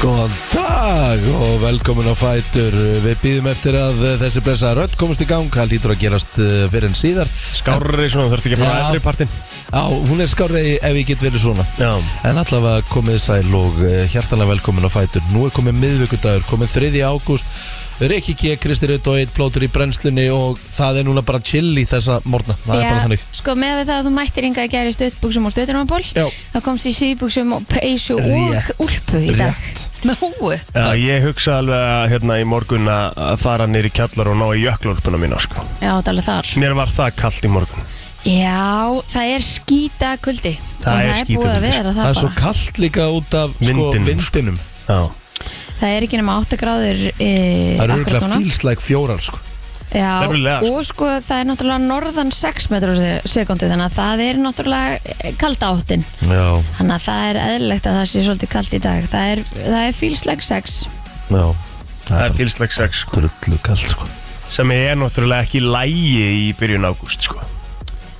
Góðan dag og velkomin á Fætur Við býðum eftir að þessi blessa rödd komist í gang Það lítur að gerast eh, fyrr en síðar Skárri svona, þú þurft ekki að fara Já. efri partinn Á, hún er skárri ef ég get verið svona Já En allavega komið sæl og eh, hjartanlega velkomin á Fætur Nú er komið miðvikudagur, komið 3. ágúst Rikki K, Kristi Rutt og Eitt Plótur í brennslunni Og það er núna bara chill í þessa morgna Það er bara þannig Sko með við það að þú mættir yngar að gera stöðbuksum og stöðunarból Já. þá komst í síðbuksum og peysu Rétt. og úlpu í dag Rétt. Með húu Já, ég hugsa alveg að hérna í morgun að að fara nýri kjallar og ná í jöklarúlpuna mína, sko. Já, það er alveg þar Mér var það kallt í morgun. Já, það er skýta kuldi Það og er það er búið að skítakuldi, vera Það það, er svo bara kallt líka út af sko, Vindinum. vindinum Já. Það er ekki nema 8 gráður e, Það eru akkurat örgulega núna. fílslæk fjórar sko Já, Nefnilega, sko. og sko það er náttúrulega norðan 6 metrur sekundu þannig að það er náttúrulega eh, kalda áttin Já, þannig að það er eðlilegt að það sé svolítið kald í dag það er, það er fílsleg 6 já Það er fylsleg 6, sko. drullu kallt sko Sem er náttúrulega ekki í lægi í byrjun ágúst, sko.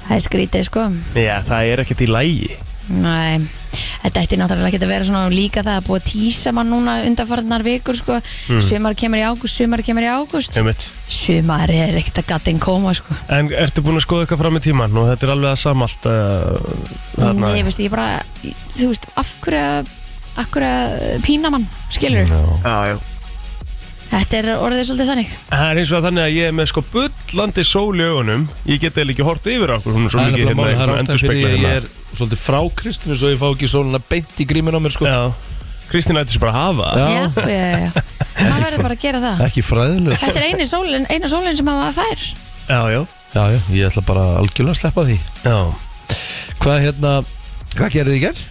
það er skrítið sko Já, það er ekkert í lægi. Nei, þetta ætti náttúrulega ekki að vera svona líka það að búa að tísa mann núna undanfarnar vikur sko sumar kemur í ágúst, sumar kemur í ágúst Einmitt. sumar er ekkert að gattin koma sko En ertu búin að skoða eitthvað fram í tíman og þetta er alveg að samalt uh, þarna? Nei, veistu, ég bara, þú veist, af hverju að af hverju að pína mann, skilur Mm. Já, já. þetta er orðið svolítið þannig Það er eins og þannig að ég er með sko bullandi sól í augunum Ég get eða ekki hort yfir okkur Hún er svo Það er mikið nefnilega hérna mál, svona það er ástæðan fyrir endurspegla því hérna að ég er svolítið frá Kristinu svo ég fá ekki sóluna beint í grímin á mér sko Já, Kristín ætti sér bara að hafa Já. já, já, já, já. maður verður bara að gera það Ekki fræðilegur þetta er eini sólin, eina sólin sem maður fær Já, já, Já, já, ég ætla bara algjörlega að sleppa því já. Hvað hérna, hvað gerðið í gerð?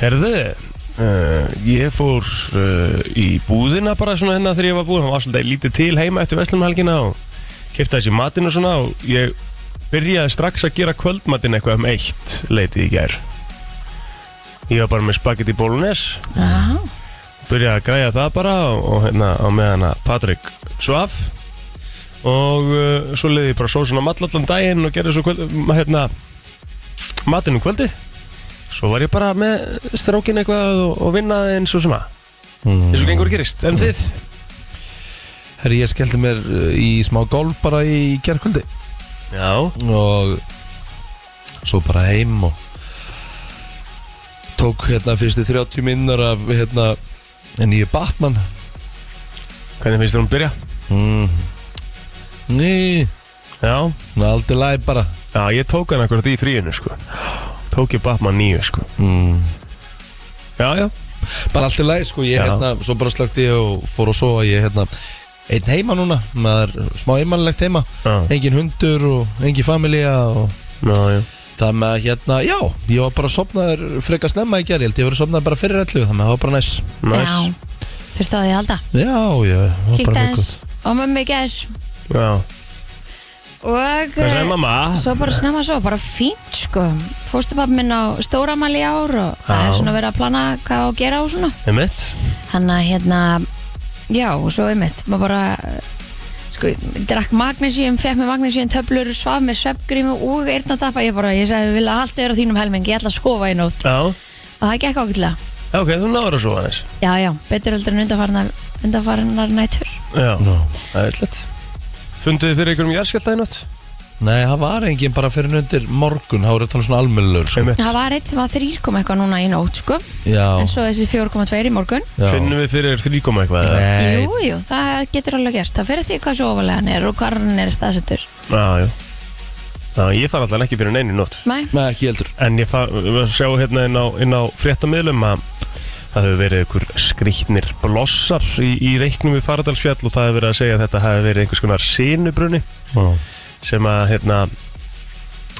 Herðu, uh, ég fór uh, í búðina bara svona hérna þegar ég var búinn Hann var svolítið lítið til heima eftir Vestlumhelgina og kefti þessi matinn og svona og ég byrjaði strax að gera kvöldmatinn eitthvað um eitt leitið í gær Ég var bara með spagetti bólunes já, byrjaði að græja það bara og, og hérna á meðan að Patrik svaf og uh, svo leiði ég bara sósun á matl allan daginn og gerði svo kvöld, m- hérna, matinn um kvöldi svo var ég bara með strákin eitthvað og, og vinnaði eins og svona Mm. eins og gengur gerist, en þið Herri, ég skellti mér uh, í smá golf bara í gerðkvöldi já, og svo bara heim og tók hérna fyrstu 30 minnar af hérna nýju Batman hvernig finnst þér hún byrja? mm. Ný, já, hún er aldrei læg bara já, ég tók hann akkurat í fríinu sko tók ég Batman 9 sko mm. já, já, bara allt í lagi sko ég Já. hérna, svo bara slökti ég og fór og svo ég hérna, einn heima núna maður er smá einmannlegt heima Já. engin hundur og engin familja og já, já. það með að hérna, já, ég var bara sopnaður frekar snemma í gerð, ég held ég verið sopnaður bara fyrir allu þannig að það var bara næs Nice. já, þurftu á því að halda já, já, það var kíkta bara eins og mömmu gær já. og hvað eh, sagði mamma? Svo Ah. bara snemma svo, bara fínt sko Fóstupappi minn á stóramæli í ár og það Já. er svona verið að plana hvað á að gera og svona Einmitt. Hann að hérna, já og svo einmitt Maður bara, eh, sko, drakk magnesíum, fekk með magnesíum töflur Svaf með sveppgrímu og eyrnatappa Ég bara, ég sagði, við vilja allt öðru á þínum helming Ég ætla að sofa í nótt já, Og það gekk ágætlega Já, ok, þú náður að svo aðeins Já, já, betur heldur en undanfarnar, undanfarnar nætur já, Nó. Það er slett Funduð þið fyrir einhverjum jarðskjálta í nótt? nei, það var engin bara fyrir undir morgun, það voru talað svona almennilur sko. Einmitt. Það var eitt sem var 3 kom eitthvað núna í nótt sko En já, svo þessi 4,2 í morgun já Finnum við fyrir 3,0 eitthvað? eða? Nei, Jú, jú, það getur alveg gerst Það fyrir því hvað svo ofalega hann er og hvar hann er staðsettur Já, já Já, ég fann alltaf ekki fyrir neinu í nótt Nei, nei, ekki heldur En ég fann, við sjáum hérna inn á, inn á fréttamiðlum að það hefur verið einhver skrýtnir blossar í, í reiknum við Faradalsfjall og það hefur verið að segja að þetta hefur verið einhvers konar sinubrunni Já. sem að hérna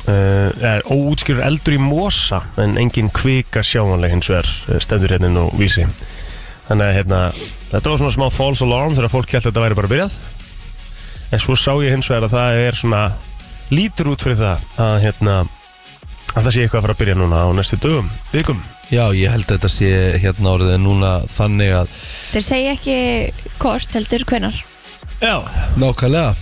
Uh, er óútskjur eldur í mosa en engin kvika sjáanleg hins vegar eh, stendur hérna inn á vísi þannig að hérna, þetta var svona smá false alarm þegar fólk held að þetta væri bara byrjað en svo sá ég hins vegar að það er svona lítur út fyrir það að hérna að það sé eitthvað að fara að byrja núna á næstu dögum vikum, já, ég held að þetta sé hérna orðið núna þannig að þeir segja ekki hvort heldur hvenar já nákvæmlega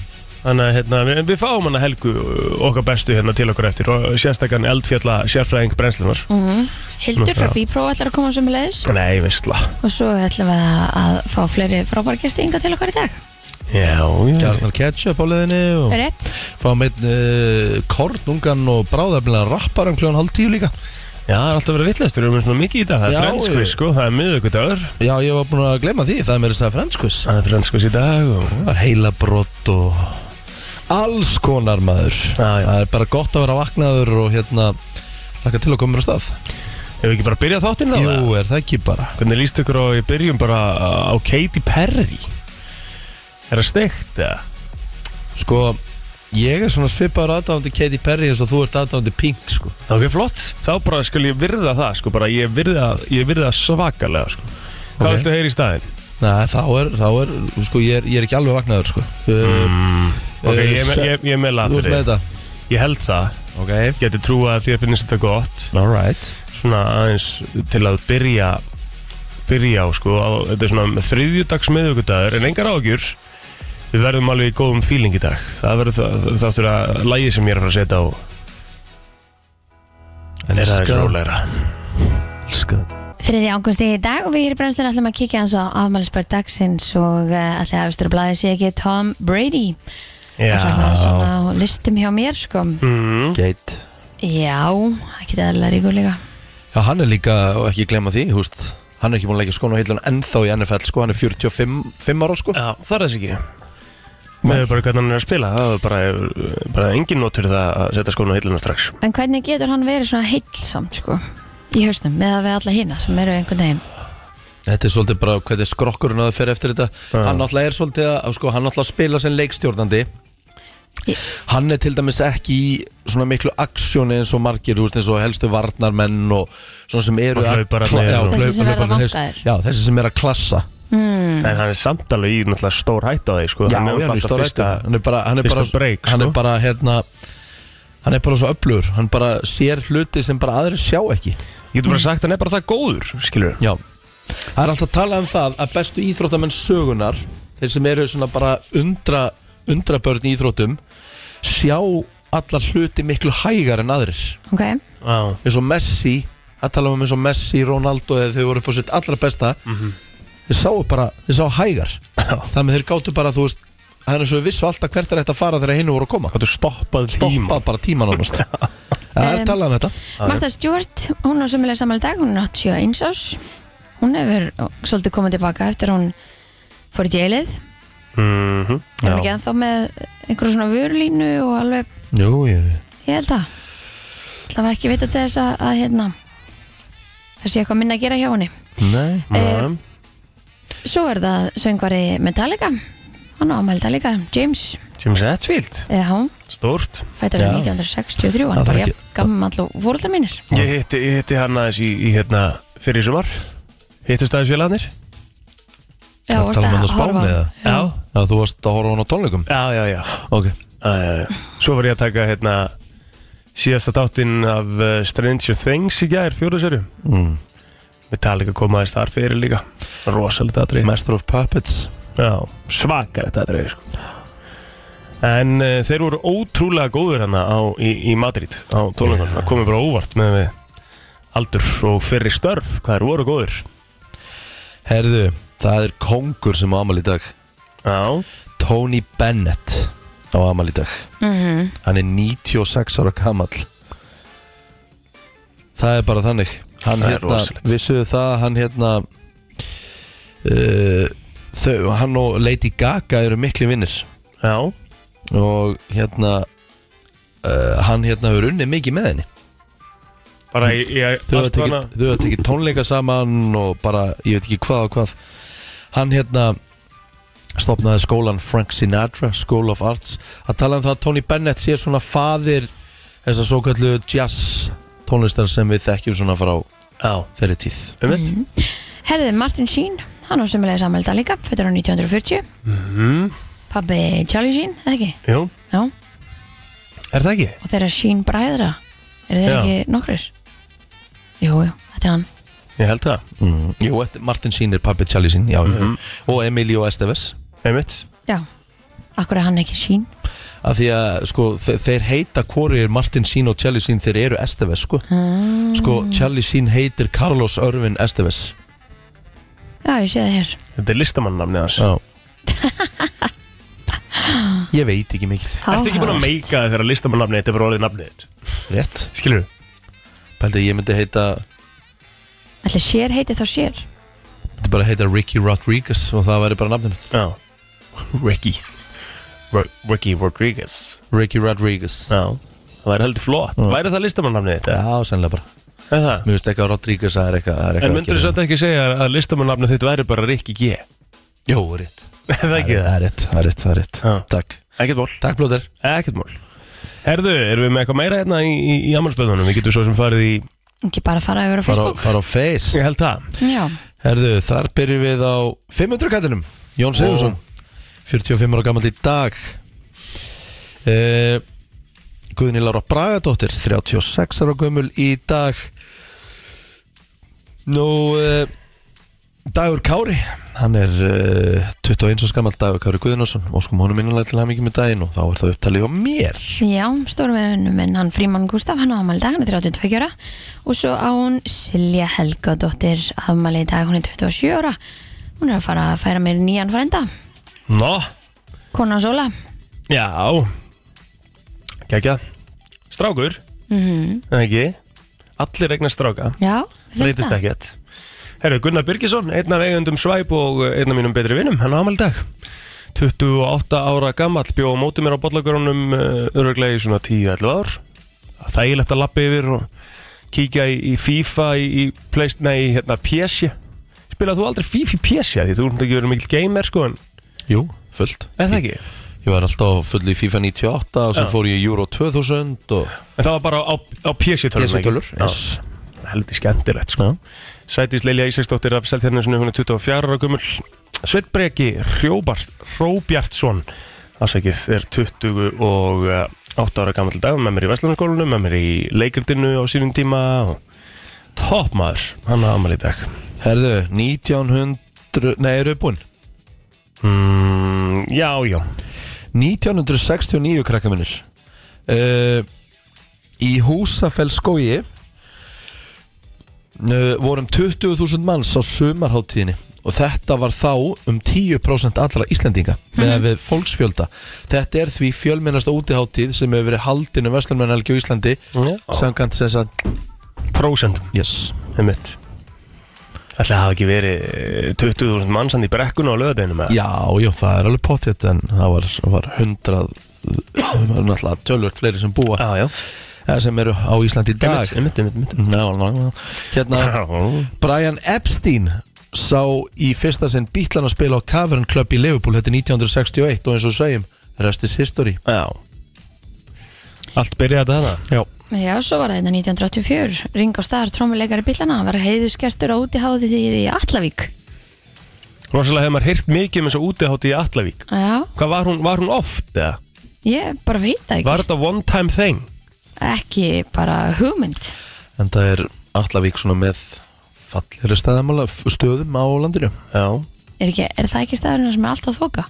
þannig að hérna, við, við fáum hana helgu uh, okkar bestu hérna til okkur eftir og sérstakann eldfjalla sérfræðing brennslunar mm -hmm. Hildur frá Já. Bípró ætlar að koma sem leðis Nei, veistla og svo ætlum við að, að fá fleiri frábærgesti yngar til okkar í dag Já, já Gjarnar Mm. ketchup á leðinni og Rétt, fáum einn uh, kornungan og bráðafnilega rappar um kljóðan hálf tíu líka Já, það er alltaf verið villestur, við erum með svona mikið í dag Það Já, er frenskvist, ég- sko, það er miðugudagur Já, ég var búin að glema því, það er mér að segja franskviss Það er frenskvist í dag og Það er heila brott og alls konar maður Já, já. Það er bara gott að vera vaknaður og hérna Laka til að koma mér á stað Hefur við ekki bara byrjað þáttinn þá? eða? Jú, er það ekki bara Hvernig líst ykkur á, ég byrjum bara á Katy Perry Er það steikt, eða? Sko, ég er svona svipaður aðdáðandi Katy Perry eins og þú ert aðdáðandi Pink sko. Ok, flott Þá bara skal ég virða það, sko, bara ég virða, ég virða svakalega, sko Hvað Ok. viltu heyra í staðinn? Nei, þá er, þá er, sko, ég er, ég er ekki alveg vaknaður sko. mm, Ok, ég, er með- ég, ég er með lag Þú ert fyrir með þig. þetta Ég held það, Ok, geti trúa að þér finnist þetta gott alright Svona aðeins til að byrja Byrja á sko á, Þetta er svona þriðjudags miðvikudagur En engar ágjur Við verðum alveg í góðum fíling í dag Það verður það, þáttur að lægi sem ég er að fara að setja á Er það Elska- ekki rólegra elska þetta. fyrir því ángusti í dag og við hér í brennslun ætlum að kíkja hans á afmælisbörð dagsins og uh, ætlum að austur að blaði sé ekki Tom Brady ætlum að Já svona á listum hjá mér sko mm, Gate Já, ekki það eðla ríkur líka Já, hann er líka, og ekki glemma því, húst Hann er ekki búin að leggja skóna á hillun ennþá í NFL sko, hann er 45 fimm ára sko Já, það er þess ekki Með bara hvernig hann er að spila Það er bara, bara engin notur það að setja skóna á hilluna strax En hvernig getur hann verið svona heilsamt sko í hausnum með að við alla hina sem eru einhvern veginn Þetta er svolítið bara hvernig skrokkurinn að það fer eftir þetta Hann náttúrulega er svolítið að sko, hann náttúrulega spila sem leikstjórnandi Ég- Hann er til dæmis ekki í svona miklu aksjóni eins og margir þú veist, eins og helstu varnarmenn og svona sem eru Og að hlaupararnir kla- já, og- og Þessi sem hlaupararnir, verða þess- vankaðir. Já, þessi sem er að klassa En hann er samt alveg í náttúrulega stór hætt á því sko. Mm. Já, hann já, hann er alltaf stór fyrsta- eftir Hann er bara, hann er fyrsta bara, break, hann er sko. bara hérna Hann er bara svo öflugur, hann bara sér hluti sem bara aðrir sjá ekki Ég getur Mm. bara sagt að hann er bara það góður Skilur Já Það er alltaf að tala um það að bestu íþróttamenn sögunar þeir sem eru svona bara undra, undra börn í íþróttum sjá allar hluti miklu hægar en aðrir Ok, Já, eins og Messi að tala um eins og Messi, Ronaldo eða þau voru upp á sitt allra besta Mhm. þeir sáu bara, þeir sáu hægar þannig að þeir gáttu bara, þú veist það er eins og við vissu alltaf hvert er þetta að fara þegar hinn voru að koma gáttu stoppað tíma stoppa bara tíman ánast það er Um, talað um þetta Martha Stewart, hún er sömulega samanlega dag hún er 81 ás hún hefur svolítið komið tilbaka eftir hún fór í djelið er mm hún ekki ennþá með einhverju svona vörlínu og alveg, Jú, ég ég held að Það var ekki vita til þess að, að hérna það sé eitthvað minna að gera hjá henni Nei Eh, Svo er það söngvari Metallica hann á ámælda líka, James James Hetfield, eða hann stórt fættur Já. hann 1963 hann Já, það var er ekki- jafn gammal og fóröldar mínir Ég hitti, ég hitti hann aðeins í, í hérna fyrir sumar Hittist aðeins félagarnir Já, varstu Það tala um hann á að horfa spáni á- eða? Já, Já, þú varst að horfa á hann á tónleikum já, já, já. Ok Já, já, já. Svo var ég að taka hérna síðasta þáttinn af uh, Stranger Things í gær, fjóðasöru mm. Metallica kom aðeins þar fyrir líka Rosalega atrið Master of Puppets Já, svakar þetta aðrið sko. En uh, þeir voru ótrúlega góður hana á, í, í Madrid á tónleikunum, það komið bara óvart með við aldur og fyrri störf hvað þeir voru góður Herðu, það er kongur sem á amal í dag Já, Tony Bennett á amal í dag Mhm. Hann er 96 ára gamall Það er bara þannig Hann Það er hérna, rosalegt. vissuðu það að Hann hérna uh, þau, Hann og Lady Gaga eru mikli vinnir já, Og hérna uh, Hann hérna hefur unnið mikið með henni bara ég, ég þau hafa allt hana- tekið- þau hafa tekið tónleika saman og bara, ég veit ekki hvað og hvað hann hérna stopnaði skólan Frank Sinatra School of Arts að tala um það að Tony Bennett sé svona faðir þess að svo kallu jazz tónlistar sem við þekkjum svona frá Já, þeirri tíð um mitt Herðið Martin Sheen, hann á sömulega samanlega líka fættur hann 1940 mm, pabbi Charlie Sheen, eða ekki? Jú, Já, er það ekki? og þeirra Sheen bræðra eru þeir Já. ekki nokkrir? Jú, jú, þetta er hann Ég held það, mm. Jú, þetta- Martin Sheen er pappi Charlie Sheen já, mm og Emilio Esteves um mitt Já, akkur er hann ekki Sheen? af því að sko, þe- þeir heita hvorið er Martin Sín og Charlie Sín þeir eru Esteves sko. sko Charlie Sín heitir Carlos Örvin Esteves Já, ég sé það hér Þetta er listamannamni þess Já Ég veit ekki mikið Ertu ekki búin að Áhugavert. meika þig þegar listamannamni þetta er bara orðið nafnið þitt? Rétt Skilur þú? Pældi að ég myndi heita Ætli sér heiti þá sér myndi bara heita Ricky Rodriguez og það væri bara nafnum mitt Já Ricky Ro- Ricky Rodriguez Ricky Rodriguez Já Það væri heldur flott Já. Væri það listamannamni þitt? eða? Já, sennilega bara Er það? Mér finnst ekki að Rodriguez það er eitthvað það er eitthvað En að myndur gera. þú svolítið ekki segja að listamannamni þitt væri bara Ricky G? Jó, rétt Er það ekki Það það? er rétt, það er rétt, það er rétt Já. Takk Ekkert mál Takk Blóður Ekkert mál Herðu, erum við með eitthvað meira hérna í, í, í ammálspöðunum? Við getum svo sem farið í Ekki bara fara yfir á Fara á- Facebook fara á Face Ég held það Já, Herðu, þar byrjum við á 500 kallinum Jón Sigurðsson 45 ára gammal í dag uh, Guðni Lára Bragadóttir 36 ára gömul í dag Nú uh, Dagur Kári Hann er uh, 21 ára gammal Dagur Kári Guðnarsson og sko honum innanlega til hann ekki með daginn og þá er það upptalið á mér já stórum vinnum minn hann Fríman Gustaf, hann á afmæli í dag, hann er 32 ára og svo á hún Silja Helga dóttir afmæli í dag, hún er 27 ára hún er að fara að færa mér nýjan frænda Nó Kona Sóla Já Kækja Strákur Mhm. Eða ekki Allir eignar stráka Já, finnst Breytist það ekkert Herru, Gunnar Birgisson, einn af eigendum Svæp og eh, einn af mínum betri vinnum, hann á afmæli í dag 28 ára gamall bjó á móti mér á bollagörunum öruglega í svona 10-11 ár þægilegt að lappa yfir og kíkja í, í FIFA í, í place, nei, í, hérna, PSG Spilað þú aldrei FIFA í PSG því þú erum ekki verið mikil gamer sko en Jú, fullt er það ekki? Ég var alltaf full í FIFA 98 og svo Já. fór ég í Euro 2000 og En það var bara á, á PSG-tölum PSG-tölur, yes. yes. Heldi skemmtilegt sko. Sætis Lilja Ísaksdóttir af Seltjarnesunni, hún er 24 ára gummul Sveit Breki Hróbart, Hróbjartsson Afsækið er 28 ára gammal dag með mér í Vestlandskólanum, með mér í leikritinu á sínum tíma og toppmaður, hann er amal í dag Herðu, 1900 Nei, eru búin mm, Já, já 1969 krakka minnir uh, Í Húsafellskói uh, vorum 20.000 um manns á sumarháttíðinni og þetta var þá um 10% allra Íslendinga með við fólksfjölda Þetta er því fjölmennasta útiháttíð sem hefur verið haldinu Vestlumennalgi á Íslandi Sem samkvæmt sem sagt Prósendum yes. einmitt Ætli það hafa ekki verið eh, 20.000 manns hann í brekkuna á löðadeinu með Já, já, það er alveg pottétt en það var, var 100 það var náttúrulega tölvöld fleiri sem búa Já, já eða Eh, sem eru á Íslandi í dag Einmitt, einmitt, einmitt Já, já, já. Hérna, Já, Brian Epstein sá í fyrsta sinn bítlana spila á Cavern Club í Liverpool þetta er 1961 og eins og við segjum rest is history já Allt byrjaði þetta hana Já, Já, svo var það hérna 1984 Ring á staðar, trómuleikari bílana var heiðusgestur á útiháðið í Allavík Rosalega hefur maður heyrt mikið um þessu útihátti í Allavík Já, Hvað var hún, var hún oft eða? ég bara veit það ekki Var þetta one time thing? ekki bara hugmynd en það er allavík svona með fallir staðamála stöðum á landinu Já er, ekki, er það ekki staðurinn sem er alltaf þoka?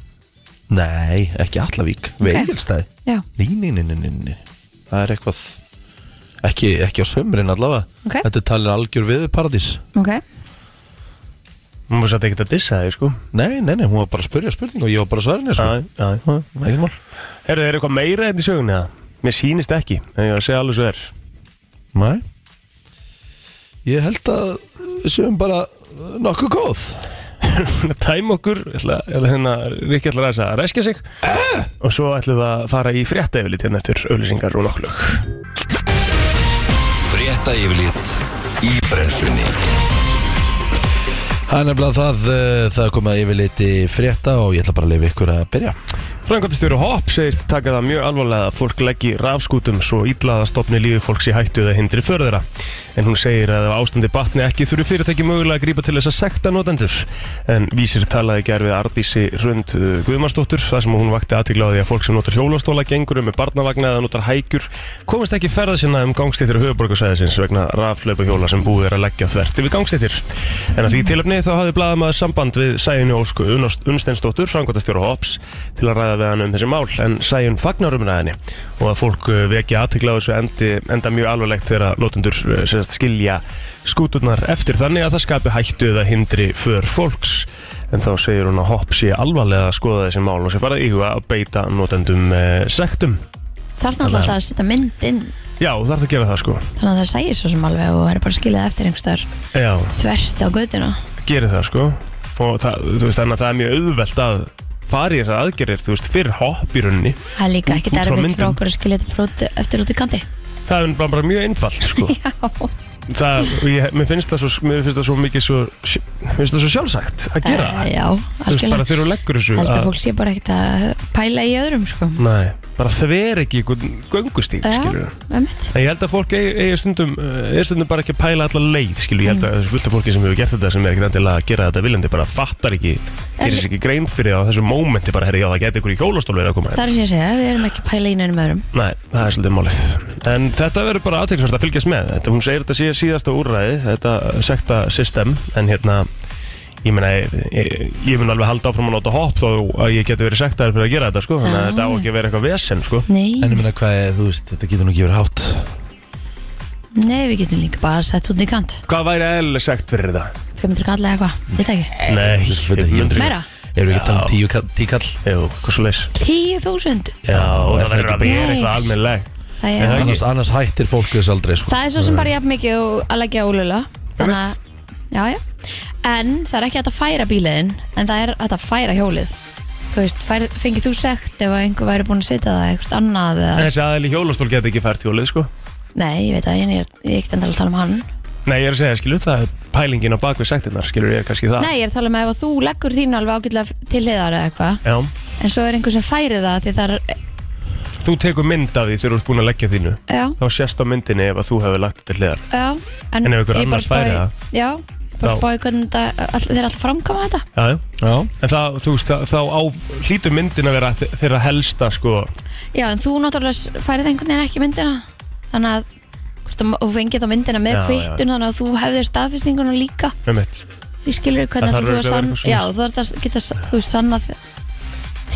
Nei, ekki allavík, okay. Ok. veigilstæði Já, Nei, nei, nei, nei, nei, nei Það er eitthvað Ekki, ekki á sömurinn allavega Ok. Þetta er talin algjör viðurparadís ok Hún var satt ekkert að dissa þig sko Nei, nei, nei, hún var bara að spyrja spurning og ég var bara að svara henni sko. Já, já Ekkert mál Herru, er eitthvað meira þetta í sögunni eða? Mér sýnist ekki En ég var að segja alveg svo er Nei Ég held að við séum bara uh, nokkuð góð Tæm okkur ætla, ætla, hérna, Rikki ætlar aðeins að reskja sig Og svo ætlum við að fara í frétta yfirlit Hérna eftir auðlýsingar og nokklög Frétta yfirlit í brennslunni Það er nefnilega það, uh, það er komið að yfirleiti frétta og ég ætla bara að leifa ykkur að byrja Frangatistjóri Hopp segist taka það mjög alvarlega að fólk leggi rafskútum svo illa að stopni lífi fólks í hættu eða hindri för þeirra. En hún segir að ef ástandi batni ekki þurfi fyrirtæki mögulega að grípa til þess að sekta notendur. En vísir talaði gerð við Ardísi Rund uh, Guðmarsdóttur þar sem hún vakti aðtikla á því að fólk sem notar hjólastóla gengur um með barnavagna eða notar hækjur komist ekki ferða sinna um gangstéttir höfuborgarsæðisins vegna raflaupa hjóla sem búið er að leggja þvert yfir gangstéttir. En að því tilöfni þá hafði blaðamaður samband við Sæjunni Ósku Unnstensdóttur, frangotastjóra Hops, til að ræða við hann um þessi mál en sæjun fagnar umræðinni og að fólk eh, vekja aðtekla á þessu endi, enda mjög alvarlegt þegar lótundur sérst, skilja skúturnar eftir þannig að það skapi hættu eða hindri för fólks en þá segir hún að hopp sé alvarlega að skoða þessi mál og sé farað íhuga að beita notendum eh, sektum Þarf náttúrulega alltaf að setja mynd inn Já, þú þarf að gera það sko Þannig að það segir svo sem alveg og verður bara skilið eftir einhverstaðar Já, þvert á göduna gerir það sko og það, þú veist, þannig að það er mjög auðvelt að fara í þessar aðgerðir, þú veist, fyrir hopp í rauninni Það er líka ekki Út frá derfitt fyrir myndum. okkur að skilja þetta bara út- eftir út í kanti það er bara, bara mjög einfalt sko. Já, það, og ég, mér, finnst það svo, mér finnst það svo mikið svo, sj- mér finnst það svo sjálfsagt að gera það Já, þú veist bara Eh, algjörlega þegar þú leggur þessu Held að að- Mm, fólk sé bara ekkert að pæla í öðrum sko nei, bara þver ekki einhvern göngustík Já. skilur við Ömmit En ég held að fólk eigi, eigi stundum, eh, er stundum bara ekki að pæla alla leið, skilju, ég held Mm. að þessu fullt af fólki sem hefur gert þetta sem er ekkert endilega að gera þetta viljandi bara fattar ekki, gerir sér ekki grein fyrir það á þessu mómenti bara, herri, já, það geti ykkur í hjólastól verið að koma hérna. Það er sem ég segja, við erum ekki að pæla í neinum öðrum Nei, það er svolítið málið En þetta verður bara aðtækisvært að fylgjast með þetta, Hún segir þetta sé síðasta úrræði Þetta sekta system En hérna, ég meina Ég, ég, ég mun alveg halda áfram að láta hopp Þó að ég geti verið sektaður fyrir að gera þetta sko. Þannig að Já. þetta á ekki að vera eitthvað vesen sko. Nei, En ég minna hvað, er, þú veist, þetta getur nú ekki verið hátt nei, við getum líka bara sett út í kant Hvað væri eðlileg sekt fyrir það? 500 kall eða eitthvað, við það ekki Nei, Ég veit ekki, myndir- Meira? Erum við ekki að tala um tíu kall, tíu kall? Jú, hvað svo leys 10.000 Já, það er það verður ekki að vera eitthvað Yikes. almennilegt Það Er það er- ekki? Annars, annars hættir fólk þess aldrei sko. það er svo sem bara jafn mikið og að leggja ólöla Þannig að, já, já En það er ekki hægt að færa bíliðin En það er hægt að færa hjólið Þú veist, fær, fengið þú sekt ef að einhver væri búin að setja það eitthvað annað eða, Þessi aðeil í hjólastól geti ekki fært hjólið sko. Nei, ég veit að ég er, ég er ekki endalega að tala um hann Nei, ég er að segja, skilju, það er pælingin á bakvið sektinnar Skilur ég er kannski það Nei, ég er að tala um ef að þú leggur þínu alveg ágætlega til hliðar eða eitthvað Já, En svo er einhver sem færi það því það er, þú tekur mynd af því þegar þú ert búin að leggja þínu já, þá sést á myndinni ef að þú hefur lagt til hliðar já En, En ef ég einhver bara annar færi spái- það? Já, ég bara Þá- spáði hvernig þetta, all, þeir er alltaf framkama þetta já, já. Já, en það, þú veist, þá, þá á, hlýtur myndin að vera þe- þeirra helsta sko, Já, en þú náttúrulega færið einhvern veginn ekki myndina Þannig að hvort að- og fengið þá myndina með Já, kvittun þannig að þú hefðir staðfestinguna líka um mitt ég skilur hvernig að Það þarf þú að örugglega að sann vera eitthvað já, þú þarf að geta þú veist sann að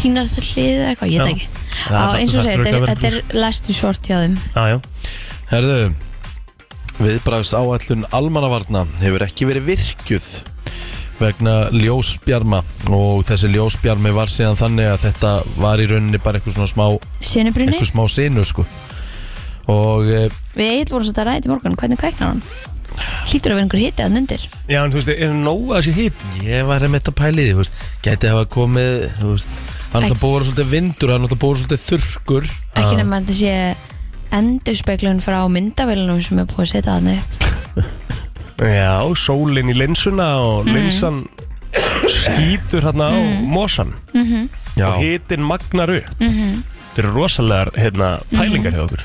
þína hlið eða eitthvað, ég veit Já. ekki Það- á, eins og það segir, þarf þetta örugglega að er- vera þetta er læstu svort hjá þeim já, já. herðu Viðbrags áætlun almannavarna hefur ekki verið virkjuð vegna ljósbjarma og þessi ljósbjarmi var síðan þannig að þetta var í rauninni bara eitthvað svona smá Sjönubrunni, eitthvað smá sinu sko og e, við eitthvað vorum svolítið að ræða þetta í morgun hvernig kveiknar hann? Hlýtur að vera einhver hiti að nundir já, en þú veist, er nóg að þessi hít ég var að metta pæliði, þú veist, gæti hafa komið þú veist, hann Æ. ætla búið svolítið vindur, hann ætla búið svolítið þurrkur Ah, ekki nema að þetta sé endurspeglun frá myndavélunum sem er búið að setja þannig já, sólin í linsuna Mhm. og linsan skýtur hérna á mosan Já, og hitin magnar upp þetta eru rosalegar hérna, Mhm. pælingar hjá okkur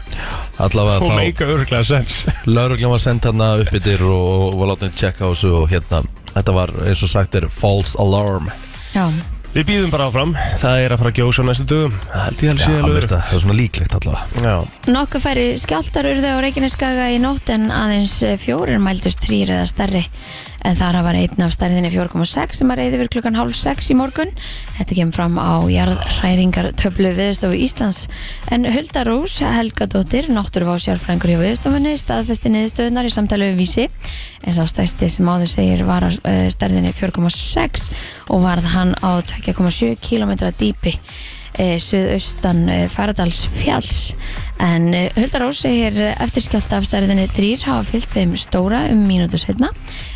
og allavega þá meika öruglega sens Lörglum var sendt hérna uppbyttir og, og var látið að tjekka á þessu og hérna Þetta var eins og sagt er false alarm já, við býðum bara áfram, það er að fara að gjósa á næstu dögum það held ég að Já, sé alveg veist það, það er svona líklegt allavega öruggt. já, Nokkuð færri skjáltar urðu á Reykjaneskaga í nótt en aðeins eh, fjórir mældust þrýr eða stærri en þar var einn af stærðinni 4,6 sem var reyði fyrir klukkan hálf 6 í morgun Þetta kemur fram á jarðræringar töflu viðstofu Íslands en Hulda Rós Helgadóttir náttúruvá sérfræðingur hjá viðstofunni staðfesti niðurstöðunar í samtali við vísi en sá stæsti sem áður segir var að stærðinni 4,6 og varð hann á 2,7 km dýpi eh, suðaustan eh, Faradalsfjalls en eh, Hulda Rós segir eh, eftir skjálta af stærðinni þrýr hafa fyllt þeim stóra um mínútu setna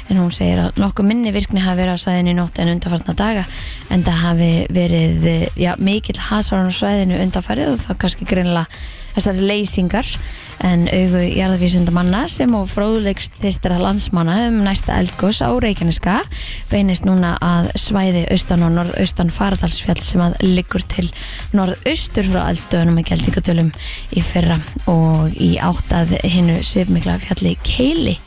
en hún segir að nokkuð minni virkni hafi verið á svæðinu í nótt en undanfartna daga en það hafi verið eh, já, mikill hasarun á svæðinu undanfarið og þá kannski greinlega þessari leysingar en augu jarðvísindamanna sem og fróðlegst þistra landsmanna um næsta eldgós á Reykjaneska beinist núna að svæði austan og norðaustan faradalsfjall sem að liggur til norðaustur frá eldstöðunum með geldingatölum í fyrra og í áttað hinnu svipmikla fjalli Keili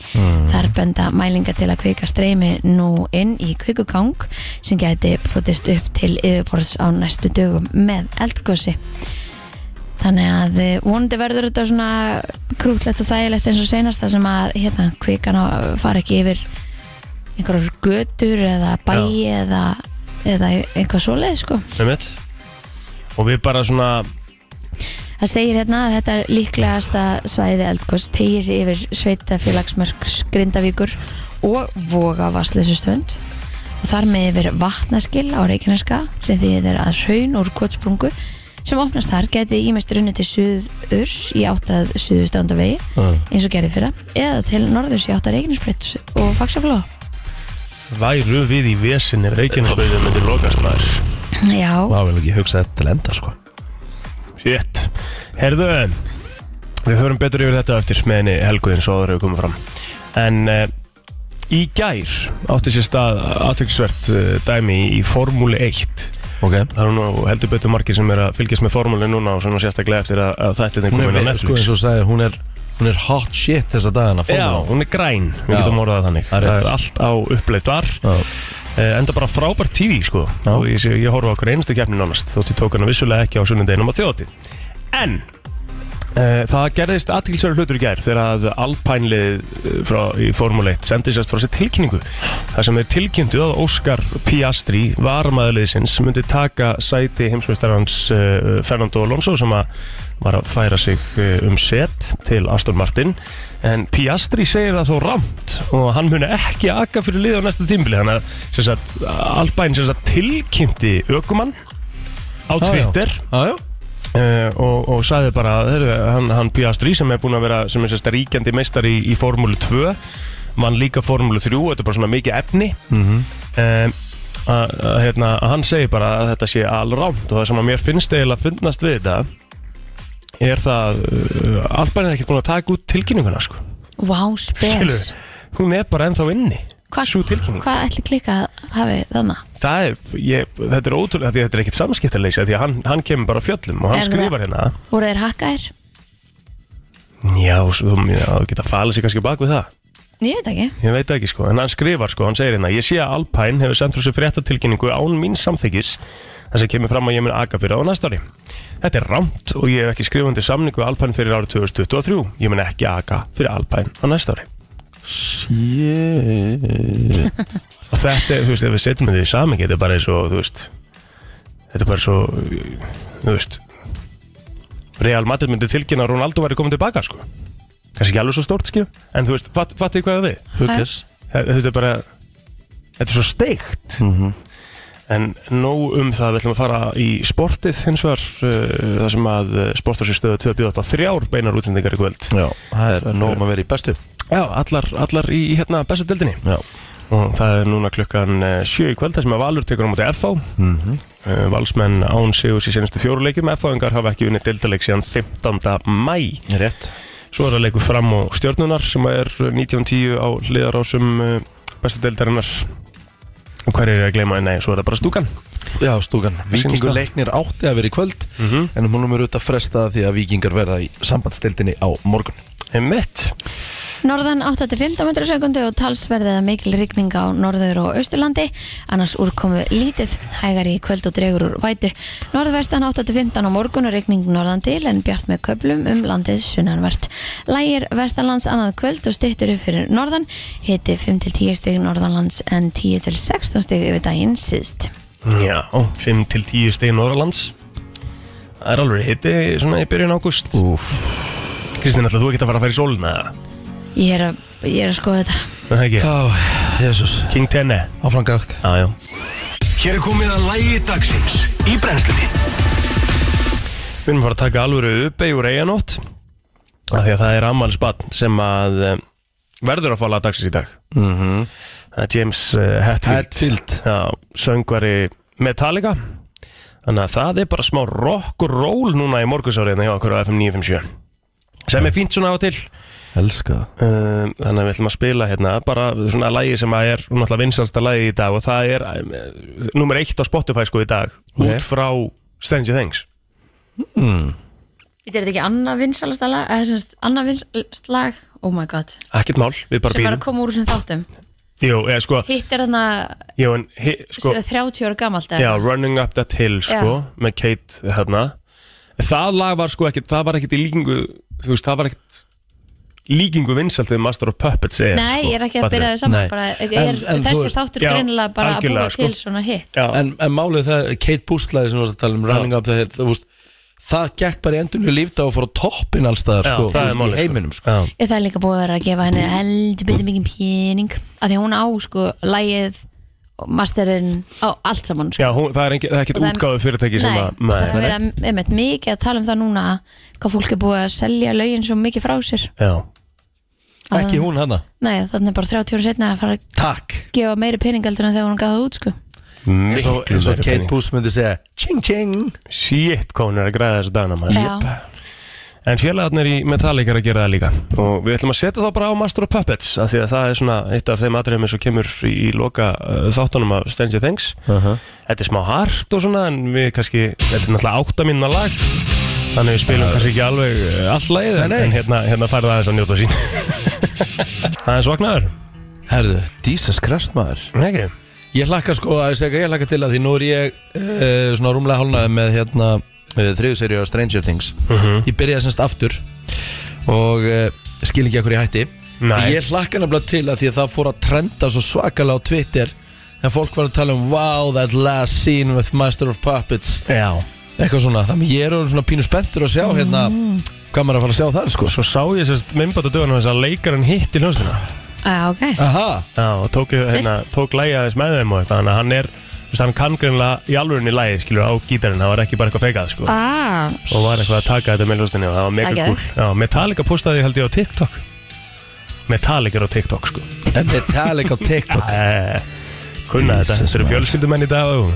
þar benda mælinga til að kvika streymi nú inn í kvikugang sem gæti brotist upp til yfirborðs á næstu dögum með eldgósi Þannig að eh, vonandi verður þetta svona krútlegt og þægilegt eins og senast það sem að hérna, kvikan á, fara ekki yfir einhverjar götur eða bæi eða, eða eitthvað svoleið sko. Einmitt. og við bara svona Það segir hérna að þetta er líklegasta svæði eldgoss tegið sér yfir sveitafélagsmörk Grindavíkur og Voga Vassleysuströnd og þar með yfir vatnaskil á Reykjaneska sem þýðir að hraun úr kotsprungu sem opnast þar geti ímest runni til suðurs í áttað suðustrandavegi Ah. Já. eins og gerði fyrra eða til norðurs í áttað Reykjanesbreyt og fagsaflóa væru við í vesinni Reykjanesbreyðum myndi lokast maður Já, Vá, við erum ekki hugsað þetta til enda sko Shit Herðu Við förum betur yfir þetta á eftir með henni Helgu eins og aðra hefur komið fram En uh, í gær átti sér stað aðtöksvert uh, dæmi í Formúli 1 Ok Það eru nú heldur betur margir sem er að fylgjast með formúli núna og svona sérstaklega eftir að, að þættinni Hún komin á er, sko, Netflix eins og sagði, hún er, hún er hot shit þessa dagana Já, hún er græn, við Já. getum orðað það þannig Það er Það rétt. er allt á uppleitt þar Já. Eh, enda bara frábært TV sko Já. og ég, sé- ég horfa á okkur einustu keppni nánast þótt ég tók hana vissulega ekki á sunnundeginum á þjóti en uh, það gerðist aðtilsverður hlutur í gær þegar að Alpine-lið eh, frá, í Formule 1 sendi sérst frá sér tilkynningu þar sem þeir tilkynntu að Óskar Piastri varmaðurliðsins myndi taka sæti heimsveistarans uh, Fernando Alonso sem að var að færa sig eh, um set til Aston Martin en Piastri segir það þó ramt og hann muni ekki akka fyrir lið á næsta tímbili þannig að sem sagt, Alpine sem sagt, tilkynnti ökumann á já. Twitter Já, já uh, og, og sagði bara heru, hann, hann Piastri sem er búin að vera sem er sérst ríkjandi meistar í, í Formúlu 2 mann líka Formúlu 3 þetta er bara svona mikið efni mm -hmm. hérna, að hann segir bara að þetta sé allrámt og það sem að mér finnst eiginlega að finnast við þetta er það uh, Alpine er ekkert búin að taka út tilkynninguna sko. vá, Skilur, spes hún er bara ennþá inni Sú Hvað tilkynning hva ætli klika hafi þannig? það er, ég, þetta er ótrúlega því að þetta er ekkert samskiptarleysi af því að hann, hann kemur bara á fjöllum og hann Er það- skrifar hérna Voru þeir hakkaðir? já, svo, já, þú geta falið sig kannski bak við það Ég veit ekki ég veit ekki sko, en hann skrifar sko, hann segir hérna ég sé að Alpine hefur sendt frá sér fréttatilkynningu án mín samþykis þar sem kemur fram að ég mun aga fyrir á næsta ári þetta er rámt og ég hef ekki skrifandi samningu við Alpine fyrir árið 2023 ég mun ekki aga fyrir Alpine á næsta ári yeah. og þetta, er, þú veist, ef við setjum þetta í samingi þetta er bara eins og, þú veist þetta er bara svo, þú veist Real Madrid myndi tilkynna að Ronaldo væri komin tilbaka, sko kannski ekki alveg svo stórt, skil en þú veist, fatt, fattið hvað það við Hugges Þe- þetta er bara, þetta er svo steikt Mhm. en nóg um það við ætlum að fara í sportið hins vegar, uh, það sem að uh, sportarsýstöðu 2.8.3 beinar útsendingar í kvöld Já, það er nóg um að vera í bestu já, allar, allar í hérna bestu deildinni Já, og það er núna klukkan eh, sjö í kvöld þar sem að Valur tekur á móti FH mm Valsmenn án Sigurs í senastu fjóruleikjum FH-ingar hafa ekki unnið deildaleik síðan 15. mæ rétt svo er það leikur fram og stjórnunar sem er eh, 19.10 á hliðarásum eh, bestu deildarinnar og hver er ég að gleyma, nei, svo er það bara stúkan Já, stúkan, Sýnist vikingur það. leiknir átti að vera í kvöld En hún er mér auðvitað frestað því að vikingar verða í sambandstildinni á morgun Emmett, Norðan 8-15 metrar á sekundu og talsverðið að mikil rigning á norður og austurlandi annars úrkomu lítið hægar í kvöld og dregur úr vætu norðvestan 8-15 á morgun og rigning norðan til en bjart með köplum um landið sunnanvert. Lægir vestanlands annað kvöld og styrtur upp fyrir norðan hiti 5-10 stig norðanlands en 10-16 stig yfir daginn síðst. já, 5 til 10 stegin Norralands það er alveg hitti svona í byrjun ágúst Úf Kristín, ætlaðu þú ekki að fara að færa í sólina eða? Ég er að, ég er að skoða þetta. Er það ekki? Já, jésús King Tenne Áfram gafk Já, já Hér er komið að lægi dagsins í brennslunni Við erum að fara að taka alvöru uppey úr eiganótt af því að það er ammali spann sem að eh, verður að fá lag dagsins í dag mm Mhm. -hmm. James eh, Hetfield, Hetfield. Já, söngvari Metallica þannig að það er bara smá rock og roll núna í morgunsárið hérna hjá okkur á FM 957 sem er fínt svona á og til Elska það um, þannig að við ætlum að spila hérna bara svona lagi sem að er náttúrulega vinsalsta lagi í dag og það er um, nummer eitt á Spotify sko í dag Ok. út frá Stranger Things Þetta er þetta ekki annað vinsalastala, eða sem sagt, annað vinsalag, oh my god, ekkert mál, við bara sem er að býðum koma úr þessum þáttum. Jú, eða sko, Hitt er þarna jú, en, hi, sko 30 ára gamalt eða? já, Running Up That Hill sko, með Kate hérna það lag var sko ekkert, það var ekkert í líkingu þú veist, það var ekkert líkingu vinsalt við Master of Puppets er Nei, sko, ég er ekki að fattarðu? byrja það saman Nei. bara, er, En- en þú Þessi veist- þáttur Já, greinilega bara að algjörlega, búa sko. til svona hitt Já, en, en málið það, Kate Boostlæði sem þú varst að tala um Running Up the Hill þú veist, það gekk bara í endunni lífda og fór á toppin allstaðar Já, sko, það er þú veist, málið, í sko. heiminum sko. já, Ég það er líka búið að vera að gefa henni heldur byrði mikið pening af því að hún á sko lægið og masterinn á allt saman sko. já hún, það er, ekki, það er ekkert Og það- útgáðu fyrirtæki sem Nei, að það er að nei, vera einmitt mikið að tala um það núna hvað fólk er búið að selja lögin svo mikið frá sér já, ekki hún hana, Nei, þannig er bara 30 ára setna að fara að takk gefa meiri peningaldur en þegar hún gaf það út sko eins og, eins og meiri Kate pening. Boostlæði myndi segja ching ching Shit, hvað hún er að græða þessu dagana maður Já. En félagarnir í Metallica er að gera það líka Og við ætlum að setja það bara á Master of Puppets af Því að það er svona eitt af þeim atriðum eins og kemur í í loka uh, þáttunum af Stranger Things Þetta er smá hart og svona En við kannski, þetta er náttúrulega átta mínuna lag Þannig við spilum kannski ekki alveg uh, all lagið en- Nei, nei. En hérna, hérna færði aðeins að njóta sín Aðeins vaknaður, herðu, Jesus Christ maður ekki? Ég hlakka sko að ég segja, ég hlakka til að því nú er ég uh, svona rúmlega hálnaði með hérna uh, þriðuserju af Stranger Things Ég byrjaði semst aftur og uh, skil ekki ekkur ég hætti Nei. Ég hlakka nefnilega til að því að það fór að trenda svo svakalega á Twitter en fólk var að tala um Wow, that last scene with Master of Puppets Já eitthvað svona, þannig ég er orðinn svona pínu spenntur að sjá hérna, hvað maður er að fara að sjá þar sko Svo sá ég sérst minnbæta dögunum þess að leikarinn hitti hljónstina Já, ok Aha, Já, og tók, hérna, tók lægi aðeins með þeim og eitthvað, þannig að hann er, þú veist, hann kann greinlega í alvörunni lægi, skilur, á gítarinn, það var ekki bara eitthvað feikað, sko, Ah, og var eitthvað að taka þetta með hljóðstinni og það var mega Ágætt. cool. Já, Metallica postaði held ég á TikTok. Metallica er á TikTok, sko. en Metallica á TikTok Eh, kunna þetta, Jesus, þetta eru maður. fjölskyldumenn í dag og,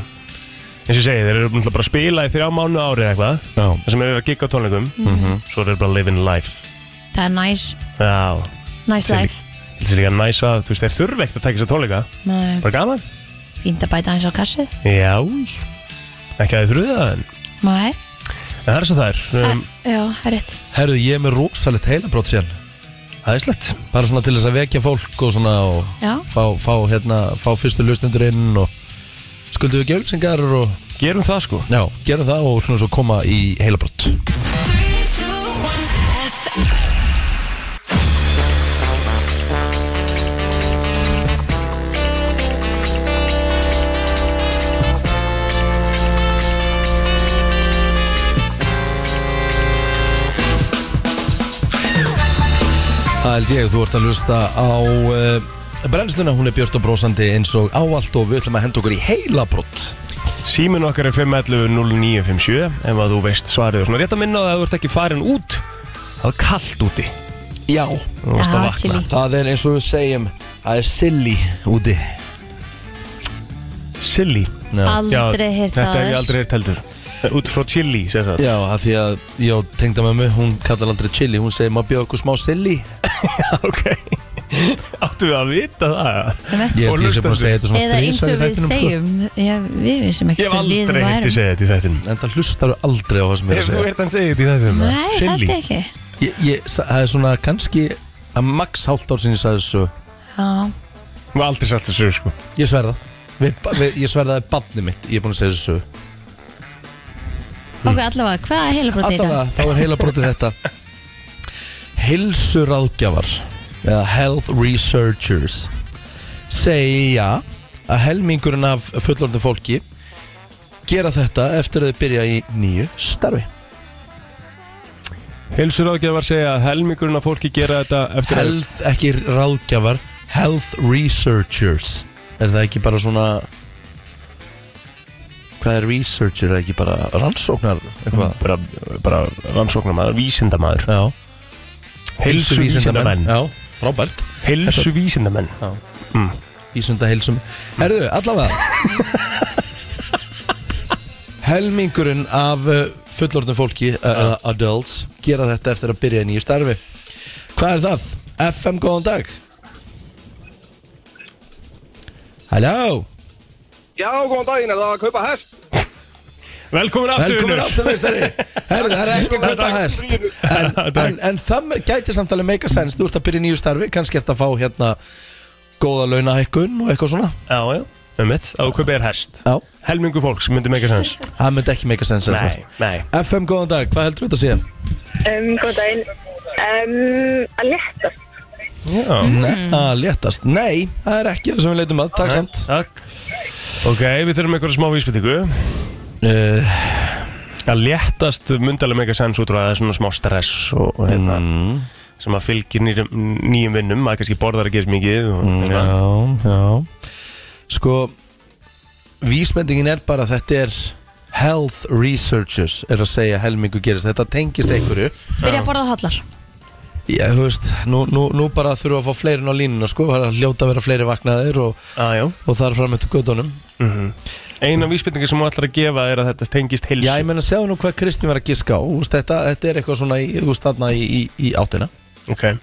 eins og ég segi, þeir eru náttúrulega bara að spila í þrjá mánu árið eitthvað, Já. það sem er að gigga á tónleikum, Mhm. svo eru þeir bara living life. það er nice, Já, nice Sem- life þetta er líka næs að, þú veist, þeir þurfa ekkert að taka sér tónleika, Nei, bara gaman. Fínt að bæta hans á kassið Já, ekki að þið þurfið það en Nei, en það er svo það er um, Ah, já, það er rétt Herðu, ég er með rosalegt heilabrót síðan aðeinslegt bara svona til þess að vekja fólk og svona og Já. fá, fá, hérna, fá fyrstu lustendur inn og skuldum við gjögsingar og Gerum það sko já, gerum það og svona svo koma í heilabrott Það held ég, þú ert að lusta á uh, brennsluna, hún er björt og brósandi eins og áallt og við ætlum að henda okkur í heilabrott Símin okkar er 511 0957 Ef að þú veist svarið og svona rétt að minna á það að þú ert ekki farin út Það er kallt úti Já, Þú varst að Já, vakna chili. það er eins og við segjum það er silly úti Silly Já, Aldrei heyrt Þetta það hef ég áður. aldrei heyrt heldur Eh, Út frá chili, sér það já af því að já, tengda með mig, hún kallar aldrei chili hún segir maður bjóð okkur smá silly Ok Áttu við að vita það Ég held ég sé búin að hlustendur. segja þetta svona Eða eins og þrísar í við þættinum sko segjum já, Við vissum ekki Ég hef aldrei heyrt þið segja þetta í þættinum En það hlustaru aldrei á það Ef sem ég er að þú segja heyrt hann segja þetta í þættinum eða? Nei, Silly. þetta ekki ég, ég, sa- Það er svona kannski að max hálft ár sinni ég sagði þessu Já, Ég hef aldrei sagt þessu sko Ég sverða við, ba- við, Ég sverða það er badni mitt Ég er búin að segja þessu ok, allavega, hvað er heila brotið í dag? Allavega, þá er heila brotið þetta Heilsuráðgjafar eða Health Researchers segja að helmingurinn af fullorðnu fólki gera þetta eftir að þau byrja í nýju starfi Hilsur ágæðvar segja að helmingurinn af fólki gera þetta eftir að- Health, ekki ráðgjafar Health Researchers Er það ekki bara svona Hvað er researcher? Er það ekki bara rannsóknar Mm. eitthvað? bara, bara rannsóknarmaður, vísindamaður Já, Heilsu vísindamenn Já, frábært Heilsu vísindamenn Ísunda heilsum Herðu, allavega Helmingurinn af uh, fullorðnum fólki uh, eða Adults gera þetta eftir að byrja í nýju starfi Hvað er það? FM, góðan dag Halló Já, góðan daginn, er það að kaupa hest? Velkomin aftur Velkomin aftur meistari Herðu, það er ekki að kaupa Takk. hest en, en, en það gæti samt alveg meika sens Þú ert að byrja í nýju starfi, kannski ert að fá hérna Góða launahækkun og eitthvað svona Já, já, um mitt, á kaupa er hest Já, Helmingu fólks, myndi mega sens það myndi ekki meika sens sem sagt. nei FM, góðan dag, hvað heldur við þetta síðan? Um, góð daginn. Um, að létta. Já, Nei, að léttast Nei, það er ekki það sem við leitum að, takk samt takk Ok, við þurfum einhverja smá vísbyttingu uh, Að léttast myndalega mega sens út frá að það er svona smá stress og, og hérna sem að fylgir nýjum, nýjum vinnum að kannski borðar ekki eins mikið og, mm, ja. Já, já Sko, vísbendingin er bara að þetta er Health researchers er að segja helmingu gerist Þetta tengist einhverju Byrja að borða hotlar Já, þú veist, nú, nú, nú bara þurfum við að fá fleirin á línuna sko, það er að hljóta að vera fleiri vaknaðir og, ah, og þar fram eftir gödunum Einu af vísbyttingu sem hún ætlar að gefa er að þetta tengist heilsu Já, ég meina, segðu nú hvað Kristín var að giska á úst, þetta, þetta er eitthvað svona í, úst, þarna í, í, í áttina Ok, já,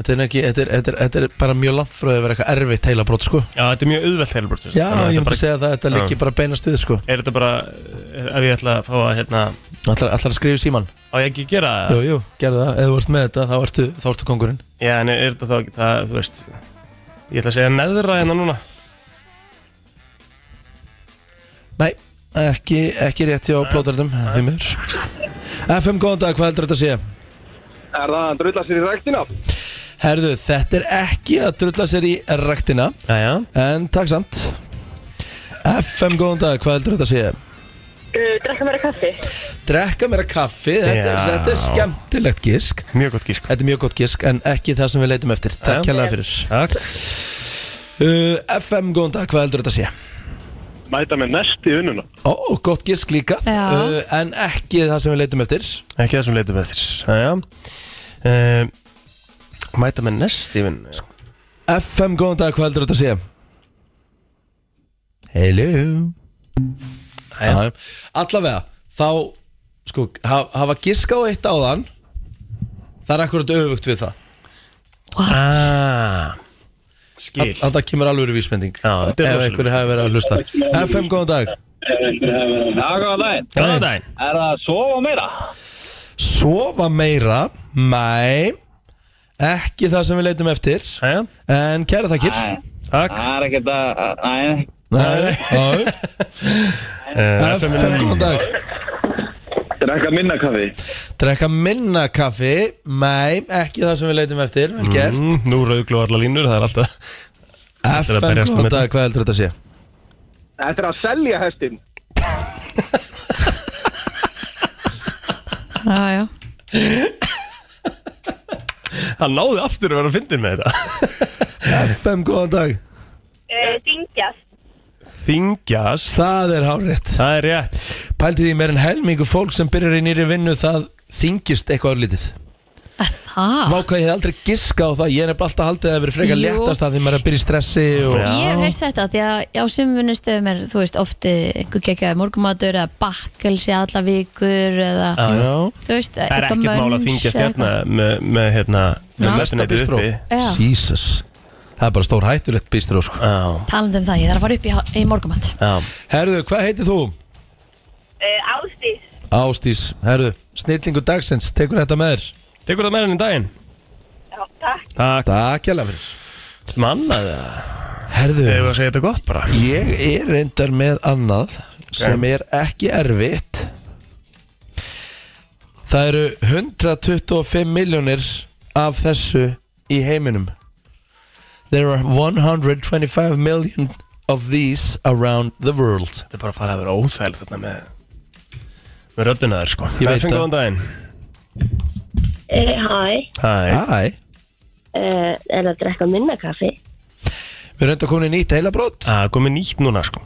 þetta er, ekki, þetta, er, þetta, er, þetta er bara mjög langt frá að vera eitthvað erfitt heilabrót sko. þetta er mjög auðvelt heilbrot Já, ég myndi segja það að þetta liggi bara beinast við sko. Er þetta bara, er- ef ég ætla að fá að hérna Allar, allar að skrifa í síman Á ég ekki að gera það? Jú, jú, gerðu það, ef þú ert með þetta þá ertu, þá ertu kongurinn Já, en er þetta þá ekki það, þú veist Ég ætla að segja neðra hérna núna Nei, ekki, ekki rétt hjá plótarðum FM, góðan dag, hvað heldur þetta að sé? Er það að drulla sér í ræktina? Herðu, þetta er ekki að drulla sér í rektina Jæja En takk samt FM, góðan dag, hvað heldur þetta að sé? Uh, drekka meira kaffi. Drekka mér að kaffi, þetta er, Já. þetta er skemmtilegt gisk Mjög gott gísk Þetta er mjög gott gisk, en ekki það sem við leitum eftir Takk Já. kærlega fyrir Takk uh, FM, góðan dag, hvað heldur þetta að sé? Mæta með nest í vinnuna. Ó, gott gisk líka Já. uh, En ekki það sem við leitum eftir Ekki það sem leitum við þér Jæja uh, Mæta með nest í vinn FM, góðan dag, hvað heldur þetta að sé? Hello Jæja Já, Allavega, þá sko, ha- hafa gisk á eitt áðan Það er akkurat öfugt við það Ah, Skil Þa- Þetta kemur alveg vísbending Já, þetta er Ef rosaleg einhverju hefur verið að hlusta FM, góðan dag Já, góðan daginn. Góðan daginn Er það að sofa meira? Sofa meira, mæ Ekki það sem við leitum eftir Jæja En kæra þakkir Takk Það er ekkert að... Næ, Nei, já. uh, FM, góðan dag drekka minna kaffi. Drekka minna kaffi Nei, ekki það sem við leitum eftir Vel gert mm, Nú rauðglú allar línur Það er alltaf er að FM, berjast á góðan milli. dag, hvað heldur þetta að sé? Þetta er að selja hestin. Já, já Hann náði aftur að vera að fyndin með þetta FM, góðan dag Uh, Dingjast. Þingjast Það er hárétt Það er rétt Pældi því meir en helmingu fólk sem byrjar í nýri vinnu Það þingist eitthvað örlítið Það Vá hvað ég hef aldrei giska á það Ég er nefnilega alltaf haldið að það verið frekar Ah. Jú. léttast Það því maður er að byrja í stressi og... Já. Ég hef heyrst þetta því að á sumvinnustöðum er þú veist ofti einhver gekkjaði morgumatur eða bakkelsi alla vikur eða Já þú veist Það er ekkert mál að þingjast hérna með, með hérna Já. með Mesta mötuneytið bistró. uppi. Jesus Það er bara stór hættulegt bístró sko. Já, Talandi um það, ég þarf að fara upp í, há- í morgumat já Herðu, hvað heitir þú? Uh, Ástís. Ástís, herðu, snillingu dagsins Tekur þetta með þér? Tekur það með henni í daginn? Já, takk. Takk Takk hérlega fyrir Mannaði það Herðu, Þegar við að segja þetta gott bara ég er reyndar með annað sem er ekki erfitt Það eru 125 miljónir af þessu í heiminum There are 125 million of these around the world Þetta er bara að fara að vera óþægilegt þarna með með röddina þér sko Ég það veit það. Góðan daginn Uh, hæ. Hæ Æ, Uh, er að drekka minna kaffi. við erum enda komin í nýtt heilabrót Það er komið nýtt núna sko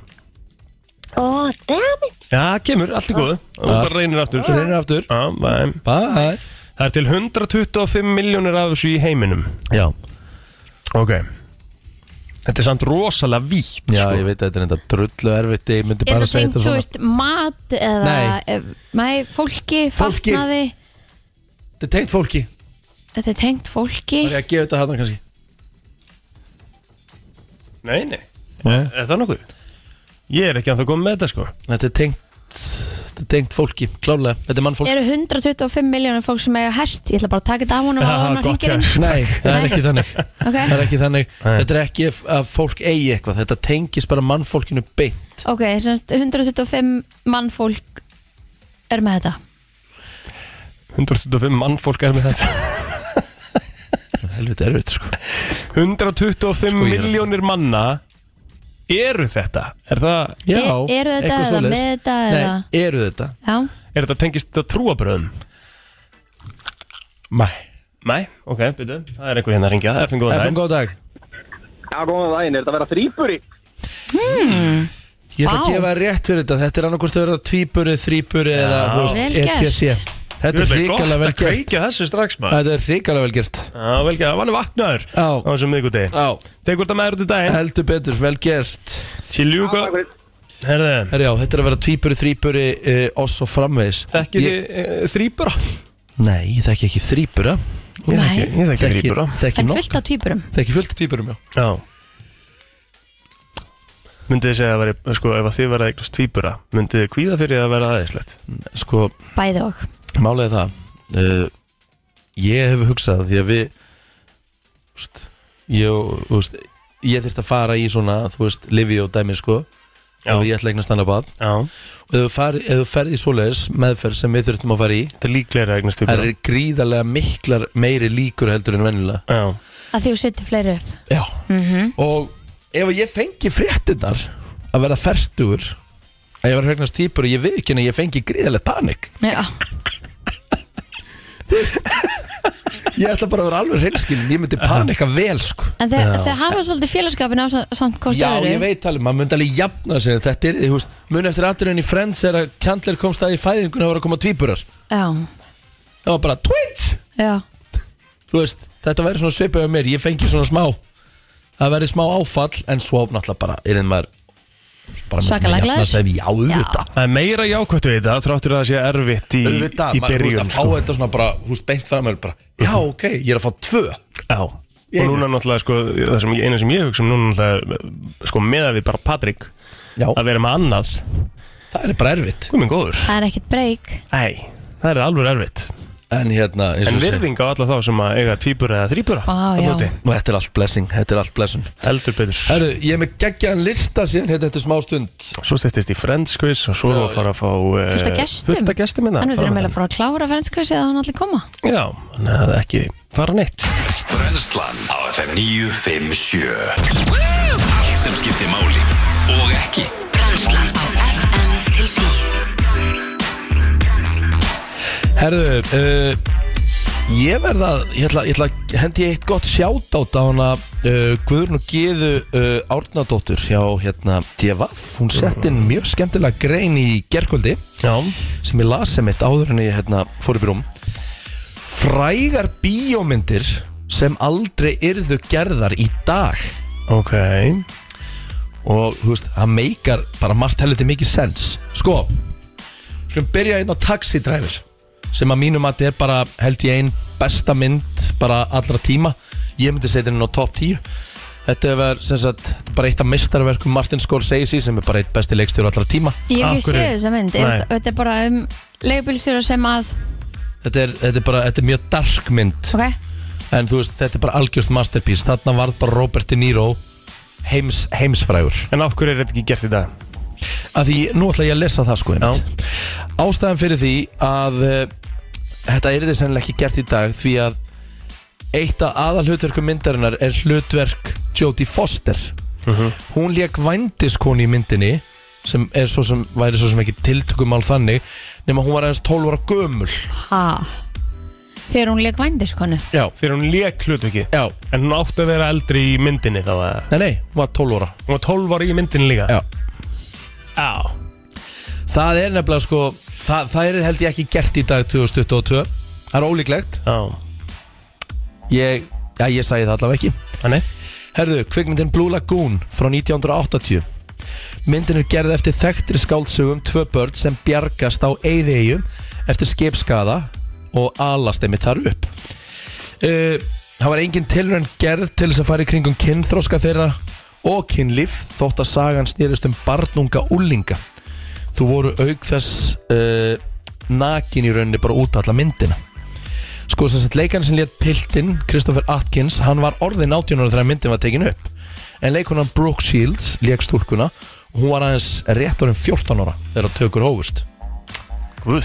Ó, oh, damn it. Já, kemur, allt í góðu Og þú bara reynir aftur Reynir aftur Já, væm. Bye Það er til 125 miljónir af þessu í heiminum Já, Ok Þetta er samt rosalega vítt já sko. ég veit að þetta er enda drullu erfitt Ég myndi Er bara það segja tengt, þetta þú svona veist, mat eða Nei. eh, nei, fólki, Fólki. fatnaði Þetta er tengt fólki, Þetta er tengt fólki það er ég að gefa þetta hana kannski Nei, nei, Er, er það nokkuð? Ég er ekki að það komið með þetta sko Þetta er tengt, þetta er tengt fólki, klálega Þetta er mannfólk Eru 125 miljónir fólk sem eiga hest Ég ætla bara að taka þetta af honum Já, áður en hann gott hringir inn. hjá Nei, það er Nei. ekki þannig Það er Ok, ekki þannig Nei. Þetta er ekki f- að fólk eigi eitthvað Þetta tengis bara mannfólkinu beint okay semst 125 mann fólk er með þetta 125 mann fólk er með þetta er helviti erfitt sko 125 Sko, ég er- miljónir manna eru þetta er, það, Já, E- eru þetta eitthvað eða svoleiðis. með þetta Nei, eða? eru þetta? Já, er þetta tengist þetta trúabröðum? Mæ Nei, ok, byrju, það er einhver hérna að ringja FM góðan FM, daginn góð dag Já, góðan daginn, er þetta að vera þrýburi? Ég ætla að Vá. gefa þér rétt fyrir þetta Þetta er annarkvort að vera tvíburi, þrýburi eða þú veist, Vel ETC Þetta er Þetta er gott ríkala að vel gert kveikja þessu strax maður Þetta er ríkala vel gert Já, vel gert, það var nú vaknaður Já. á þessum miðgudegi Já, Tekur þetta með þér út í daginn heldur betur, vel gert Tjilljúka, herðu Herjá, þetta er að vera tvíburi, þrýburi uh, og svo framvegis Þekkið Ég- þið eh, þrýbura? Nei, ég þekki ekki þrýbura nei, Ég þekki Þekki, þrýbura þekki en nokk fullt á týpurum Þekki fullt af tvíburum, já Já Myndið þið segja að veri, sko, ef að þið verða eignast tvíbura Myndið þið kvíða fyrir því að vera aðeinslegt Sko, Bæði og Málið er það uh, Ég hef hugsað því að við úst, Ég, úst, ég þurft að fara í svona Þú veist, lifi og dæmi sko Já. Ef ég ætla eignast annað bad Já, Og ef þú, fari, ef þú ferð í svoleiðis meðferð sem við þurftum að fara í þetta er líklega eignast Það tvíbura er gríðarlega miklar meiri líkur heldur en venjulega Já, Að því þú setur fleiri upp Já Og ef ég fengi fréttinnar að vera ferstugur að ég var högnast týpur og ég við ekki að ég fengi gríðarlega panik Já, Ég ætla bara að vera alveg hreinskilin Ég myndi panika vel sko en þeir, þeir hafa svolítið félagskapin á sa- samt hvort Já, öðru ég veit alveg, maður myndi alveg jafna sig en Þetta er, þú veist, mun eftir aðriðin í Friends er að Chandler komst að í fæðingun og var að koma tvíburar Já, Það var bara twins já, Þú veist, þetta væri svona svipað um mér Ég fengi svona smá Það væri smá áfall en svo náttúrulega bara er einn maður bara myndi Svakalega maður jafna glaður. sig Já, auðvitað það er meira jákvætt við þetta Þráttur að það sé erfitt í, í auðvitað, maður, þú veist, byrjun sko. Mhm. að fá þetta svona bara, þú veist, beint fram bara, já, ok, ég er að fá tvö Já, Í og einu. núna náttúrulega sko, það sem, eina sem ég hugsa um núna náttúrulega sko með að við bara Patrik já, að vera með annað, það er bara erfitt hvað minn góður það er ekkert breyk Nei, það er alveg erfitt en hérna, eins En og sé, virðing á alla þá sem að eiga tvíbura eða þrýbura Vá, þarna já. úti. og þetta er allt blessing þetta er allt blessing, Heldur betur herru, ég er með geggjaðan lista síðan hérna eftir smá stund Svo styrtist í Friends quiz og svo erum við að fara að fá eh, Fullt af gestum. Fullt að gestum hérna. minna En við þurfum eiginlega bara að klára fennskvæsi að hann allir koma Já, þannig að ekki fara neitt Brennslan á FM 957 Allt sem skiptir máli og ekki Brennslan á FM til 10 herru, uh, ég verða ég ætla, ég ætla að hendi eitt gott sjátátt á hana uh, Guðrun og Geðu uh, Árnadóttur hjá hérna Djevaf, hún sett inn mjög skemmtilega grein í gerkvöldi Já, sem ég las sem eitt áður en ég hérna, fór upp í rúm frægar bíómyndir sem aldrei yrðu gerðar í dag ok og þú veist, það meikar bara margt helviti mikið sens sko, skulum byrja einn á Taxi Driver sem að mínum að þetta er bara held ég ein besta mynd bara allra tíma ég myndi setja henni á top 10 þetta er, sem sagt, þetta er bara eitt af mistarverkum Martin Scorsese sem er bara eitt besti leikstjóru allra tíma Ég hef Af ekki séð hverju? þessa mynd er, Nei. Þetta er bara um leigubilsjóra sem að þetta er, þetta er bara, þetta er mjög dark mynd Ok, En þú veist, þetta er bara algjörst masterpiece Þarna varð bara Robert De Niro heims, heimsfrægur En af hverju er þetta ekki gert í dag? Af því, nú ætla ég að lesa það sko einmitt. Ástæðan fyrir því að uh, Þetta er þið sennilega ekki gert í dag Því að Eitt af aðalhutverkum myndarinnar er hlutverk Jodie Foster Hún lék vændiskoni í myndinni sem er svo sem, væri svo sem ekki tiltökumál þannig nema hún var aðeins 12 ára gömul ha Þegar hún leik vændiskonu Já, Þegar hún lék hlutverki já, En hún átti að vera eldri í myndinni þá að nei nei, hún var 12 ára Hún var 12 ára í myndinni líka Já Já. Það er nefnilega sko Það, það er held ég ekki gert í dag 2022 Það er ólíklegt Já Ég, já, ég sagði það allavega ekki Þannig Herðu, kvikmyndin Blue Lagoon frá 1980 Myndin er gerð eftir þekktri skáldsögum Tvö börn sem bjargast á eyðeigum Eftir skipskaða Og alast einmitt þar upp uh, Það var engin tilraun gerð Til þess að fara í kringum kynþróska þeirra Og kynlíf Þótt að sagan snýrist um barnunga úlinga Þú voru auk þess uh, Nakin í rauninni bara út alla myndina Sko sem sagt leikarinn sem létt piltinn Kristoffer Atkins, hann var orðin 18 ára þegar myndin var tekin upp en leikunan Brooke Shields leik stúlkuna og hún var aðeins rétt orðin 14 ára þegar tökur hófust Guð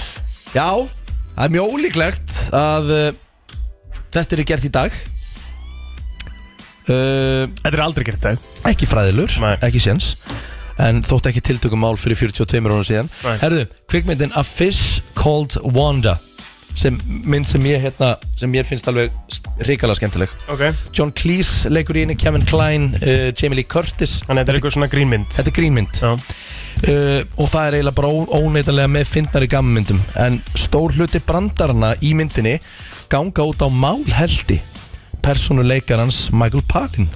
Já, það er mjög ólíklegt að uh, þetta er eh, gert í dag uh, Þetta er aldrei gert það Ekki fræðilur, Nei. ekki séns En þótt ekki tiltökum mál fyrir 42 mörguna síðan Nei. Herðu, kvikmyndin A Fish Called Wanda sem mynd sem ég, hérna, sem ég finnst alveg hrikalega skemmtileg Ok Þannig John Cleese leikur í henni, Kevin Kline, uh, Jamie Lee Curtis að þetta er eitthvað svona grínmynd Þetta er grínmynd Já, uh, og það er eiginlega bara ó- óneitanlega með fyndnari gammyndum en stór hluti brandarana í myndinni ganga út á málheldi persónuleikarans Michael Palin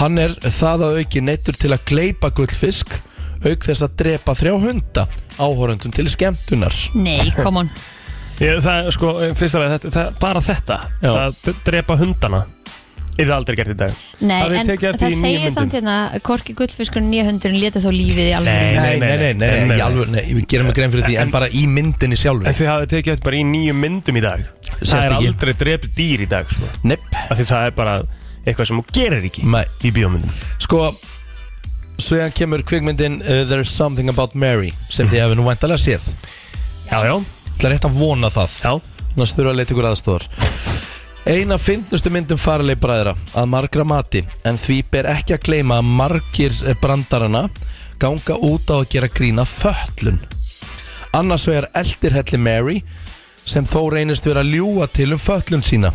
hann er það að auki neittur til að gleipa gullfisk auk þess að drepa þrjá hunda áhorundum til skemmtunar Nei, come on ég, það er sko, fyrst af að þetta, það, bara þetta Já. Það d- drepa hundana Er það aldrei gert í dag Nei, Hafið þið en tekið eftir það í nýju segir myndum? samt hérna Korki gullfiskurinn 900 leta þó lífið í alveg Nei. nei, nei. í alvöru- nei, við gerum að grein fyrir því en, bara í myndinni En sjálfur þið hafið tekið eftir bara í nýjum myndum í dag Það er ekki. aldrei drepið dýr í dag sko. Nepp, Af Því það er bara eitthvað sem þú gerir ekki Nei. Í bíómyndum sko Sveðan kemur kvikmyndin uh, There's Something About Mary sem þið hefur nú væntalega séð Já, já, Það er rétt að vona það já Þannig þurfa að leita ykkur aðstofar Eina fyndnustu myndum faralegi bræðra að margra mati en því ber ekki að gleyma að margir brandarana ganga út á að gera grína föllun Annars vegar eldir helli Mary sem þó reynist vera að ljúa til um föllun sína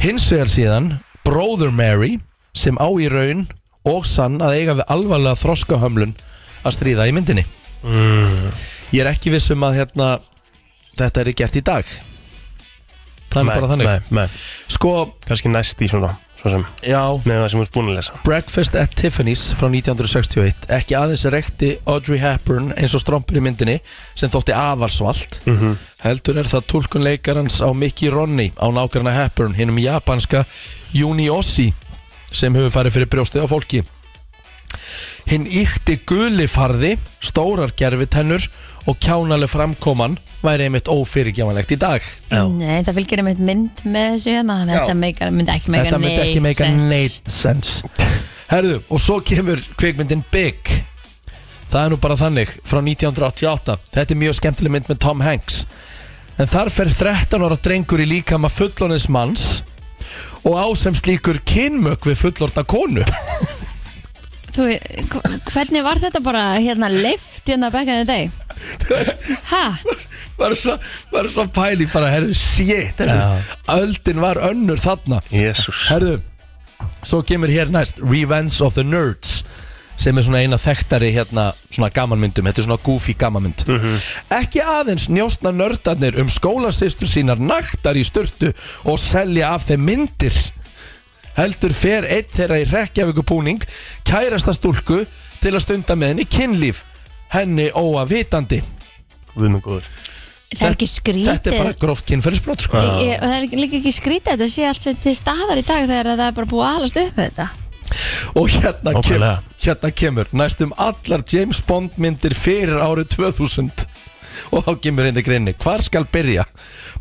Hins vegar síðan bróður Mary sem á í raun og sann að eiga við alvarlega þroskahömlun að stríða í myndinni Ég er ekki viss um að hérna, þetta er gert í dag Það er Nei, bara þannig Nei, nei, Sko, kannski næst í svona Svo sem, já með það sem þú ert búin að lesa Breakfast at Tiffany's frá 1961 ekki aðeins rekti Audrey Hepburn eins og strompur í myndinni sem þótti avarsvalt -hmm. heldur er það tulkun leikarans á Mickey Ronny á nákvæmna Hepburn hinnum japanska Juni Ossi sem hefur farið fyrir brjóstið á fólki hinn ykti gulifarði stórar gerfitennur og kjánaleg framkoman væri einmitt ófyrirgjámanlegt í dag Nei, það fylgir einmitt mynd með þessu hérna þannig að Já. Þetta meikar- myndi ekki meika Þetta myndi ekki meika sense. neitt sens Herðu, og svo kemur kvikmyndin Big Það er nú bara þannig, frá 1988 Þetta er mjög skemmtileg mynd með Tom Hanks En þar fer 13 ára drengur í líkama fullorðins manns Og á sem slíkur kynmök við fullorðna konu Þú, hv- hvernig var þetta bara hérna lift hérna back in the day? Hæ? Var svo, var svo pæli bara, herðu, shit herðu, Öldin var önnur þarna Jésús Herðu, svo kemur hér næst Revenge of the Nerds sem er svona eina þekktari hérna svona gamanmyndum, þetta er svona goofy gamanmynd ekki aðeins njóstna nördarnir um skólasýstur sínar naktar í sturtu og selja af þeim myndir heldur fer einn þeirra í rekkjafíkupúning kærasta stúlku til að stunda með henni kynlíf henni óavitandi Við minn góður Það er ekki skrítið. þetta er bara gróft kynferðisbrot sko. Ég- Og það er líka ekki skrítið að þetta sé allt sem til staðar í dag þegar að það er bara búið að alast upp með þetta. Og hérna, kem, Nákvæmlega. hérna kemur næstum allar James Bond myndir fyrir árið 2000 og þá kemur hindi grinni hvar skal byrja?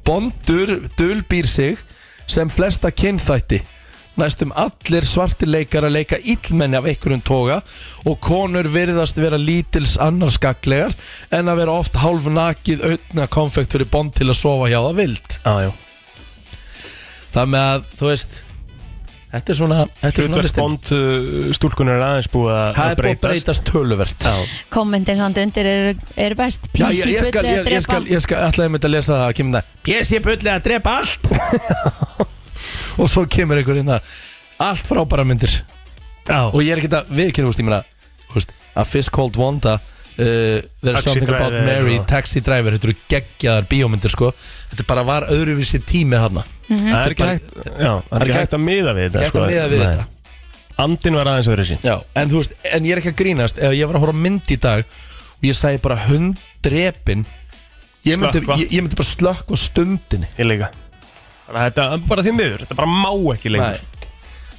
Bondur dulbýr sig sem flesta kynþætti næstum allir svartir leikar að leika illmenni af einhverjum toga og konur virðast vera lítils annarskaklegar en að vera oft hálf nakið auðna konfekt fyrir Bond til að sofa hjá það vild Já, já það með að, þú veist þetta er svona, þetta er svona Hlutverk listin bond uh, stúlkunar er aðeins búið að Það er að búið að breytast breytast töluvert Kommentin samt undir eru, eru best. Já, ég, ég skal, Písibulli að ég, ég skal, drepa. ég skal ætlaði mitt að lesa það að kemur það Pési bulli að drepa allt Og svo kemur einhver inn það Allt frábæra myndir Og Já, ég er ekki að viðkynna, þú veist, ég meina þú veist, A Fish Called Wanda uh, There's Taxi Something About Driver, sko. Mary, já. Taxi Driver Þetta eru geggjaðar bíómyndir, sko Þetta bara var öðruvísi tími þarna Mhm. það er ekki bara- hægt Já, það er ekki hægt að miða við þetta sko. Gætt að miða við Nei. þetta Andinn var aðeins öðru sín Já, en þú veist, en ég er ekki að grínast Ef ég var að horfa á mynd í dag Og ég sagði bara hunddrepin Ég myndi, Slökkva. ég, ég myndi bara slökk á stundinni Ég líka Þannig að þetta er bara því miður Þetta bara má ekki lengur Nei.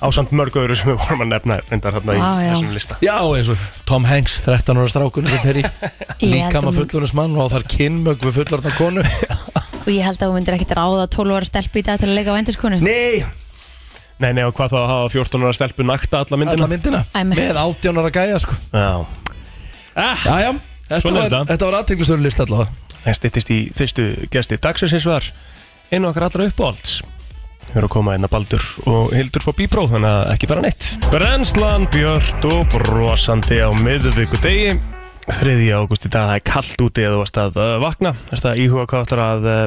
Ásamt mörg öðru sem við vorum að nefna Reyndar hérna í Vá, já. þessum lista Já, eins og Tom Hanks, 13 ára strákun sem fer í líkama fullorðismann og á þar kynmög við fullorðna konu Og ég held að þú myndir ekkit ráða 12 ára stelp í dag til að leika á endiskonu. Nei, Nei, nei, og hvað þá að hafa 14 ára stelpu nakta alla myndina alla myndina Æmi. með 18 ára gæja sko Já Ah, Jæja, þetta Svona er var, þetta. þetta var aðteglistöru list allavega það styttist í fyrstu gesti dagsins eins og þar Einu okkar allra uppáhalds Við erum að koma einna Baldur og Hildur fór bíbró Þannig að ekki bara neitt Brennslan, Björt og brosandi á miðvíkudegi 3. ágúst í dag, það er kallt úti eða þú varst að uh, vakna Ertu að íhuga hvað ætlar að uh,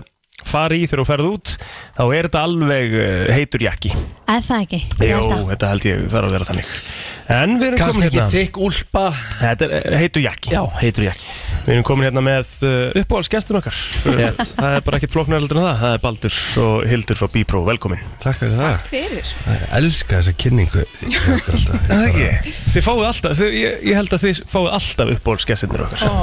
fara í þegar þú ferð út Þá er þetta alveg uh, heitur jakki Eða það ekki Ég Jó, held að. þetta held ég þarf að vera þannig En við erum Kannski komin ekki hérna þykk úlpa Þetta er uh, heitur jakki Já, heitur ég ekki Við erum komin hérna með uh, uppáhaldsgestin okkar Rétt. Það er bara ekkert flóknar heldur en það Það er Baldur og Hildur frá Bíbró, velkomin Takk fyrir það Fyrir Ég elska þessa kynningu í okkur alltaf. Það ekki Þið fáið alltaf, þið, ég, ég held að þið fáið alltaf uppbólsgessinir okkar Ó,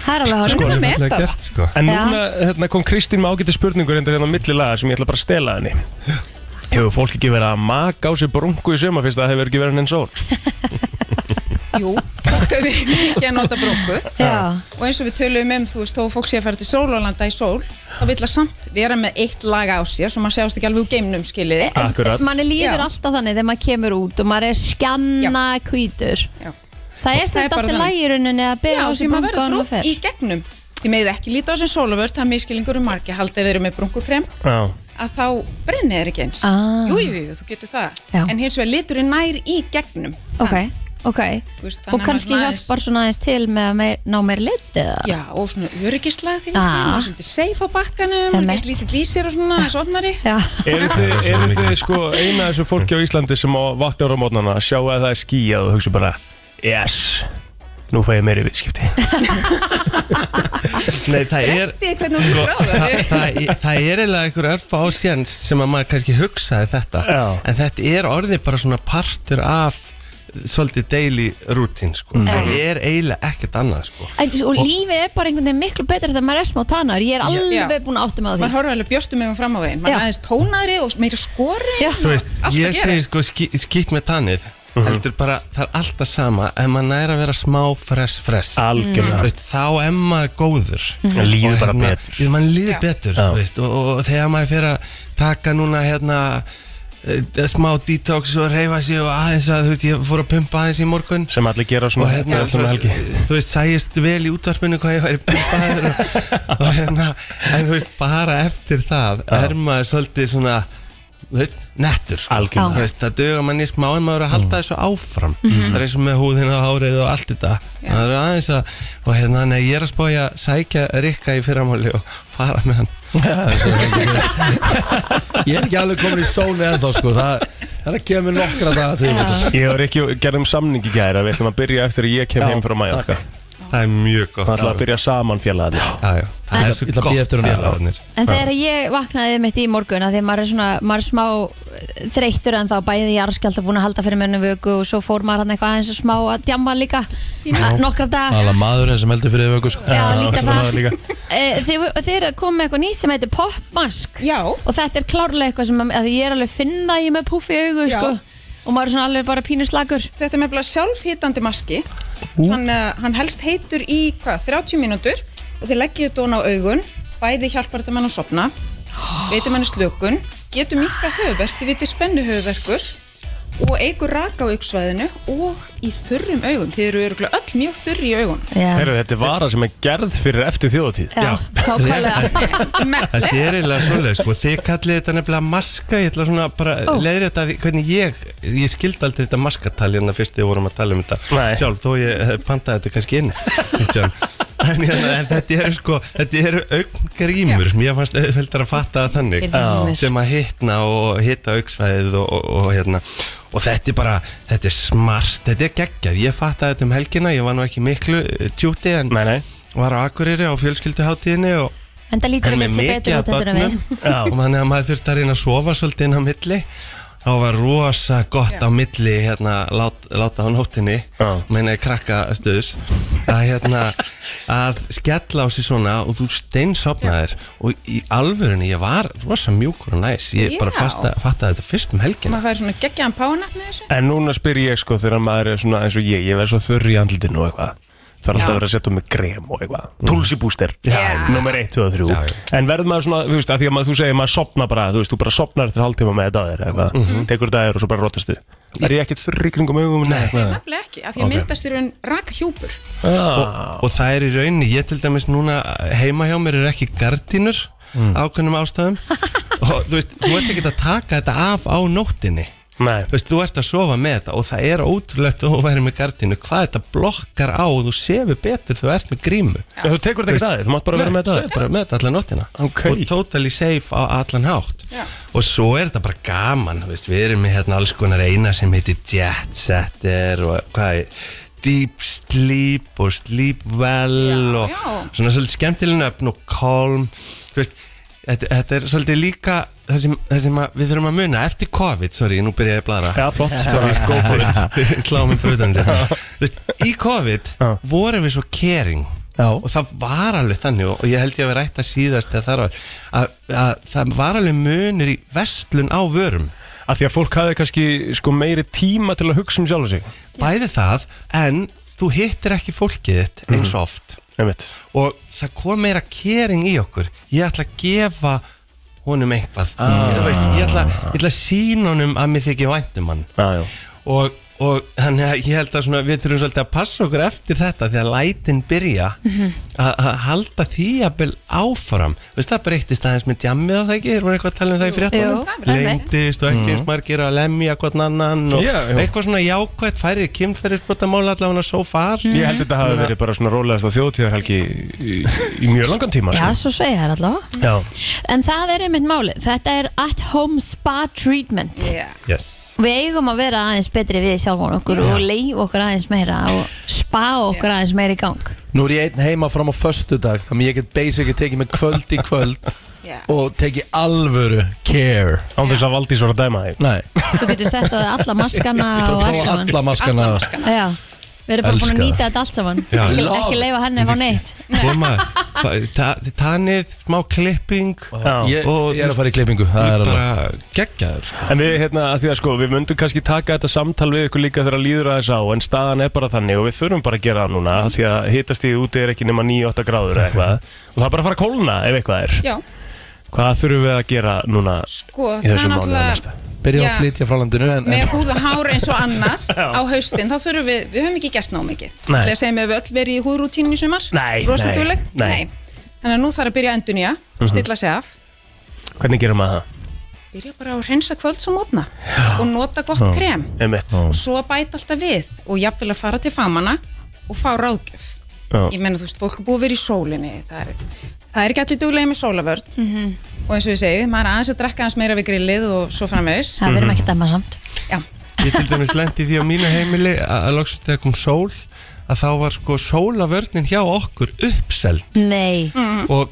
Það er alveg Sko, horfum Meta Það er það. gert sko En Já. núna hérna, kom Kristín með ágæti spurningur hérna hérna á milli laga sem ég ætla bara að stela henni Hefur fólk ekki verið að maka á sér brungu í sumar fyrst að það hefur ekki verið henni sól jú, fólk hefur ekki að nota bróku Sko, Já, og eins og við töluðum um, þú veist, þó fólk sé að fara til sólólanda í sól, þá vil það samt vera með eitt lag á sér, svo maður sjást ekki alveg úr geimnum, skiljiði. Eh, Akkurat manni líður Já. alltaf þannig þegar maður kemur út og maður er skjanna kvítur Já. Það er Það er sérst bara alltaf þannig. lægiruninni að Já, bera eh, á því sig maður brunga verður og brúk fer í gegnum. Því meðið ekki líta á sem sóluvörð, það er miskilingur um margi, haldið verið með brungukrem, Já, að þá brennið er ekki eins. Ah. Jú, jú, jú, þú getur það. Já. En hins vegar liturinn nær í gegnum. Ok, Þannig, ok þú veist, Og þannig að kannski maður aðeins- hjálpar svona aðeins til með að meir- ná meir lit eða Já, og svona öryggislega því Ah. maður er svolítið safe á bakkanum, Emmett. maður er lítið lísir og svona, þessu opnari. Já, eru þið, eru þið sko eina af þessu fólki á Íslandi sem á vaknar á mótnana sjá að það er skýjað og hugsa bara Yes, nú fæ ég meiri viðskipti Nei, það er Því hvernig þú það, gráðar. það, það er eiginlega einhver örfa ásjans sem að maður kannski hugsaði þetta Já. en þetta er orðið bara svona partur af svolítið daily routine Mm. sko. það er eiginlega ekkert annað sko. En, og lífið er bara einhvern veginn miklu betra þegar maður er smá tannar Ég er alveg búin að átta mig á maður því horfður alveg björtum megum fram á veginn maður Já. er aðeins tónaðri og meira skori Já. þú veist, Allt að ég gera. segi sko skí, skýtt með tannir Mhm. heldur bara, það er alltaf sama ef maður næra að vera smá fresh fresh Þú Algjörlega veist, þá er maður góður Ah, Mhm. Það líður bara hérna, betur. ég- mann líður betur Já. þú veist, og, og þegar maður fyrir að taka núna hérna eh, smá detox og reyfa sig og aðeins að þú veist, ég fór að pumpa aðeins í morgun sem allir gera og svona, Mm. hérna, um svona helgi þú veist, sæjist vel í útvarpinu hvað ég væri pumpaður og, og hérna, en þú veist, bara eftir það er maður svolítið svona þú veist, nettur sko. Algjörlega. Þú veist, það döga manni smá en maður er Mm. að halda þessu áfram það er eins og með húðina og hárið og allt þetta það er aðeins að, og hérna, nei, ég er að spója sækja Rikka í fyrramáli og fara með hann Ég er ekki alveg komin í sónu ennþá sko Það, það er að gefa mér nokkra daga til þetta. Ég var ekki gerðum samning í gæra Við ætlum að byrja eftir að ég kem Já, heim frá Mallorca takk. það er mjög Það gott ætlum að byrja saman félagarnir Já, já, það Ég er svo ætla að bíða gott eftir honum. félagarnir. En þegar ég vaknaði mitt í morgun að því að maður er svona, maður er smá eh, þreyttur en þá bæði ég arskjald að búin að halda fyrir mönnu vöku og svo fór maður hann eitthvað aðeins að smá að djamma líka að nokkra dag Alla maðurinn sem heldur fyrir vöku sko Já, líka svona það líka. Eh, Þið þið eru að koma með eitthvað nýtt sem heitir popmask já, og þetta er klárlega eitthvað sem að að ég er alveg að finna að ég er með púff í augu Já. sko og maður er svona alveg bara pínu slagur þetta er meðbla sjálfhitandi maski hann, uh, hann helst heitur í hvað, 30 mínútur og þið leggið þetta ofan á augun bæði hjálpar þetta mann að sopna veitir mann slökun getur mikka höfverk, þið veitir spennu höfverkur og eigur raka á auksvæðinu og í þurrum augum þið eru örugglega öll mjög þurri í augun Heyrðu, þetta er vara sem er gerð fyrir eftir þjóðatíð Já, nákvæmlega Þetta er eiginlega svolítið sko, þið kallið þetta nefnilega maska, ég ætla svona bara oh. leiðir þetta að því- hvernig ég, ég skildi aldrei þetta maskatali en það fyrst við vorum að tala um þetta Nei. sjálf, þó ég eh, pantaði þetta kannski inn einhvern tímann. en, en, en þetta eru sko, þetta eru augngrímur sem ég fannst auðveldar að fatta það þannig Grímur. sem að hitna og hitta augsvæðið og, og, og hérna og þetta er bara, þetta er smart þetta er geggjað, ég fattaði þetta um helgina ég var nú ekki miklu eh, tjúti en Nei, nei var á Akureyri á fjölskylduháttíðinni og En það lítur hann er miklu með mikið betur að út heldur en við börnum Já. og þannig að maður þurfti að reyna að sofa svolítið inn á milli þá var rosa gott á milli hérna, lát, láta á nóttinni Já. meina í krakka stuðs að, hérna, að skella á sig svona og þú steinsopnaðir og í alvörunni ég var rosa mjúkur og næs ég bara Já. fasta, fattaði þetta fyrst um helgina maður fær svona geggjaðan pána með þessu En núna spyr ég sko þegar maður er svona eins og ég Ég verð svo þurr í andlutinu og eitthvað Það er alltaf Já. að vera að setja um með krem og eitthvað Tulsi búster, nummer 1, 2 og 3 Já, já. En verður maður svona, þú veist, að því að maður, þú segir maður sopna bara Þú veist, þú bara sopnar eftir hálftíma með þetta að þér eitthvað Tekur dagir og svo bara rótastu Er ég ekkert þurr í kringum augum? Nei nefnilega ekki, af því að Ok. myndast í raun raka hjúpur Ah. og, og það er í rauninni, ég til dæmis núna heima hjá mér er ekki gardínur mm. ákveðnum ástæðum og þú veist, þú ert ekki að taka þetta af á nóttinni Nei. þú veist, þú ert að sofa með þetta og það er ótrúlegt að þú væri með gardinu hvað þetta blokkar á og þú sefur betur þú ert með grímu Já, þú tekur þetta ekki að þér, þú mátt bara vera með þetta að þér. bara með þetta allan nóttina Ókei. og totally safe á allan hátt Já. og svo er þetta bara gaman þú veist, við erum með hérna alls konar eina sem heitir Jet Setter og hvað er Deep Sleep og Sleep Well og já. svona svolítið skemmtileg nöfn og Calm þú veist Þetta, þetta er svolítið líka það sem, það sem að, við þurfum að muna eftir COVID, sorry, nú byrja ég að blara Já, flott, sorry, go for it. sláum í brutandi Þú veist, í COVID vorum við svo caring Já. og það var alveg þannig og og ég held ég að við rætta síðast eða þar var að, að það var alveg munir í vestlun á vörum Af því að fólk hafði kannski sko, meiri tíma til að hugsa um sjálf sig. bæði það en þú hittir ekki fólkið þitt eins og oft Einmitt. og það kom meira caring í okkur ég ætla að gefa honum eitthvað Þú veist, ég, ætla, ég ætla að sína honum að mér þykir væntum hann Já, já. og, og þannig að ég held að svona, við þurfum svolítið að passa okkur eftir þetta því að lætin byrja Mhm. að að halda því jafnvel áfram Þú veist, það breyttist aðeins með djammið á það ekki, þeir voru eitthvað að tala um það í Jú, fréttunum einmitt. lengdist og Mhm. ekki margir að lemja hvern annan og Já, já. eitthvað svona jákvætt færri kynferðisbrotamála allavega so far Ég held að þetta hafi verið bara svona rólegast á þjóðtíðarhelgi í, í mjög langan tíma. Já, sko. svo segja það allavega Já. En það er einmitt málið, þetta er at home spa treatment Yeah. yes. Við eigum að vera aðeins betri við sjálfan okkur og leif okkur aðeins meira og spa okkur aðeins meira í gang Nú er ég einn heima fram á föstudag Þannig ég get basically tekið mig kvöld í kvöld Yeah. Og tekið alvöru care Án þess að Valdís var að dæma þig. Nei, Þú getur sett á þig alla maskana og allt prófa saman alla hérna- maskana Já, við erum bara búin að Elska nýta þetta allt saman Já. ekki, Love. ekki leifa henni að fá neitt koma ta- tanið, smá klipping Já. ég, ég er að fara í klippingu þú Það er er alveg bara geggjaður sko. En við, hérna, að því að sko, við myndum kannski taka þetta samtal við ykkur líka þegar líður að þess á en staðan er bara þannig og við þurfum bara að gera það núna af því að hitast í úti er ekki nema 9-8 gráður eða eitthvað og það er bara að fara að kólna ef eitthvað er. Já, Hvað þurfum við að gera núna sko, í það þessum mánuðið náttúrulega næsta? Byrja Já. að flytja frá landinu en, með en, húð og hár eins og annað á haustin, þá þurfum við, við höfum ekki gert ná mikið Nei. Það segjum við öll verið í húðrútínu í sumar Nei, nei, Rosaduleg, nei. Mhm. Þannig að nú þarf að byrja að endunja, stilla sig af Hvernig gerum við það? Byrja bara á að hreinsa kvölds og mótna og nota gott krem Einmitt. og svo bæta alltaf við og jafnvel að fara til famanna og fá ráðgjöf Já. ég menna þú veist, fólk er búið að vera í sólinni það er, það er ekki allir duglega með sólavörn Mhm. og eins og ég segi, maður er aðeins að drekka aðeins meira við grillið og svo framvegis Það Mhm. verðum ekki dæma samt já, Ég til dæmis lendi því á mínu heimili að að loksast þegar kom sól að þá var sko sólavörnin hjá okkur uppseld Nei, Mm. og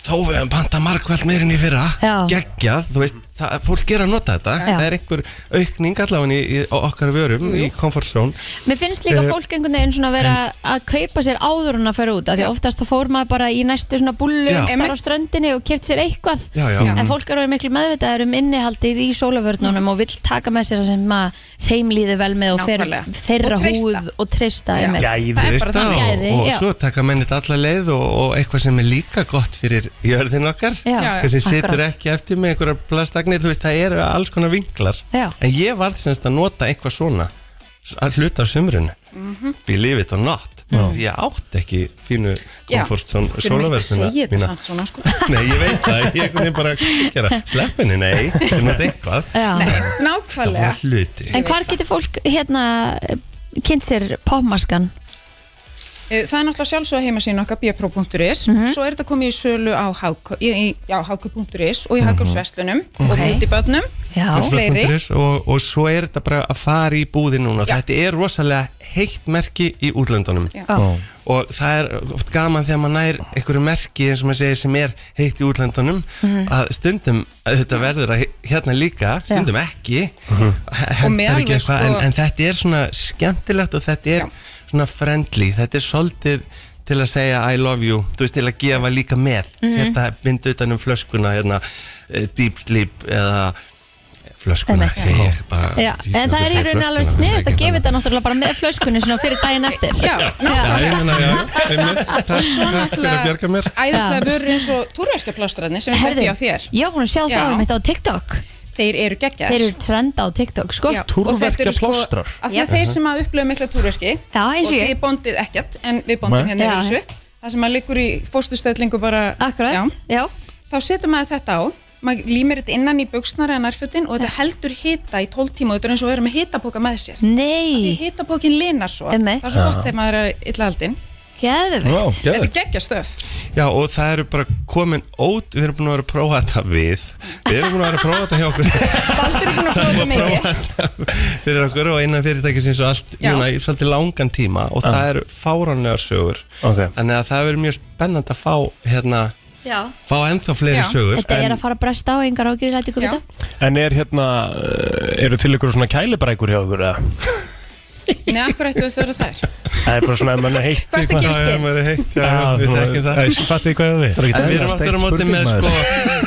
þá við höfum panta margveld meirin í fyrra Já. geggjað, þú veist, það, fólk er að nota þetta Já. það er einhver aukning allavega í, í okkar vörum, í comfort zone mér finnst líka Eh, fólk einhvern veginn svona vera að kaupa sér áður en að fara út af því að oftast þá fór maður bara í næstu svona búllu einhvers Já. staðar á Einmitt. ströndinni og keft sér eitthvað Já, já. en fólk eru miklu meðvitaðar um innihaldið í sólavörnunum og vill taka með sér það sem að þeim líði vel með og fer, Nákvæmlega. þeirra Og treysta. húð og treysta Já. einmitt. það er Gæði. bara Veist það, þannig og, Gæði, og já. svo taka menn þetta alla leið og, og eitthvað sem er líka gott fyrir jörðin okkar Já, já, þessi situr akkurat. ekki eftir með einhverjar plastagnir þú veist, það eru alls konar vinklar Já. en ég varð semst að nota eitthvað svona s- að hluta af sumrunu believe it or not ég átti ekki fínu Já. komfort svona Við erum ekki að sólaverðina segja þetta mína samt svona sko. nei, ég veit það, ég er kunni bara gera sleppinni, nei, ég nota eitthvað Já. Nei, það nákvæmlega var hluti En hvar getur fólk hérna kynnt sér popmaskan? Eh, Það er náttúrulega sjálfsögða heimasíðan okkar bjapro.is Mhm. Svo er þetta komið í sölu á HK í- í- já, hk.is Mhm. og í hk.sverslunum og Ok. hútibötnum Já, Fleiri. Flatbundurins og, og svo er þetta bara að fara í búðin núna þetta er rosalega heitt merki í útlöndunum Já. og það er oft gaman þegar maður nær einhverju merki eins og maður segir sem er heitt í útlöndunum Mhm. að stundum að þetta verður að he- hérna líka stundum ekki með hendar alveg ekki eitthvað en, sko- en þetta er svona skemmtilegt og þetta er Já. svona friendly þetta er svolítið til að segja I love you, þú veist til að gefa líka með Mhm. þetta bindu utan um flöskuna hérna, eh, deep sleep eða flöskuna Einmitt. segi ég bara Já, en það er í rauninni alveg sniðt að gefa þetta náttúrulega bara með flöskunni svona fyrir daginn eftir Já, nákvæmlega Já, ég meina, já, einmitt, takk, takk fyrir að bjarga mér æðislega vörur eins og túrverkjaplastræðni sem við Herðu, settum á þér ég var búin að sjá Já. það um þetta á TikTok Þeir eru Þeir geggjaðir eru trenda á TikTok, sko Já, Já, og þetta eru Túrverkjaplástrar. sko, af því að þeir sem að upplöfa mikla túrverki Já, eins og og ég. þið bondið ekkert en við bondum hérna Já. í þessu það sem að liggur í fóstustöðlingu bara akkurat, já, þá setur maður þetta á maður límir þetta innan í buksnar eða nærfötin og þetta heldur hita í 12 tíma og þetta er eins og að vera með hitapóka með sér Nei Hitapókin linar svo, Einmitt. það er svo gott Já. þegar maður er illa haldinn Geðvegt Vá, geðvegt. Þetta er geggja stöf Já og það eru bara komin ót Við erum búin að vera að prófa þetta við Við erum búin að vera að prófa þetta hjá okkur Baldur er búin að prófa þetta mikið fyrir okkur og innan fyrirtæki sinns og allt Já. núna í svolítið langan tíma og það eru fáránlegar sögur okay. þannig að það verður mjög spennand að fá hérna, Já fá ennþá fleiri sögur Þetta er að fara að bresta á engar ágjur Læti ykkur vita En er hérna, eh, eru til ykkur svona kælibrækur hjá ykkur eða? Nei, akkur ættu að þau eru þær Það er bara svona að mann er heitt Hvað ertu að gera skyn? Já, já, maður er heitt, já, við þekkjum það. Fattu hvað við En við erum aftur á móti með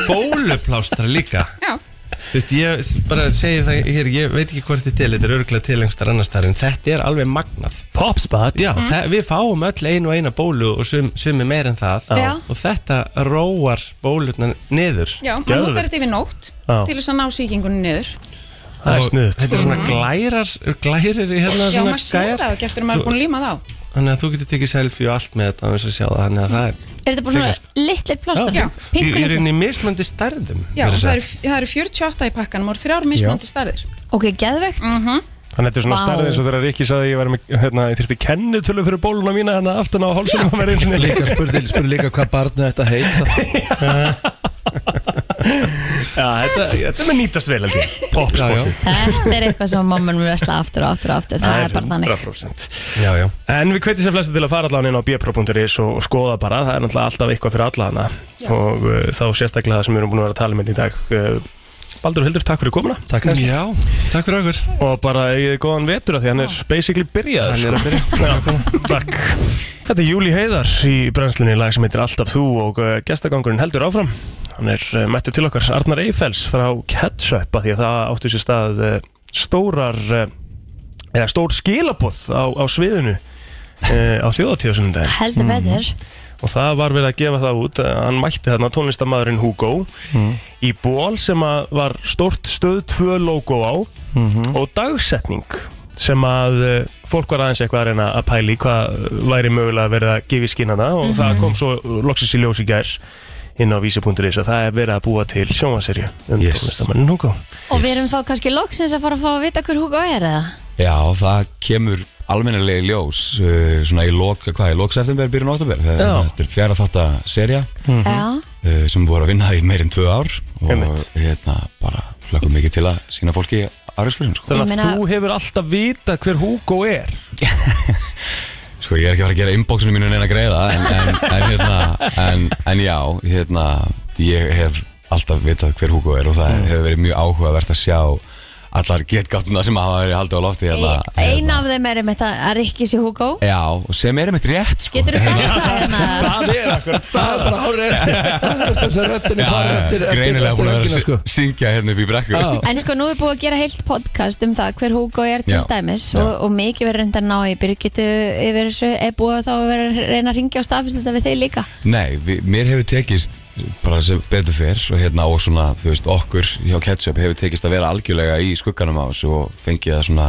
sko bóluplástra líka Já. Þú veist, ég s- bara segi það hér, ég veit ekki hvort þetta er til, þetta er örgulega til einhverstaðar annars staðar, en þetta er alveg magnað. Popspot? Já, það, við fáum öll einu og eina bólu og sum, sumi meir en það Já. og þetta róar bólurnar niður. Já, hann notar þetta yfir nótt Já. til þess að ná sýkingunni niður Það er snuðt. Þetta er svona glærar, glærir í hérna Já, svona maður sér það ekki eftir að maður er búin að líma þá Þannig að þú getur tekið selfie og allt með þetta án þess að sjá það, þannig að það er... Er þetta bara Klikkar. svona litlir plástar? Já. Í, í Pinkulitlir? rauninni mismöndi stærðum Já, verið það sagt. eru, það eru 48 í pakkanum og þrjár mismunandi stærðir Ok, geðvegt mm -hmm. Þannig að þetta er svona Vá. starfið eins og þegar Rikki saði að ég, væri með- hérna, ég þyrfti kennitölu fyrir bóluna mína hérna aftan á hálsunum að vera inn Líka spurði, spurði líka hvað barnið þetta heita Já, þetta, þetta mun nýtast vel held ég Popspotið Þetta er eitthvað sem mamman mér vesla aftur og aftur og aftur Það er bara þannig 100% já, já. En við kveitum sér flesti til að fara allan inn á bjöpro.is og og skoða bara, það er náttúrulega alltaf eitthvað fyrir alla hana og uh, þá sérstaklega það sem við erum búin að vera að tala með í dag uh, Baldur og Hildur, takk fyrir komuna Takk fyrir Já, takk fyrir okkur Og bara eigið góðan vetur að því hann er basically byrjað Hann er að byrja Já, Takk Þetta er Júli Heiðar í brennslunni lag sem heitir Alltaf þú og uh, gestagangurinn heldur áfram Hann er uh, mættu til okkar Arnar Eiffels frá Ketchup að því að það áttu sér stað uh, stórar uh, eða stór skilaboð á, á sviðinu uh, á þjóðatíðasunum dag Heldur betur og það var verið að gefa það út að hann mætti þarna tónlistamæðurinn Hugo í ból sem að var stort stöð 2 logo á og dagsetning sem að eh, fólk var aðeins eitthvað að reyna að pæli hvað væri mögulega verið að gefa í skinnana og það kom svo loksins í ljós í gær inn á vísi.is að það er verið að búa til sjónvanserju um yes. tónlistamæðurinn Hugo Og við erum þá kannski loksins að fara að fá að vita hver Hugo er eða? Já, það kemur almennilegi ljós uh, svona í lok, hvað, í lok september, byrjun oktober Já. þetta er fjara þátt að serja Já uh, sem voru að vinna í meirinn tvö ár og hérna bara hlökkum mikið til að sína fólki aðriðslurinn sko. Þannig að þú hefur alltaf vita hver Hugo er Sko ég er ekki að fara að gera inboxinu mínu neina greiða en, en, en, hérna, en, en já, hérna, ég hef alltaf vitað hver Hugo er og það hefur verið mjög áhugavert að sjá allar getgáttuna sem hafa verið haldið á lofti hérna, Einn af þeim er um þetta að Rikki sé Hugo Já, og sem er einmitt rétt sko. Getur þú staðist það hérna? Það er akkurat Það er bara hárið Það er þess að röttinni Já, fara eftir eftir- greinilega eftir búin að öngina, vera sko. að syngja hérna upp í brekku En sko nú er búið að gera heilt podcast um það hver Hugo er til Já. dæmis og, og mikið verður reyndar að ná í Birgitu yfir þessu er búið þá að vera að reyna að ringja og staðfist þetta við þeir líka Nei, vi, mér hefur tekist bara sem betur fyrr og hérna og svona, þú veist, okkur hjá Ketchup hefur tekist að vera algjörlega í skugganum á þessu og fengið að svona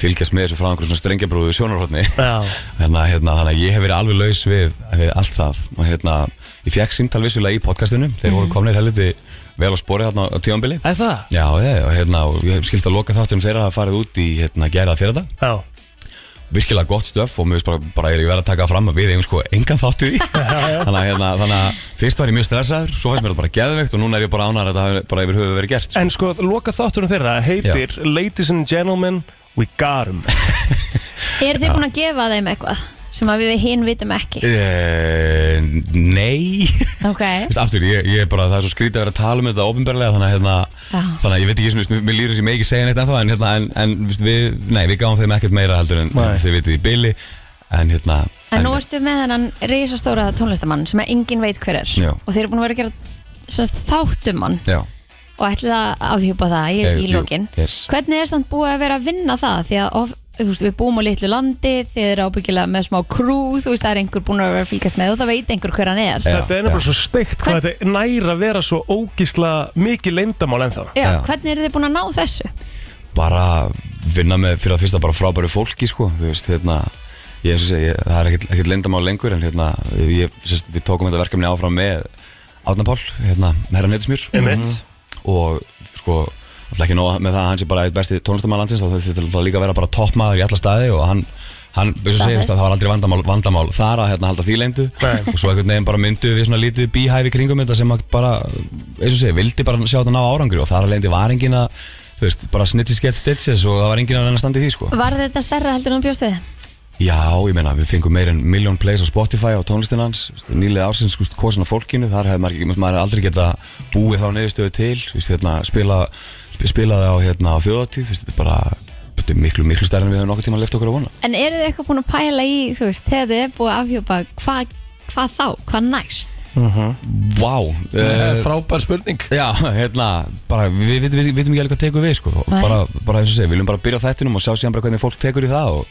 fylgjast með þessu frá einhverjum svona strengjabrúðu sjónarhóttni hérna, hérna, þannig að ég hef verið alveg laus við, við allt það og hérna, ég fekk síntal vissulega í podcastunum þeir voru komnir helviti vel á spori hérna á tímanbili Er það? Já, ég, og hérna, og ég skilst að loka þáttunum þeirra að farið út í hérna, gæra fyrir þetta Já virkilega gott stöf og mér finnst bara, bara ég verið að taka fram að við eigum sko engan þátt í því þannig að hérna, þannig að fyrst var ég mjög stressaður svo fannst mér þetta bara geðveikt og núna er ég bara ánar að þetta hafi bara yfir höfu verið gert En sko, loka þátturinn þeirra heitir Ladies and Gentlemen, we got 'em Er þið búin að gefa þeim eitthvað sem að við hinn vitum ekki? e Nei Ok Vist, Aftur, ég, ég er bara, það er svo skrítið að vera að tala um þetta ofinbarlega þannig að hérna, Já. þannig að ég veit ekki, svona, veist, mér líður sem ég ekki segja neitt ennþá en, hérna, en, en veist, við, nei, við gáum þeim ekkert meira heldur en Nei. þið vitið í billi en hérna, En nú ertu með þennan risastóra tónlistamann sem að enginn veit hver er Já. og þeir eru búin að vera að gera semst, þáttum um hann já og ætlið að afhjúpa það í, Eh, í jú, lokin yes. Hvernig er samt búið að vera að vinna það? Því að of, þú veist, við búum á litlu landi þið eru ábyggilega með smá krú þú veist það er einhver búin að vera að fylgjast með og það veit einhver hver hann er Þetta er nefnilega svo steikt hvað þetta er næra að vera svo ógísla mikið leyndamál ennþá Já, Hvernig eru þið búin að ná þessu? bara vinna með fyrir að fyrsta bara frábæru fólki sko, þú veist, hérna ég eins og segja, ég- það er ekkert, ekkert lendamál lengur en hérna, ég, sérst, við tókum þetta verkefni áfram með Átna Pál, hérna, herra netismjör Einmitt. Mhm. Og sko, alltaf ekki nóg með það að hann sé bara eitt besti tónlistamann landsins þá þetta er líka að vera bara toppmaður í alla staði og hann, hann, eins og segist Staðfest. að það var aldrei vandamál, vandamál þar að hérna, halda því leyndu og svo einhvern veginn bara myndu við svona lítið bíhæfi kringum þetta sem að bara, eins og segja, vildi bara sjá þetta ná árangri og þar að leyndi var engin að þú veist, bara snitches get stitches og það var engin að reyna að standa í því sko Var þetta stærra heldur en þú bjóst við? Já, ég meina, við fengum meir en miljón plays á Spotify á tónlistin hans, veistu, nýlega ársins sko, kosin af fólkinu, þar hefði maður, ekki- maður hefði aldrei geta búið þá neyðustöðu til veistu, hérna, spila, sp- spilaði á, hérna, á þjóðatíð, veistu, þetta er bara þetta er miklu, miklu stærri en við höfum nokkuð tíma left okkur að vona En eru þið eitthvað búin að pæla í, þú veist, þegar þið er búið að afhjópa, hvað hva þá, hvað næst? Vá uh, Frábær spurning Já, hérna, bara, við vitum við, við, vitum ekki alveg hvað tekur við sko, Og Nei. bara, bara eins og segja, við viljum bara byrja á þættinum og sjá síðan bara hvernig fólk tekur í það og,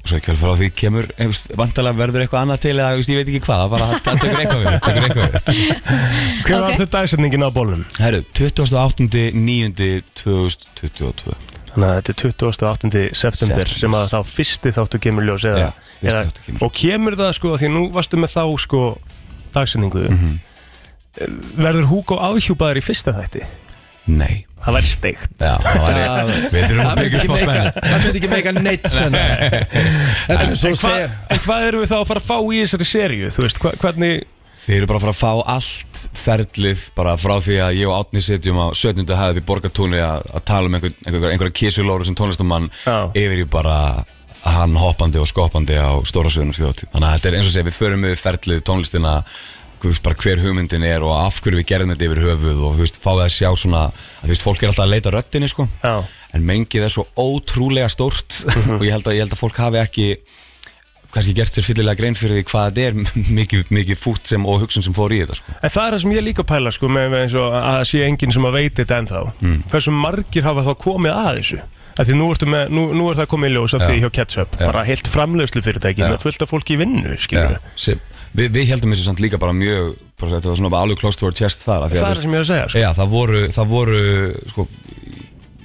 og svo ekki alveg frá því kemur eh, vantarlega verður eitthvað annað til eða þú veist, ég veit ekki hvað, bara það það tekur eitthvað við tekur eitthvað við Hver var aftur dagsetningin á bólnum? Herru, 28.9.2022 Þannig að þetta er 28. september September. sem að þá fyrsti þáttu kemur ljós eða, fyrsti eða og kemur það sko því að nú varstu með þá sko dagsendingu verður Hugo afhjúpaður í fyrsta þætti? Nei Það væri steikt Já, það væri- við þurfum að byggja upp smá spennu. Það myndi ekki meika neitt sens. Þetta er En, eins og en, að hva, segja en hvað erum við þá að fara að fá í þessari serju? Þú veist, hva, hvernig Þið eru bara að fara að fá allt ferlið bara frá því að ég og Átni setjum á 17. hæði við Borgatúni að, að tala um einhver, einhver, einhverja kísilóru sem tónlistamann yfir í bara hann hoppandi og skoppandi á stóra sögurnum þjóðtíð. Þannig að þetta er eins og segja við förum við ferlið tónlistina þú veist, bara hver hugmyndin er og af hverju við gerðum þetta yfir höfuð og þú veist, fáið að sjá svona að þú veist, fólk er alltaf að leita að röddinni sko Já. en mengið er svo ótrúlega stórt og ég held, að, ég held að fólk hafi ekki kannski gert sér fyllilega grein fyrir því hvað þetta er mikið, mikið fút sem og hugsun sem fór í þetta sko. En það er það sem ég er líka að pæla sko með, með eins og að það sé enginn sem að veit þetta ennþá Mm. Hversu margir hafa þá komið að þessu? Af því nú, ertu með, nú, nú er það komið í ljós af Já. því hjá Ketchup Já. Bara heilt framleiðslu fyrirtæki með fullt af fólki í vinnu skilur sem, við, við heldum þessu samt líka bara mjög bara, þetta var svona bara alveg close to our chest þar af því Það er þú það sem ég er að segja sko Já, það voru, það voru sko,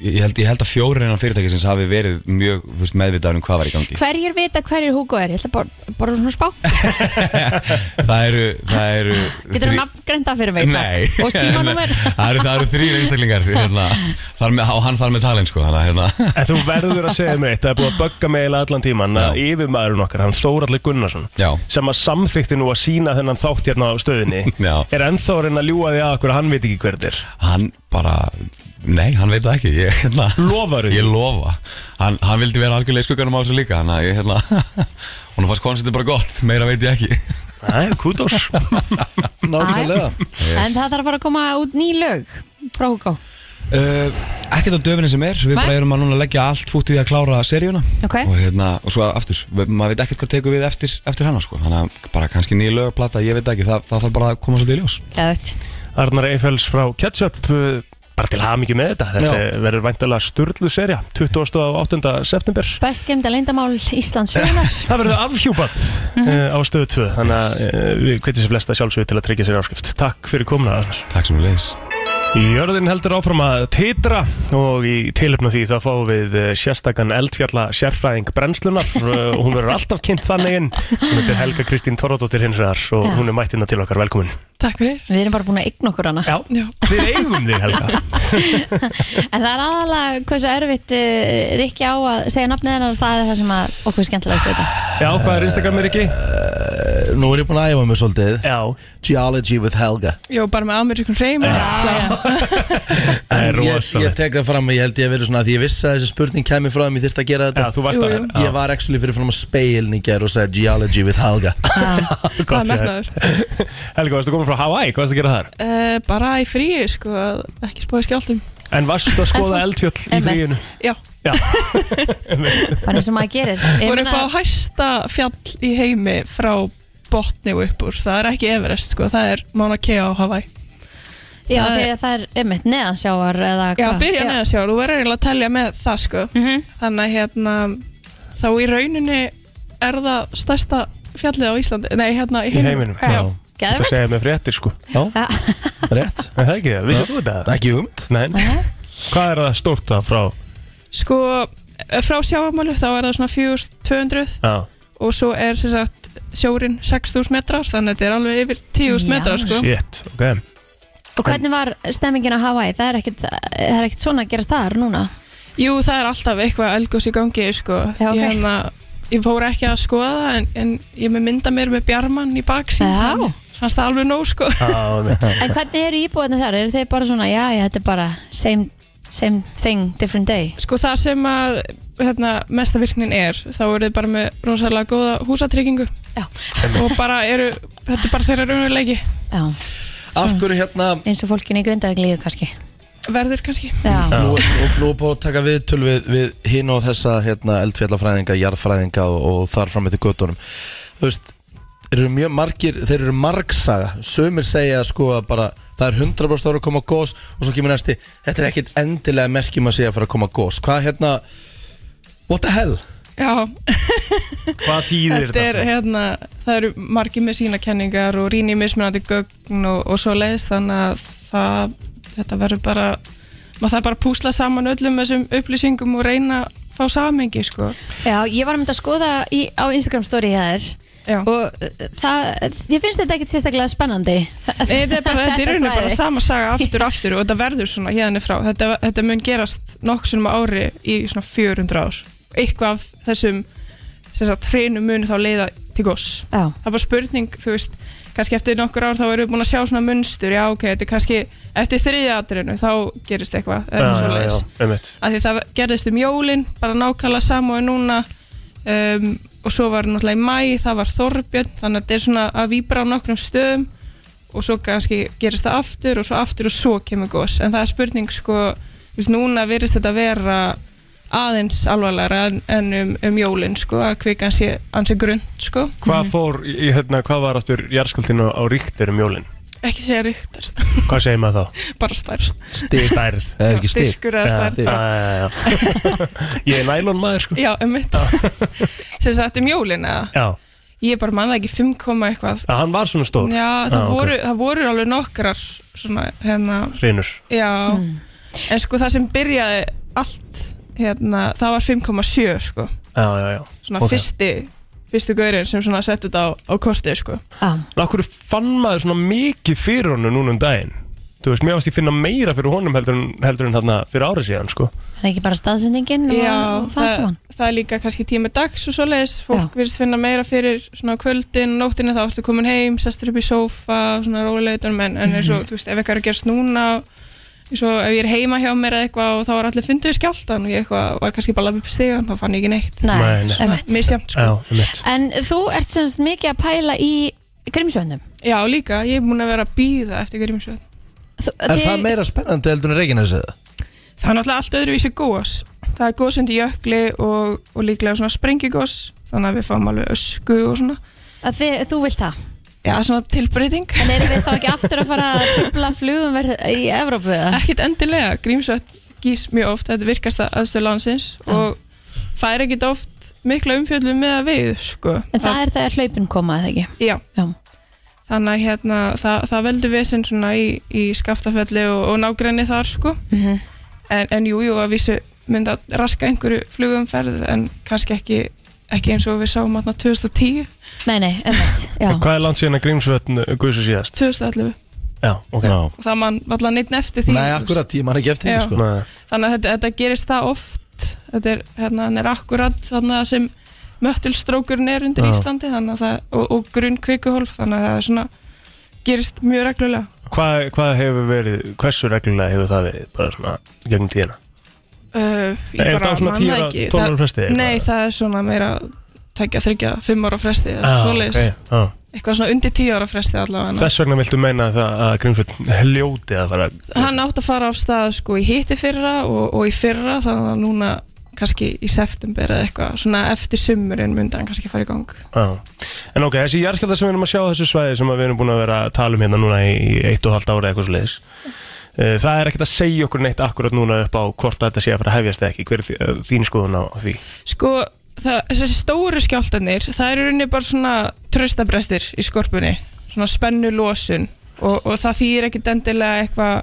ég, held, ég held að fjórir innan fyrirtækisins hafi verið mjög þú veist, meðvitaður um hvað var í gangi Hverjir vita hverjir Hugo er? Ég ætla bara, bara svona spá. Það eru, það eru Getur þú þrí- nafngreinda fyrir mig? Nei takk? Og símanúmer? Það eru, það eru þrýr einstaklingar hérna, þar með, og hann þar með talin sko þannig að hérna En þú verður að segja mér eitt, það er búið að bögga mig eiginlega allan tíman að yfirmaðurinn okkar, hann Þóraldur Gunnarsson Já. sem að samþykti nú að sína þennan þátt hérna á stöðinni Já. er ennþá að reyna að ljúa því að okkur að hann veit ekki hver þetta er Hann bara, nei, hann veit það ekki ég, hérna, Lofaru Ég lofa Hann, hann vildi vera algjörlega í skugganum á þessu líka Þannig að ég, hérna Hún fannst konceptið bara gott, meira veit ég ekki Nei, kudos Nákvæmlega En það þarf að fara að koma út ný lög frá Hugo. Uh, ekkert á döfinni sem er, við Nei. bara erum að núna leggja allt fútið í að klára seríuna Ok. og, hérna, og svo aftur, við- maður veit ekkert hvað tekur við eftir, eftir hana sko. þannig að bara kannski nýja lögplata, ég veit ekki, það, það þarf bara að koma svolítið í ljós Gæðvegt. Arnar Eiffels frá Ketchup uh, bara til hafa mikið með þetta þetta Já. verður væntalega sturlu serja 28. september Best gemda leindamál Íslands sögunar. Það verður afhjúpað uh, á stöðu 2 þannig að uh, við hvetjum sér flesta sjálfsögur til að tryggja sér áskrift Takk fyrir komuna Arnar Takk sem við leiðis Jörðin heldur áfram að titra og í tilöfnu því þá fáum við eh, sérstakann eldfjalla sérfræðing brennslunar Eh, og hún verður alltaf kynnt þannig inn hún heitir Helga Kristín Torradóttir hins vegar og Já. hún er mættina til okkar velkomin Takk fyrir. Við erum bara búin að eigna okkur hana. Já. Já. Við eigum þig Helga En það er aðalega hversu erfitt uh, Rikki á að segja nafnið hennar og það er það sem að okkur er skemmtilegast við þetta. Já, hvað er Instagram er ekki? Eh, Nú er ég búin að æfa mig svolítið Já. Geology with Helga Jó, bara með ameríkum hreim En ég, rosalegt. ég tek það fram að ég held ég að vera svona að því ég vissi að þessi spurning kæmi frá þeim ég þyrfti að gera þetta Já, þú varst að- Jú, jú. Ég var actually fyrir fram að speilin í gær og sagði Geology with Helga Gott Það er séð. Helga, varstu komin frá Hawaii, hvað varstu að gera þar? uh, Bara í fríu, sko, að ekki spóið skjáltum En varstu að skoða eldfjöll í fríinu? Já Já Bara eins og maður gerir Ég Fór upp á meina- hæsta fjall í heimi frá botni og upp úr Það er ekki Everest, sko, það er Mauna Kea á Hawaii Já, Það er- þegar það er einmitt neðansjáar eða hvað. Mhm. Já, byrja með að sjá, þú verður eiginlega að telja með það, sko Þannig að hérna, þá í rauninni er það stærsta fjallið á Íslandi Nei, hérna í Í heiminum, heiminum? Já, Þú ert að segja mér fréttir sko Já, rétt Er það ekki það? Vissið Já. þú þetta? Ekki umt Nei Hvað er það stórt það frá? Eh, Sko, frá sjáamáli þá er það svona 4200 Já og svo er sem sagt sjórin 6.000 metrar þannig að þetta er alveg yfir 10.000 Já. metrar sko. Shit, ok Og hvernig var stemmingin á Hawaii? Það er ekkert, það er ekkert svona að gerast þar núna Jú, það er alltaf eitthvað elgós í gangi sko. Já, ok. ég, hérna, ég fór ekki að skoða það, en, en ég með mynda mér með bjarman í baksín þannig fannst það alveg nóg sko. En hvernig eru íbúðinu þar? Eru þeir bara svona, já, já, þetta er bara same, same thing, different day? Sko það sem að hérna, mesta virknin er, þá eru þið bara með rosalega góða húsatryggingu Já. og bara eru, þetta er bara þeirra raunveruleiki Já Af hverju hérna Eins og fólkinu í grindaði glíðu kannski verður kannski Já, Nú, nú, nú er búið að taka viðtöl við, við hinn og þessa hérna, eldfjallafræðinga, jarðfræðinga og, og þar fram eftir göttunum Þú veist, þeir eru mjög margir, þeir eru margsaga Sumir segja sko að bara það er 100% ára að koma gós og svo kemur næsti Þetta er ekkit endilega merkjum að segja fyrir að koma gós Hvað hérna, what the hell? Já, Hvað þýðir þetta er hérna, það eru margir með sína kenningar og rýni mismunandi gögn og, og svo leiðis þannig að það, þetta verður bara maður þarf bara að púsla saman öllum þessum upplýsingum og reyna að fá samengi sko. já ég var að mynda að skoða í, á Instagram story hjá þér Já. Og uh, það, ég finnst þetta ekkert sérstaklega spennandi Nei, þetta er bara, þetta er í rauninni bara svæði. sama saga aftur og aftur og þetta verður svona hérna frá þetta, þetta mun gerast nokksunum ári í svona 400 ár eitthvað af þessum sem sagt, hreinum mun þá leiða til goss Já. það var spurning, þú veist kannski eftir nokkur ár þá erum við búin að sjá svona munstur já ok, þetta er kannski eftir þriðjadrinu þá gerist eitthvað eða Já, já, já, svoleiðis. einmitt. Af því það gerðist um jólin bara nákvæmlega saman og núna um, og svo var náttúrulega í mæ það var Þorbjörn, þannig að þetta er svona að víbra á nokkrum stöðum og svo kannski gerist það aftur og svo aftur og svo kemur gos, en það er spurning sko, þú veist, núna virðist þetta vera aðeins alvarlegra en, en um, um jólin sko, að kvika hans sé, hans sé grund sko, Hvað fór, í, í, hérna, hvað var aftur jarðskjálftinn á- á ríktir um jólinn? ekki segja ríktar Hvað segir maður þá? bara stærst Stig Stærst Það er ekki stig. Diskur eða Já, stærð. stig. Já, já, já. Ég er nælon maður sko já, um mitt sem sagt um jólin eða Já, ég bara manna ekki 5, komma eitthvað að hann var svona stór Já, það, voru, það voru alveg nokkrar svona, hérna, Hrinur já en sko það sem byrjaði allt hérna, það var 5,7 sko Já, já, já svona fyrsti, fyrsti gaurinn sem svona setti þetta á, á kortið sko Akkur fann maður svona mikið fyrir honum núna um daginn Þú veist, mér varst ég finna meira fyrir honum heldur en, heldur en þarna fyrir árið síðan sko Það er ekki bara staðsendingin og- Já, og það, það, það er líka kannski tími dags og svoleiðis, fólk virðist finna meira fyrir svona á kvöldin, nóttinni þá ertu komin heim sestur upp í sófa, svona róleitunum en, en eins og, þú veist, ef eitthvað er að gerast núna eins og ef ég er heima hjá mér eða eitthvað og þá var allir funduð í skjáltan og ég eitthvað var kannski bara að lappa upp stígan, þá fann ég ekki neitt Nei, Nei, nei. Svona einmitt. misjafnt sko En þú ert semst mikið að pæla í grimsvöndum Já, líka, ég er búin að vera að býða eftir grímsvöld Er það meira spennandi heldur en Reykjanes eða? Það er náttúrulega allt öðruvísi gós. Það er gós undir jökli og, og líklega svona sprengigós, þannig að við fáum alveg ösku og svona. Að þið, þú vilt það? Já, svona tilbreyting. En erum við þá ekki aftur að fara að tripla flugumverð í Evrópu eða? Ekkert endilega, grímsvöld gís mjög oft, þetta er virkasta aðstöð landsins og það er ekkert oft mikla umfjöldum með að veið, sko. En það er þegar hlaupin koma eða ekki? Já. Já. Þannig að hérna, það, það veldur vesinn svona í, í skaftafelli og, og nágrenni þar, sko. Mhm. en, en jú, jú, að vissu mynda raska einhverju flugumferð en kannski ekki, ekki eins og við sáum aðna 2010, Nei, nei, emmett, já Hvað er langt síðan að Grímsvötn guðsa síðast? 2011 Já, ok Já. og það man allan neitt eftir því Nei, akkurat, ég man ekki eftir því, Já. sko. Nei. þannig að þetta, þetta gerist það oft þetta er, hérna, hann er akkurat þannig að sem möttulstrókurinn er undir Já. Íslandi þannig að það, og, og grunn kvikuhólf þannig að það er svona gerist mjög reglulega Hvað, hvað hefur verið, hversu reglulega hefur það verið bara svona gegnum tíðina? Uh, ég Er bara það svona man 10 ára- ekki. 12 ára Það- fresti eða Nei, það er svona meira tækja þryggja, fimm ára fresti eða Ah, svoleiðis. ok, ah. eitthvað svona undir 10 ára fresti allavega Þess vegna viltu meina það að Grímsvötn hljóti að fara hann átt að fara á stað sko í hitti fyrra og, og í fyrra þannig að núna kannski í september eða eitthvað svona eftir sumurinn myndi hann kannski fara í gang Já. En ok, þessi jarðskjálta sem við erum að sjá á þessu svæði sem að við erum búin að vera að tala um hérna núna í í eitt og halvt ára eða eitthvað svo leiðis Eh, Það er ekkert að segja okkur neitt akkurat núna upp á hvort þetta sé að fara að hefjast eða ekki Hver er þi- eh, þín skoðun á á því? sko það, þessi stóru skjáltanir það eru rauninni bara svona tröstabrestir í skorpunni svona spennu losun og, og það þýðir ekkit endilega eitthvað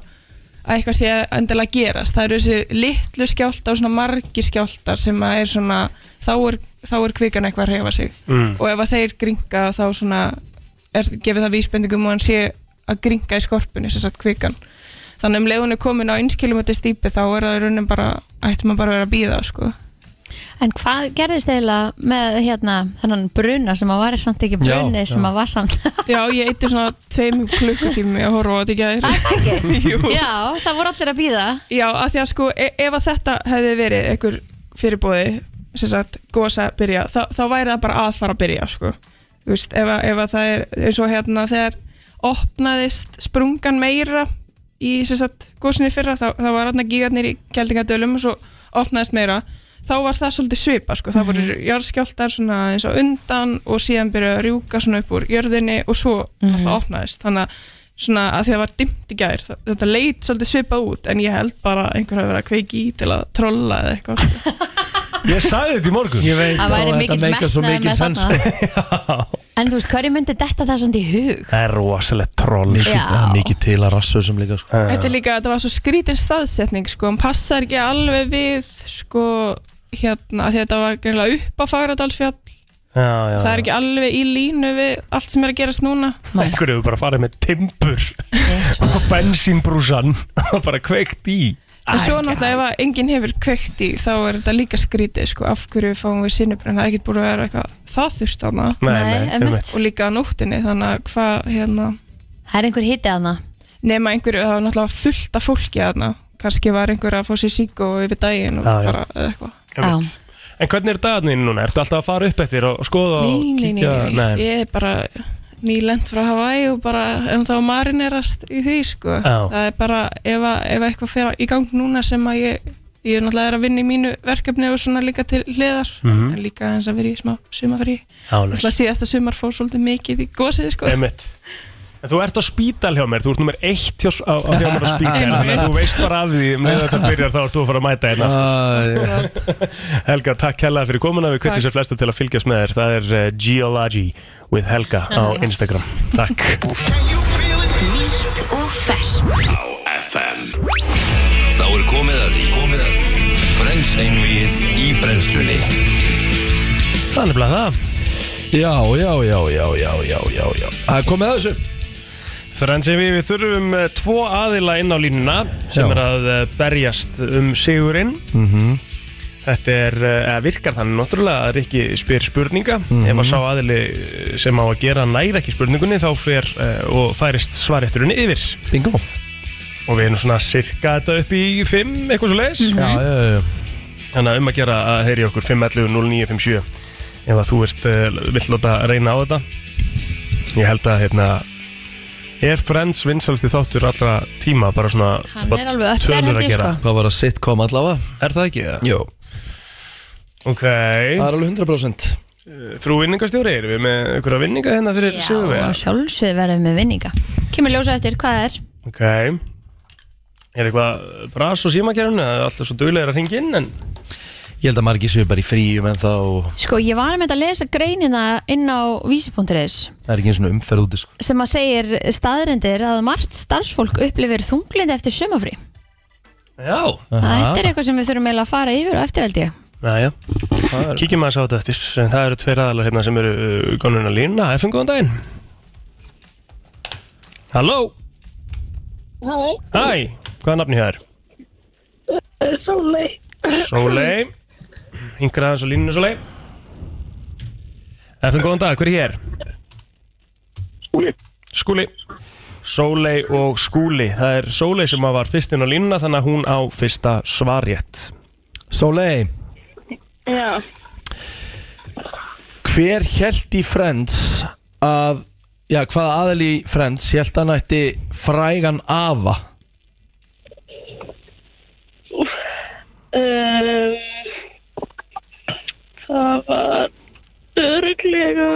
að eitthvað sé endilega að gerast það eru þessi litlu skjálta og svona margir skjáltar sem að er svona þá er, þá er kvikan eitthvað að reyfa sig Mm. og ef að þeir gringa þá svona er, gefið það vísbendingum og hann sé að gringa í skorpunni sem sagt kvikan þannig um leiðun er komin á 1 km stýpi þá er það í raunin bara ættum að bara vera að býða sko. En hvað gerðist eiginlega með hérna þennan bruna sem að var samt ekki brunni Já, sem já. að var samt já, ég eitti svona tveim klukkutími að horfa á þetta í gæðir Já, það voru allir að býða Já, af því að sko, e ef að þetta hefði verið einhver fyrirbóði sem sagt, gósa byrja, þá, þá væri það bara að fara að byrja, sko Þú veist, ef að, ef að það er eins og hérna þegar opnaðist sprungan meira í sem sagt gósinni fyrra, þá, þá var hérna gígarnir í keldingadölum og svo opnaðist meira þá var það svolítið svipa, sko það voru jarðskjáltar svona eins og undan og síðan byrjaði að rjúka svona upp úr jörðinni og svo mm Mhm. opnaðist, þannig að svona að því það var dimmt í gær þa- þetta leit svolítið svipa út en ég held bara að einhver hafi verið að kveiki í til að trolla eða eitthvað sko. Ég sagði þetta í morgun Ég veit Það væri og þetta mikill meikar svo metnaður mikinn með sko. sens, En þú veist, hverju myndi detta það samt í hug? Það er rosalegt troll Eh. Mikið- Já. það er mikið til að rassu sem líka sko. Þetta er líka, þetta var svo skrítin staðsetning sko, hún passar ekki alveg við sko, hérna, af því að þetta var greinlega upp á Fagradalsfjall já, já, það er ekki alveg í línu við allt sem er að gerast núna Ekkur hefur bara farið með timbur og bensínbrúsan og bara kveikt í En svo náttúrulega ef að enginn hefur kveikt í þá er þetta líka skrítið sko af hverju fáum við sinnubrunn, það er ekkert búin að vera eitthvað það þurft þarna Nei, nei, Nei, einmitt. einmitt. og líka á nóttinni þannig að hvað hérna Það er einhver hitið þarna nema einhverju, það var náttúrulega fullt af fólki þarna kannski var einhver að fá sér sík og yfir daginn og Já, já. bara eða eitthvað Einmitt. En hvernig er dagarnir núna? Ertu alltaf að fara upp eftir og skoða og Nei, nei, nei, kíkja? nei, ég er bara nýlend frá Hawaii og bara en þá marinerast í því sko Já. það er bara ef, að, ef eitthvað fer í gang núna sem að ég ég er náttúrulega er að vinna í mínu verkefni og svona líka til hliðar Mhm. en líka eins að vera í smá sumafrí Álaust. náttúrulega síðasta sumar fór svolítið mikið í gósið sko Einmitt. En Þú ert á spítal hjá mér, þú ert nummer eitt hjá, á, á hjá mér á spítal Þannig að þú veist bara af því, með þetta byrjar þá ert þú að fara að mæta einn aftur Helga, takk hella fyrir komuna, við kvittum Takk. sér flesta til að fylgjast með þér Það er uh, Geology with Helga á Yes. Instagram Takk Nýtt og ferskt á FM Þá er komið að því komið að því. Frens einvið í brennslunni Það er nefnilega það Já, já, já, já, já, já, já, já Það er komið að þessu Frans, við, við þurfum eh, tvo aðila inn á línuna sem Já. er að eh, berjast um sigurinn mm -hmm. Þetta er, eh, eða virkar þannig náttúrulega að Rikki spyr spurninga Mhm. ef að sá aðili eh, sem á að gera næra ekki spurningunni þá fer eh, og færist svaretturinn yfir Bingo Og við erum svona cirka þetta upp í 5, eitthvað svo leiðis Já, já, já, já Þannig að um að gera að heyri okkur 511 0957 ef að þú ert uh, vill láta reyna á þetta Ég held að hérna Er Friends vinsalsti þáttur allra tíma bara svona Hann bara er alveg upp tölur þér, held að ég, gera? sko. Hvað var að sitcom allavega? Er það ekki það? Jó Ok Það er alveg 100% Frú vinningastjóri, erum við með einhverja vinninga hérna fyrir Og Sigurvega? sjálfsög verðum við vinninga Kemur ljósa eftir, hvað það er? Ok Er eitthvað bras og símakjærun eða er alltaf svo duglegir að ringa inn en Ég held að margir séu bara í fríum en þá Sko, ég var með að lesa greinina inn á vísi.is Það er ekki eins og umferð úti sko. sem að segir staðrendir að margt starfsfólk upplifir þunglindi eftir sumafrí. Já Þetta er eitthvað sem við þurfum eiginlega að fara yfir og eftir held ég. Næja, kíkjum aðeins á þetta eftir en það eru tveir aðalar hérna sem eru uh, konuna lína, FN góðan daginn Halló, Hæ, hæ, hvað er nafni hér? Eh, Sólei. Sólei Hingra aðeins á línunni Sólei FN góðan dag, hver er hér? Skúli Skúli Sólei og Skúli, það er Sólei sem var fyrst inn á línuna þannig að hún á fyrsta svarjett Sólei, Já. hver held í Friends að Já, hvaða aðal í Friends held hann ætti frægan afa Um, það var öruglega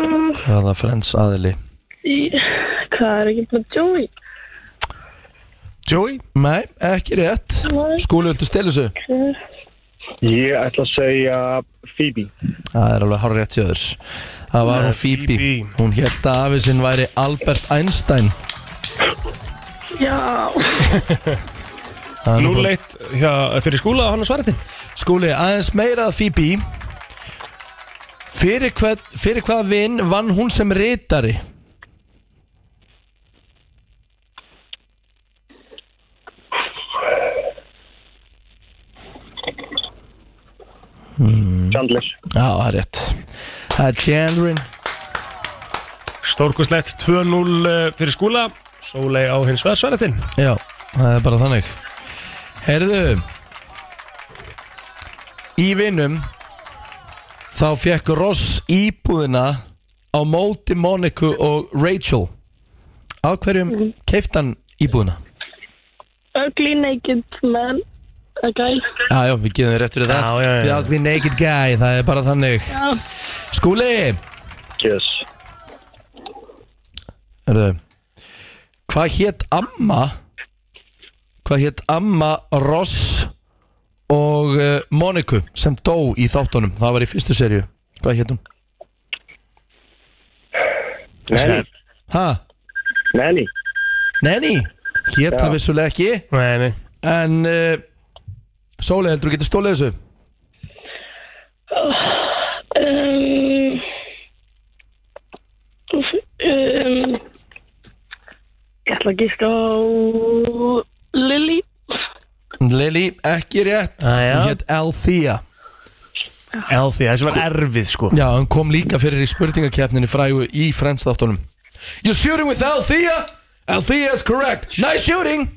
Hvaða Friends aðali í, hvað er ekki með Joey? Joey? Nei, ekki rétt Skúli, viltu stela þessu? Ég ætla að segja Phoebe Það er alveg hár rétt hjá þér Það var hún Phoebe Hún held að afi sinn væri Albert Einstein Já. er nú 0-1 hjá- fyrir skúla og hann að svara til Skúli, aðeins meira að Phoebe Fyrir hvað, fyrir hvað vinn vann hún sem reytari? Chandler Já, það er rétt Það er Chandlerin Stórkustlegt 2-0 eh, fyrir skúla Sólei á hins vegar svara til Já, það er bara þannig Herðu Í vinnum Þá fekk Ross íbúðina Á móti Moniku og Rachel Á hverjum mm hann íbúðina? Ugly naked man. A guy. Já, já, við geðum þið rétt fyrir það Já, já, já. Við ákveðum naked guy, það er bara þannig Já. Skúli Yes Hörðu Hvað hétt amma Hvað hétt amma Ross og uh, Moniku sem dó í þáttunum Það var í fyrstu serju Hvað hétt hún? Nanny Ha? Nanny Nenni Hétt Já. það vissulega ekki Nei, nei En uh, Sóli, heldur þú getur stólið þessu? Um, úff, um, ég ætla að gíska á Lily. Lily, ekki rétt Hún hétt Althea Althea, þessi var erfið sko Já, hann kom líka fyrir í spurningakefninni frægu í frendstáttunum You're shooting with Althea Althea is correct Nice shooting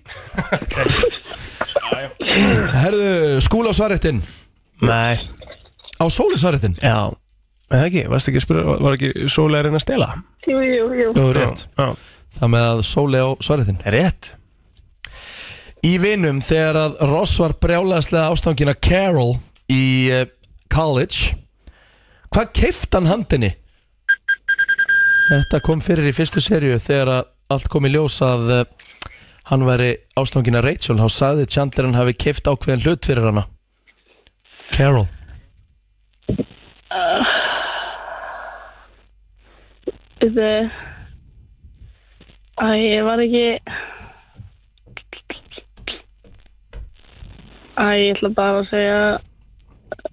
Herðu, skúla á svarréttin Nei Á sóli svarréttin Já, en það ekki, varst ekki að spyrja Var ekki Sólei að reyna að stela? Jú, jú, jú. Jú, rétt Já. Það með að sóli á svarréttin Rétt Í vinum þegar að Ross var brjálæðslega ástangina Carol í eh, college Hvað keift hann handinni? Þetta kom fyrir í fyrstu serju þegar að allt kom í ljós að eh, hann væri ástangina Rachel þá sagði Chandler hann hafi keift ákveðin hlut fyrir hana Carol Þetta Æ, ég var ekki Æ, ég ætla bara að segja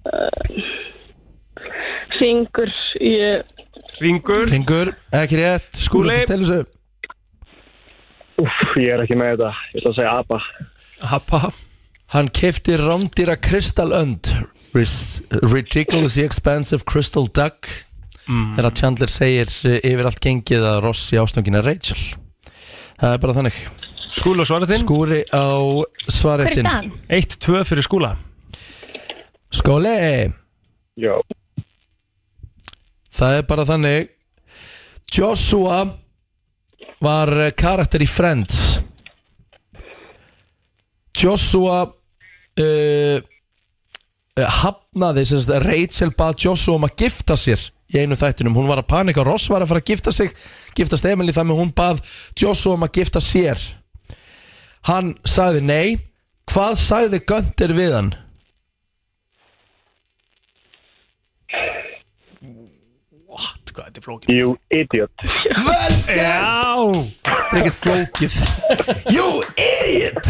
uh, Fingur Ég Ringur Ringur, ekki rétt, skúli Skúli. Stelsu Úff, ég er ekki með þetta Ég ætla að segja Abba Happa Hann keifti rándýra kristallönd Ris- Ridiculously expensive crystal duck Þegar að Chandler segir eh, yfir allt gengið að Ross í ástöngina Rachel Það er bara þannig Skúli á svaretinn Skúri á Hver er svaretinn staðan? 1-2 fyrir skúla Skóli Já Það er bara þannig Joshua var eh, karakter í Friends Joshua uh, hafnaði sem sagt, Rachel bað Joshua um að gifta sér í einu þættinum, hún var að panika Ross var að fara að gifta sig, giftast Emily þannig að hún bað Joshua um að gifta sér hann sagði nei hvað sagði Gunther við hann? What, hvað þetta er flókið You idiot Vel gert! Það er ekkert flókið You idiot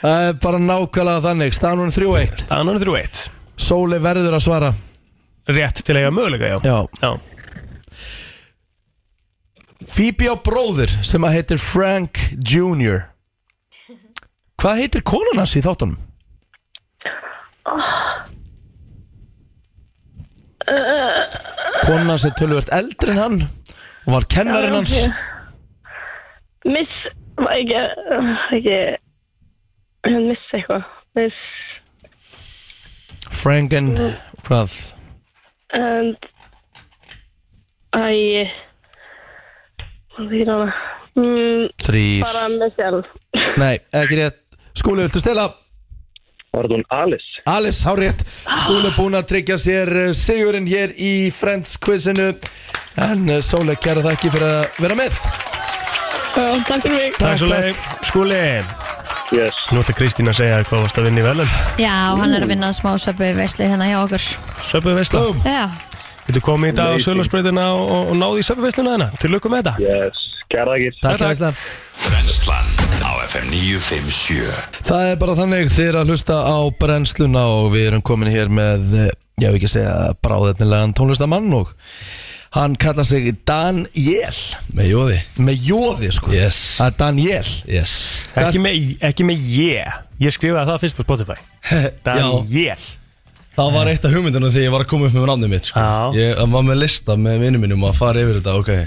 Það er bara nákvæmlega þannig Staðan hún 3-1 Staðan hún 3-1 Sóli verður að svara Rétt til að eiga möguleika, já Já, já. Phoebe á bróðir sem að heitir Frank Jr. Hvað heitir konan hans í þáttunum? Konan hans er tölvöld eldri en hann og var kennarinn hans Miss var ekki ekki Ég miss eitthvað Miss Franken, hvað? and Æ Hvað þýr hana? Mm, Þrýr Bara með sjálf Nei, ekki rétt Skúli, viltu stela? Var þetta hún Alice? Alice, há rétt Skúli er búinn að tryggja sér eh, sigurinn hér í Friends quizinu En eh, Sóli, kæra þakki fyrir að vera með Já, takk fyrir mig Takk svo leið Skúli Yes Nú ætla Kristín að segja hvað varst að vinna í velum Já, hann er að vinna smá söpu veisli hérna hjá okkur Söpum veisla Já, Þetta komið í dag á Sölursbreytina og, og, og náði í söpum veisluna þarna Til lukku með þetta Yes Kæra ekki Takk, Takk. Brennslan á FM 957 Það er bara þannig þeir að hlusta á brennsluna og við erum komin hér með, eh, ég hef ekki að segja bráðetnilegan tónlistamann og hann kallar sig Daniel Með jóði Með jóði sko Yes Það er Daniel Yes Ekki með, ekki með ég Ég skrifaði það fyrst á Spotify Daniel Það var eitt af hugmyndunum þegar ég var að koma upp með rannum mitt sko. Ég það var með lista með vinnum mínum að fara yfir þetta okay.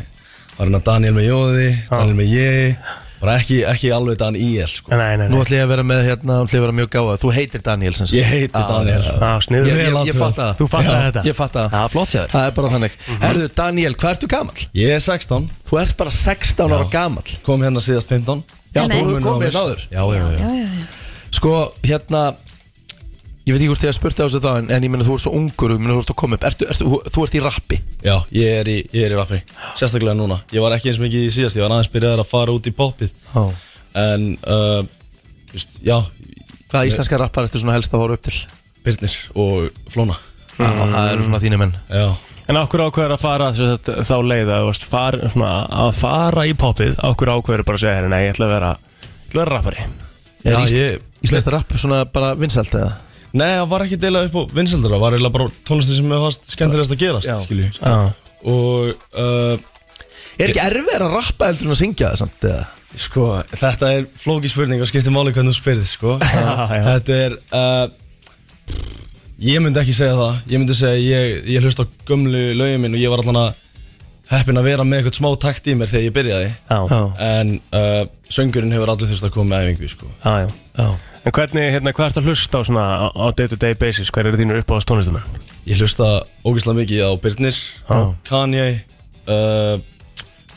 Var hérna Daniel með Jóði, Daniel með ég Bara ekki, ekki alveg Dan IL sko. nei, nei, Nú ætlum ég að vera með hérna, ætlum ég að vera mjög gáða Þú heitir Daniel sem sagt. Ég heiti Ah, Daniel. já, já. Ah, sniðugur. Ég, ég, Vel ég athugað. fatta það Þú fattaði Já, þetta. Ég fatta það Ah, flott hjá þér. Það er bara þannig Herðu Daniel, hvað ertu gamall? Ég er 16 Þú ert bara 16 ára gamall Kom hérna síðast 15 Já, Stór þú munur á mér. komið hérna áður. Já, já, já, já, já. Sko, hérna Ég veit ekki hvort ég að spurta á þessu þá en, en ég meina þú ert svo ungur og þú ert að koma upp ertu, ertu, þú, þú ert í rappi Já, ég er í, ég er í rappi Sérstaklega núna Ég var ekki eins mikið í síðast Ég var aðeins byrjaður að fara út í poppið Já. En, uh, just, já Hvaða íslenska rappar ertu svona helst að horfa upp til? Byrnir og Flóna Já, það eru svona þínu menn Já En okkur ákveður að fara sem sagt, þá leið að, þú veist, far, svona, að fara í popið Okkur ákveður bara að segja "Herri, Nei, ég ætla að vera, ég ætla að vera rappari Er Já, ísl, ég- Íslenska rapp svona bara vinsælt eða? Nei, það var ekki deila upp á vinsaldra Það var eiginlega bara tónlistir sem mér fannst skemmtilegast að gerast Já. skilju. Já. Og uh, Er ekki erfið að rappa heldur en að syngja það samt eða? Sko, þetta er flóki spurning og skiptir máli hvernig þú spyrðið sko. Já, já. Þetta er uh, Ég myndi ekki segja það Ég myndi segja ég, ég hlust á gömlu lögin minn og ég var allan að heppin að vera með eitthvað smá takt í mér þegar ég byrjaði Já. En uh, söngurinn hefur allir þurft að koma með æfingu sko. Já, já. En hvernig, hérna, hvað ertu að hlusta á svona á- á day-to-day basis? Hver eru þínur uppáðast tónlistumenn? Ég hlusta ógeðslega mikið á Birnir, Já. Kanye, uh,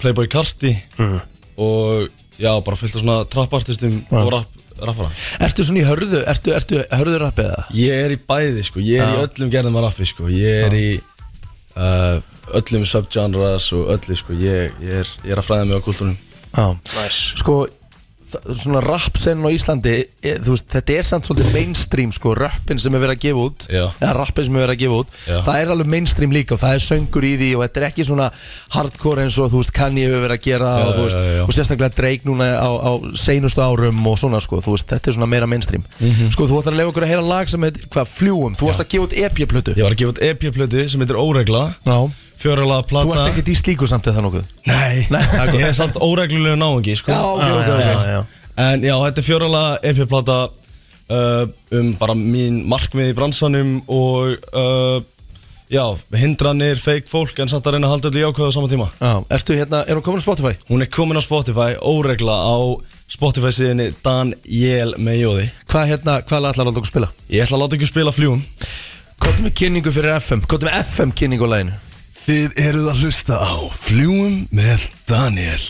Playboy Carti Mhm. og já, bara fyllt af svona trappartistum Já. og rap, rappara. Ertu svona í hörðu, ertu, ertu hörðu rappi eða? Ég er í bæði sko, ég er í Já. öllum gerðum að rappi sko, ég er í uh, öllum subgenres og öllu sko, ég, ég, er, ég er að fræða mig á kultúrum. Já, nice. sko þa- svona rap senn á Íslandi e, þú veist, þetta er samt svolítið mainstream sko, rappin sem er verið að gefa út Já. eða rappin sem er verið að gefa út Já. það er alveg mainstream líka og það er söngur í því og þetta er ekki svona hardcore eins og þú veist kann ég hefur verið að gera Já, og, þú veist, já, já. og sérstaklega dreik núna á, á seinustu árum og svona sko, þú veist, þetta er svona meira mainstream Mhm. sko, þú ætlar að lefa okkur að heyra lag sem heitir hvað, fljúum, þú varst að gefa út E EP-plötu Ég var að gefa út EP-plötu sem heitir Óregla, fjóralaga plata. þú ert ekkert í slíku samt eða nokkuð Nei, Nei, það er gott. ég er samt óreglulega náðungi sko. Já, ok, ok, ok. Já, já, já. En já, þetta er fjóralega EP-plata uh, um bara mín markmið í bransanum og uh, já, hindranir, fake fólk en samt að reyna að halda öllu jákvæðu á sama tíma já, ertu hérna, er hún komin á Spotify? Hún er komin á Spotify, óregla á Spotify síðinni Dan Jél með Jóði Hvað hérna, hvað lag ætlar að láta okkur spila? Ég ætla að láta ykkur spila fljúum Kottum við kynningu fyrir FM, kottum við FM kynningu á læginu Þið eruð að hlusta á Fljúum með Daniel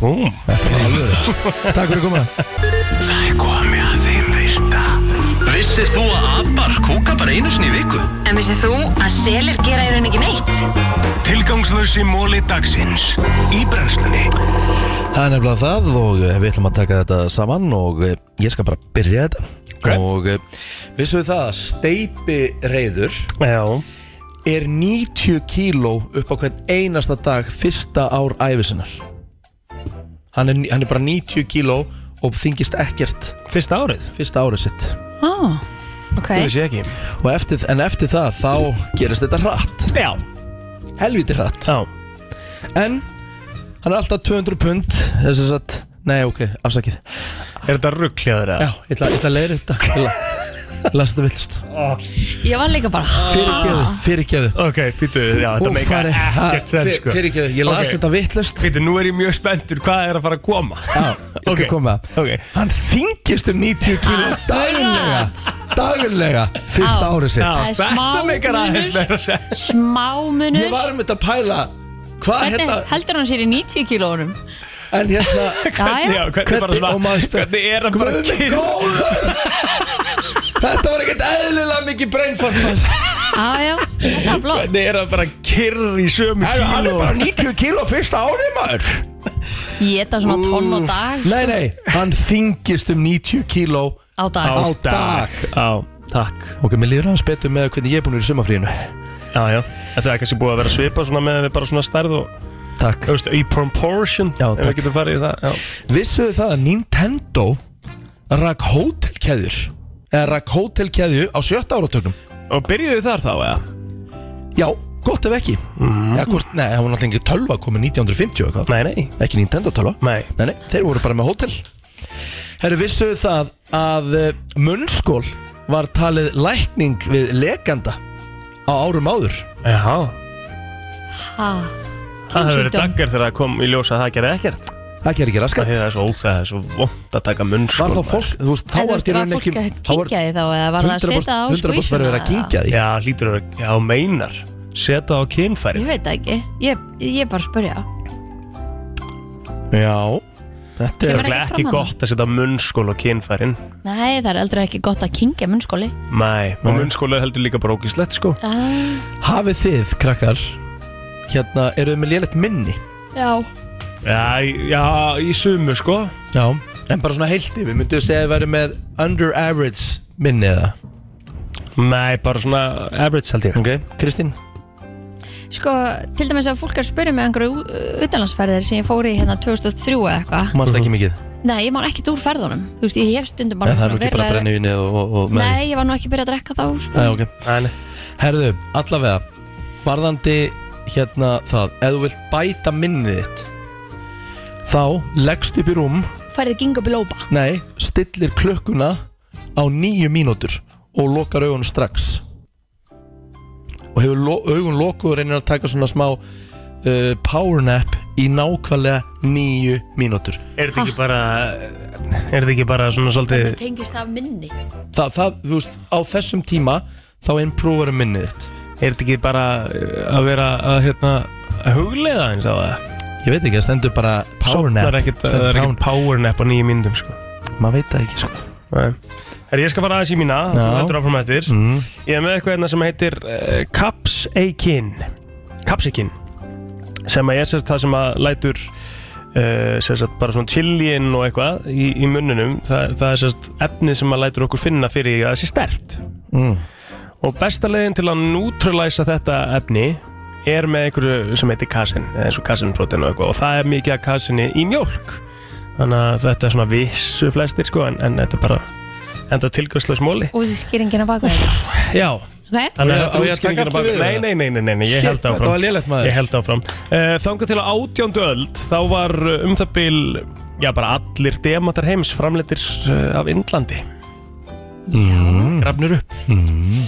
Búm Þetta var alveg Takk fyrir komuna Það er komið að þeim virta Vissir þú að abar kúka bara einu sinni í viku? En vissið þú að selir gera í raun ekki neitt? Tilgangslösi móli dagsins Í brennslunni Það er nefnilega það og eh, við ætlum að taka þetta saman og eh, ég skal bara byrja þetta okay. og eh, vissu við það að steipi reyður Já er 90 kíló upp á hvern einasta dag fyrsta ár æfisinnar hann er, hann er bara 90 kíló og þingist ekkert Fyrsta árið? Fyrsta árið sitt ah, ok ég ekki og eftir, En eftir það þá gerist þetta hratt Já Helviti hratt Já En hann er alltaf 200 pund Þess að, nei ok, afsakið Er þetta ruggljáður eða? Já, ég ætla ég ætla að leiðir þetta Ég ætla að lesa þetta villist Ég var líka bara Fyrirgeðu, Ah. fyrirgeðu Ok, býtu, já, þetta Hún meikar fari- ekkert Ha, sens fyr- sko fyrirgefðu, ég las þetta vittlust Býtu, nú er ég mjög spenntur, hvað er að fara að koma? Já, Ég skal koma okay. Hann þingist um 90 kíló daglega Daglega Fyrsta Ah, Á. árið Það sitt er smá munur Smá munur Ég var um þetta að pæla Hvað Hvernig hérna heldur hann sér í 90 kílónum? En hérna Hvernig- já, hvernig bara svona- og maður spyr, hvernig er hann bara að Guð minn kynna? góður! Þetta var ekkert eðlilega mikið brainfart maður. ah, já, þetta er flott Hvernig er það bara kyrr í sömu Herru, kíló? hann er bara 90 kíló fyrsta árið maður Ég geta svona tonn og dag Nei, nei, hann þingist um 90 kíló Á dag. Á dag Á, takk Ok, mér líður aðeins betur með hvernig ég er búin að vera í sumafríinu Já, já, þetta er kannski búið að vera svipa svona með við bara svona stærð og Það takk Þú veist, í proportion Já, Ef við takk. getum farið í það já. Vissuðu það að Nintendo rak hótelkeðjur eða rak hótelkeðju á sjötta áratögnum Og byrjuðu þar þá, eða? Já, gott ef ekki mm. eða, hvort, Nei, það var náttúrulega ekki tölva komið 1950 eitthvað Nei, nei Ekki Nintendo tölva Nei Nei, nei, þeir voru bara með hótel Herru, vissuðu það að eh, munnskól var talið lækning við leganda á árum áður Já Ha, Það hefur verið Kynsjúkdóm. daggar þegar það kom í ljós að það gerði ekkert Það gerði ekki raskat Það um er svo óþæg, það er svo vond að taka munn Var þá fólk, þú veist, En þá þú var veist, í var fólk rauninni ekki að þá var- kynkja því þá eða var það að 100% setja á 100% verið verið að skvísuna? kynkja því Já, hlýtur að vera, já, meinar Seta á kynfæri Ég veit það ekki, ég, ég er bara að spyrja Já Þetta Kemur er ekkert örugglega fram ekki hana. gott að setja munnskól á kynfærin Nei, það er aldrei ekki gott að kynkja munnskóli Nei, og munnskóla heldur líka bara ógíslegt sko ah, Hafið þið, krakkar Hérna, eru þið með lélegt minni Já Já, í- já, í sumu sko Já En bara svona heilt yfir, mynduðu segja að þið væri með Under average minni eða Nei, bara svona average held ég Ok, Kristín Sko, til dæmis að fólk er að spyrja mig einhverju utanlandsferðir sem ég fór í hérna 2003 eða eitthvað Manst ekki mikið Nei, ég man ekkert úr ferðunum Þú veist, ég hef stundum bara En Mhm. það er nú svona ekki bara verulega- brennivinni og, og, og með- Nei, ég var nú ekki byrjað að drekka þá sko. Nei, ok Herðu, allavega Varðandi hérna það Ef þú vilt bæta minnið þitt Þá leggst upp í rúm Færið gingu upp í lópa Nei, stillir klukkuna á nýju mínútur Og lokar augun strax Og hefur lo augun lokuð Og reynir að taka svona smá uh, Power nap í nákvæmlega nýju mínútur Er þetta ekki bara Er þetta ekki bara svona svolítið Það tengist af minni Þa, Það, þú veist, á þessum tíma Þá improver minnið þitt Er þetta ekki bara uh, að vera að, hérna, að hugleiða eins á það? Ég veit ekki, það stendur bara power nap Sofnar ekkit, það Stendur er power ekkert power nap á nýju myndum sko. Maður veit það ekki sko Herri, ég skal fara aðeins í mína Já. Þú heldur áfram eftir Mm. Ég er með eitthvað hérna sem heitir uh, Capsaikin Capsaikin Sem að ég sérst það sem að lætur uh, Sérst bara svona chillin og eitthvað Í, í munnunum Þa, Það er sérst efnið sem að lætur okkur finna fyrir því að það sé stert mm. Og besta leiðin til að neutralæsa þetta efni er með einhverju sem heitir kasin, eins og kasinprotein og eitthvað og það er mikið af kasinni í mjólk þannig að þetta er svona vissu flestir sko, en, en þetta er bara enda tilgjörslega smóli Og þessi skýringina baka þetta Já, okay. þannig að Og ég- þetta og ég taka útskýringin aftur við Nei, það? nei, nei, nei, nei, nei, ég Shit, held áfram þetta var lélegt, maður. Ég held áfram uh, Þangar til á átjándu öld þá var uh, um það bil já, bara allir demantar heims framleitir uh, af Indlandi mm. Grafnir upp mm.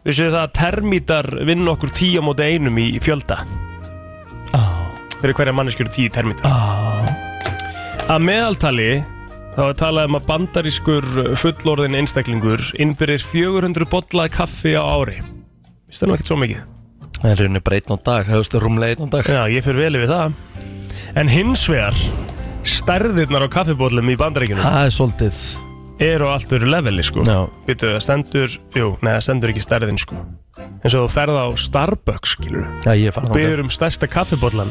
Við séum það að termítar vinn okkur tíu á móti einum í fjölda Ah. Fyrir hverja manneskjöru tíu termítar Að meðaltali þá er talað um að bandarískur fullorðin einstaklingur innbyrðir 400 bollaði kaffi á ári Vist það nú ekkert svo mikið? Það er rauninni bara einn á dag, hefðust rúmlega einn á dag Já, ég fyrir vel yfir það En hins vegar stærðirnar á kaffibóllum í bandaríkinu Það er svolítið eru á allt öru leveli sko Já. Býtu, það stendur, jú, nei það stendur ekki stærðin sko En svo þú ferð á Starbucks skilur Já, ég fann og byður um stærsta kaffibóllan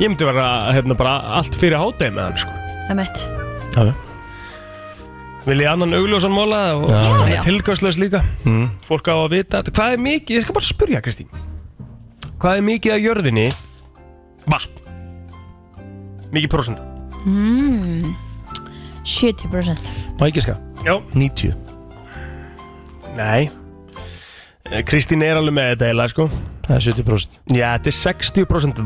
Ég myndi vera hérna bara allt fyrir hádegi með hann sko Það er mitt Já, já. Vil ég annan augljósan móla og Já, já. tilgjörsleis líka Mm. Fólk á að vita þetta. Hvað er mikið, ég skal bara spyrja Kristín Hvað er mikið af jörðinni vatn? Mikið prósenda mm. 70% Má ekki ska? Já 90 Nei Eh, Kristín er alveg með þetta eiginlega sko Það er 70% Já, þetta er 60%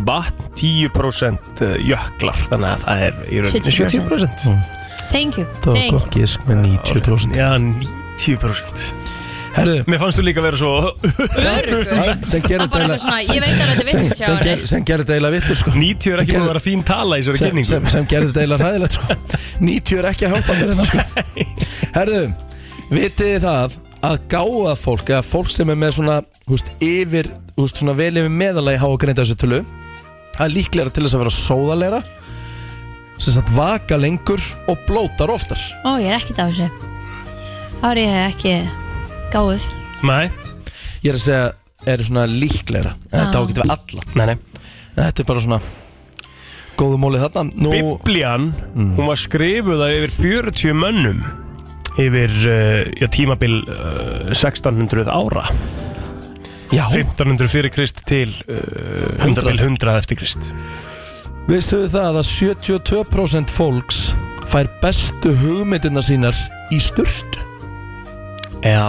vatn, 10% jöklar Þannig að það er í rauninni 70%. 70%. Mm. Thank you Það var Thank gott gísk með 90% Já, 90% Herðu Mér fannst þú líka vera svo Örgur Sem gerir Það bara eitthvað svona, ég veit að þetta er vitlaust hjá sem, henni. ger- sem gerir deila vittur sko 90 er ekki búin að vera þín tala í þessari sem, kynningu. sem, sem gerir deila hræðilegt sko 90 er ekki að hjálpa mér hérna sko Herðu, vitið þið það að gáða fólk eða fólk sem er með svona húst, yfir, húst, svona vel yfir meðalagi há að greinda þessu tölu það er líklega til þess að vera sóðalegra sem sagt vaka lengur og blótar oftar Ó, ég er ekkert af þessu Þá er ég ekki gáð Nei Ég er að segja, er svona líklegra en Þetta Ah. ágætt við alla Nei, nei En Þetta er bara svona góðu móli þarna Nú, Biblian, hún var skrifuð af yfir 40 mönnum eh, yfir uh, já, tímabil uh, 1600 ára Já. 1500 fyrir Krist til uh, 100, 100. 100 eftir Krist Vistu þið það að 72% fólks fær bestu hugmyndina sínar í styrtu? Já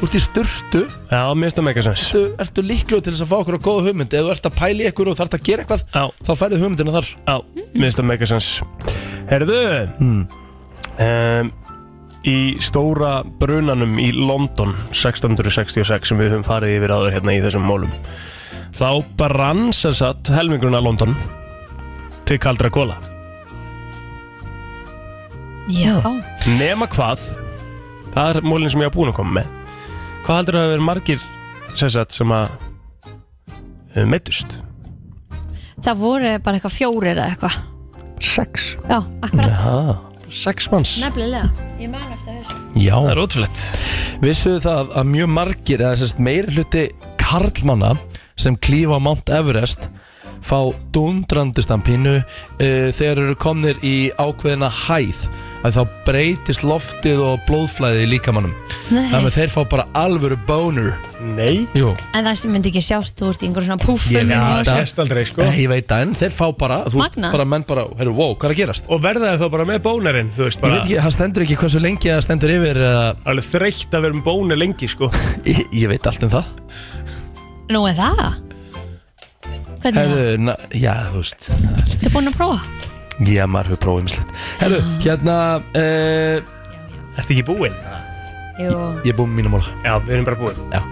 Þú ert í styrtu Já, mér finnst það mega sens ertu, ertu líklu til þess að fá okkur á góða hugmynd Ef þú ert að pæla í ykkur og þarf að gera eitthvað Já. Þá færðu hugmyndina þar Já, mér finnst það mega sens Herðu Hmm. um, Í stóra brunanum í London 1666 sem við höfum farið yfir áður hérna í þessum málum Þá brann sem sagt helmingurinn að London til kaldra kóla Já Nema hvað Það er mólinn sem ég hafa búin að koma með Hvað heldur að það verið margir sem sagt sem að eh, meiddust? Það voru bara eitthvað fjórir eða eitthvað Sex Já, akkurat Já, sex manns Nefnilega Ég man eftir þessu Já Það er ótrúlegt Vissu þið það að mjög margir eða sérst meiri hluti karlmanna sem klífa á Mount Everest fá dundrandistan pínu uh, þegar eru komnir í ákveðina hæð að þá breytist loftið og blóðflæði í líkamannum Nei. þannig að þeir fá bara alvöru boner Nei Jú En það sem myndi ekki sjást, þú ert í einhverjum svona púfum Ég veit og- það aldrei sko Eh, Ég veit það en þeir fá bara Þú veist Magnað. bara menn bara Herru, wow, hvað er að gerast? Og verða þið þá bara með bónerinn, þú veist Ég bara veit ekki, það stendur ekki hversu lengi það stendur yfir eða Alveg þreytt að vera með bóner lengi sko Ég, ég veit allt um það Nú er það Hvernig er það? Herru, na, já, þú veist Þetta er búin að prófa Já, maður hefur prófið mislegt Herru, hérna uh, Ertu ekki búinn? Jú Ég er búinn með mínum mál Já, við erum bara búinn Já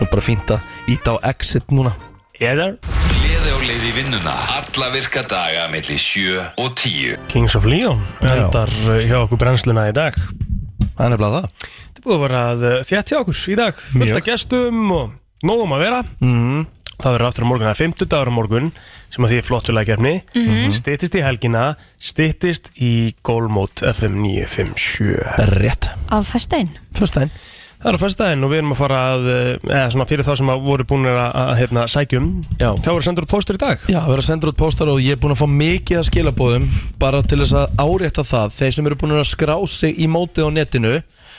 Svo bara fínt að íta á exit núna Yes sir Gleði á leið í vinnuna Alla virka daga melli 7 og 10 Kings of Leon Endar uh, hjá okkur brennsluna í dag Það er nefnilega það Þetta er búið að vera uh, þétt hjá okkur í dag Fullt af gestum og nógum að vera mm. Það verður aftur á morgun, það er 50 dagur á morgun sem að því er flottulega gefni Mhm. Styttist í helgina, styttist í Gólmót FM 957 Rétt Á föstudaginn Föstudaginn Það er á fyrstæðin og við erum að fara að, eh, eða svona fyrir þá sem að voru búinir að, að hérna, sækjum Já Þá voru sendur út póstur í dag Já, það verður að senda út póstar og ég er búinn að fá mikið að skilabóðum bara til þess að árétta það þeir sem eru búin að skrá sig í mótið á netinu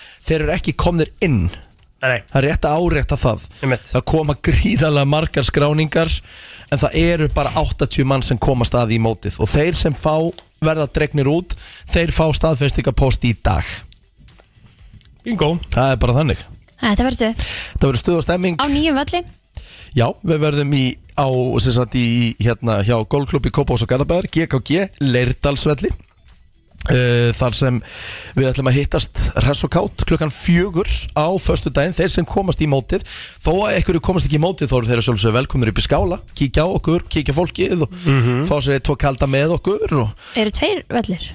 þeir eru ekki komnir inn Nei. það er rétt að árétta það Einmitt. það koma gríðarlega margar skráningar en það eru bara 80 mann sem komast að í mótið og þeir sem fá verða dregnir út þeir fá staðfestingapóst í dag Bingo Það er bara þannig Þetta verður stuð Það verður stuð og stemming Á nýjum valli Já, við verðum í, á, sem sagt, í, hérna, hjá Golfklubbi Kópás og Garðabæðar, GKG, Leirdalsvelli. Uh, þar sem við ætlum að hittast hress og kátt klukkan fjögur á föstu daginn, þeir sem komast í mótið þó að einhverju komast ekki í mótið þó eru þeir sjálfsög velkomnir upp í skála, kíkja á okkur kíkja á fólkið og fá sér tvo kalda með okkur og Eru tveir vallir?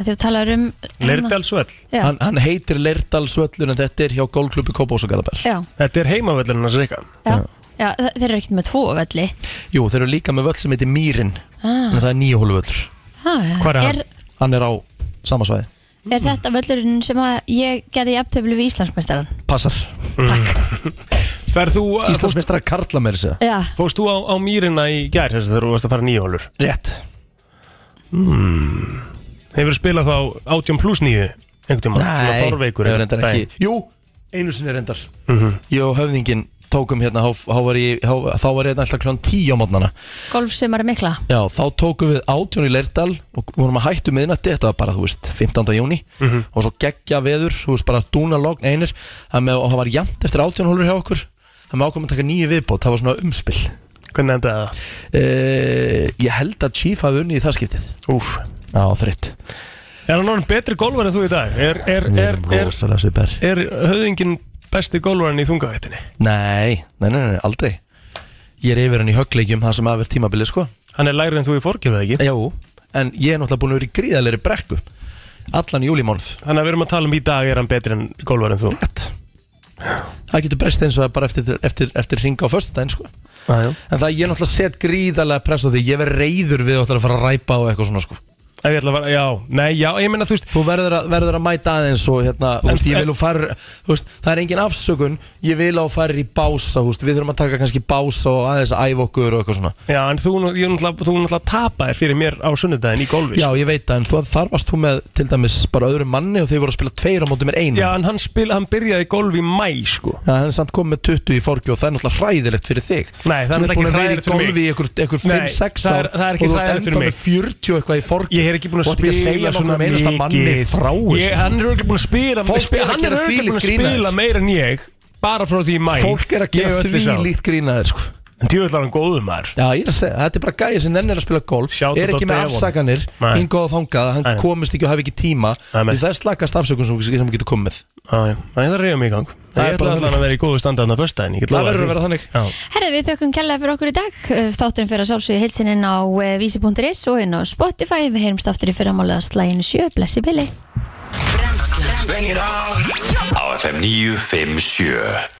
Að þú talar um Já. hann, hann heitir Leirdalsvöllur en þetta er hjá Golfklubbi Kópás og Garðabæðar hérna- Já, Þetta er heimavöllurinn hans Rikka já, já þe- Þeir eru ekkert með tvo valli Jú, þeir eru líka með völl sem heitir Mýrin Ah. en það er nýjuhóluvöllur ah, já. er, Hann er á sama svæði er þetta völlurinn sem að ég gerði jafntöflu við Íslandsmeistaran? Passar Mm. Ferð þú Íslandsmeistrar Karla meira sér Já, Fóst þú á, á mýrina í gær þess að þú varst að fara nýjóhólur? Rétt mm. Hefur spilað þá 18 pluss nýju einhvern tíma? ég var reyndar ekki Mhm. Jú, einu sinni reyndar mm -hmm. Ég og höfðingin tókum hérna há, há var ég, há, Þá var ég hérna alltaf kljóðan tíu á mótnana golf sem er mikla Já, þá tókum við átjón í Leirdal Og vorum að hættu miðnætti Þetta var bara, þú veist, 15. júni Mhm. Og svo geggja veður, þú veist, bara dúna logn einir Það með að það var jæmt eftir átjón hólur hjá okkur Það með ákvæmum að taka nýju viðbót Það var svona umspil Eh, Hvernig endaði það? ég held að Chief hafi unni í það skiptið Úf Já, þritt Er hann orðin betri gólvar en þú í dag? Er, er, er, er, Rósalega svipar er, höfðingin besti gólvarinn í þungavættinni? Nei, nei, nei, nei, aldrei Ég er yfir hann í högleikjum það sem aðveld tímabilið sko Hann er lægri en þú í forgjöf eða ekki? Jú, en ég er náttúrulega búin að vera í gríðalegri brekku Allan júlimónuð Þannig að við erum að tala um í dag er hann betri en gólvar en þú Rétt Það getur breyst eins og það bara eftir, eftir, eftir ringa á föstudaginn sko ah, En það ég náttúrulega set gríðalega press á því Ég verð reyður við að fara að ræpa og eitthvað svona sko Ef ég ætla að fara, já, nei, já, ég meina þú veist Þú verður að, verður að mæta aðeins og hérna Þú veist, ég vil og farir Þú veist, það er engin afsökun Ég vil og farir í bása, þú veist Við þurfum að taka kannski bása og aðeins að æfa okkur og eitthvað svona Já, en þú, nú- ég, náttúrulega, þú náttúrulega tapaðir fyrir mér á sunnudaginn í golfi sko. Já, ég veit það, en þú, þar varst þú með til dæmis bara öðrum manni og þau voru að spila tveir á móti mér einu Já, en hann, spil, hann byrjaði í golfi í mæ, sko Já, hann er samt komið með 20 í forgju og það er náttúrulega hræðilegt fyrir þig Nei, það er Sem náttúrulega ert búin ekki hræðilegt að vera í fyrir mig. golfi í ykkur, ykkur Nei, 5-6 það ár er- það er ekki og þú ert hræðilegt fyrir ennþá mig. með 40 eitthvað í forgju Ég er ekki búin að Þú ert ekki að spila segja nokkrum einasta manni frá þessu. ég, Hann er örugglega búinn að spila, Fólk spila er að Hann er gera örugglega þvílíkt búinn að grín að spila þessu. meira en ég Bara frá því í mæ Fólk er að gera því líkt grínaðir sko. En djúvill var hann góðum maður Já, ég er að segja, þetta er bara gæði sem nennir að spila golf Shout Er out ekki to með Devon. afsakanir Nei. Hingað og þangað, hann Nei. komist ekki og hafi ekki tíma Því það er slakast afsökun sem sem getur komið Já, já, það er að reyða mig í gang Það Ég ætla er bara allan að þannig. vera í góðu standa þarna föstudaginn Það verður að vera þannig Herði, við þökkum kærlega fyrir okkur í dag. Eh, Þátturinn fyrir að sjálfsögja heilsinn inn á eh, vísi.is og inn á Spotify. Við heyrumst aftur í fyrramálið að slæginu sjö. Blessi Billy. Á FM 957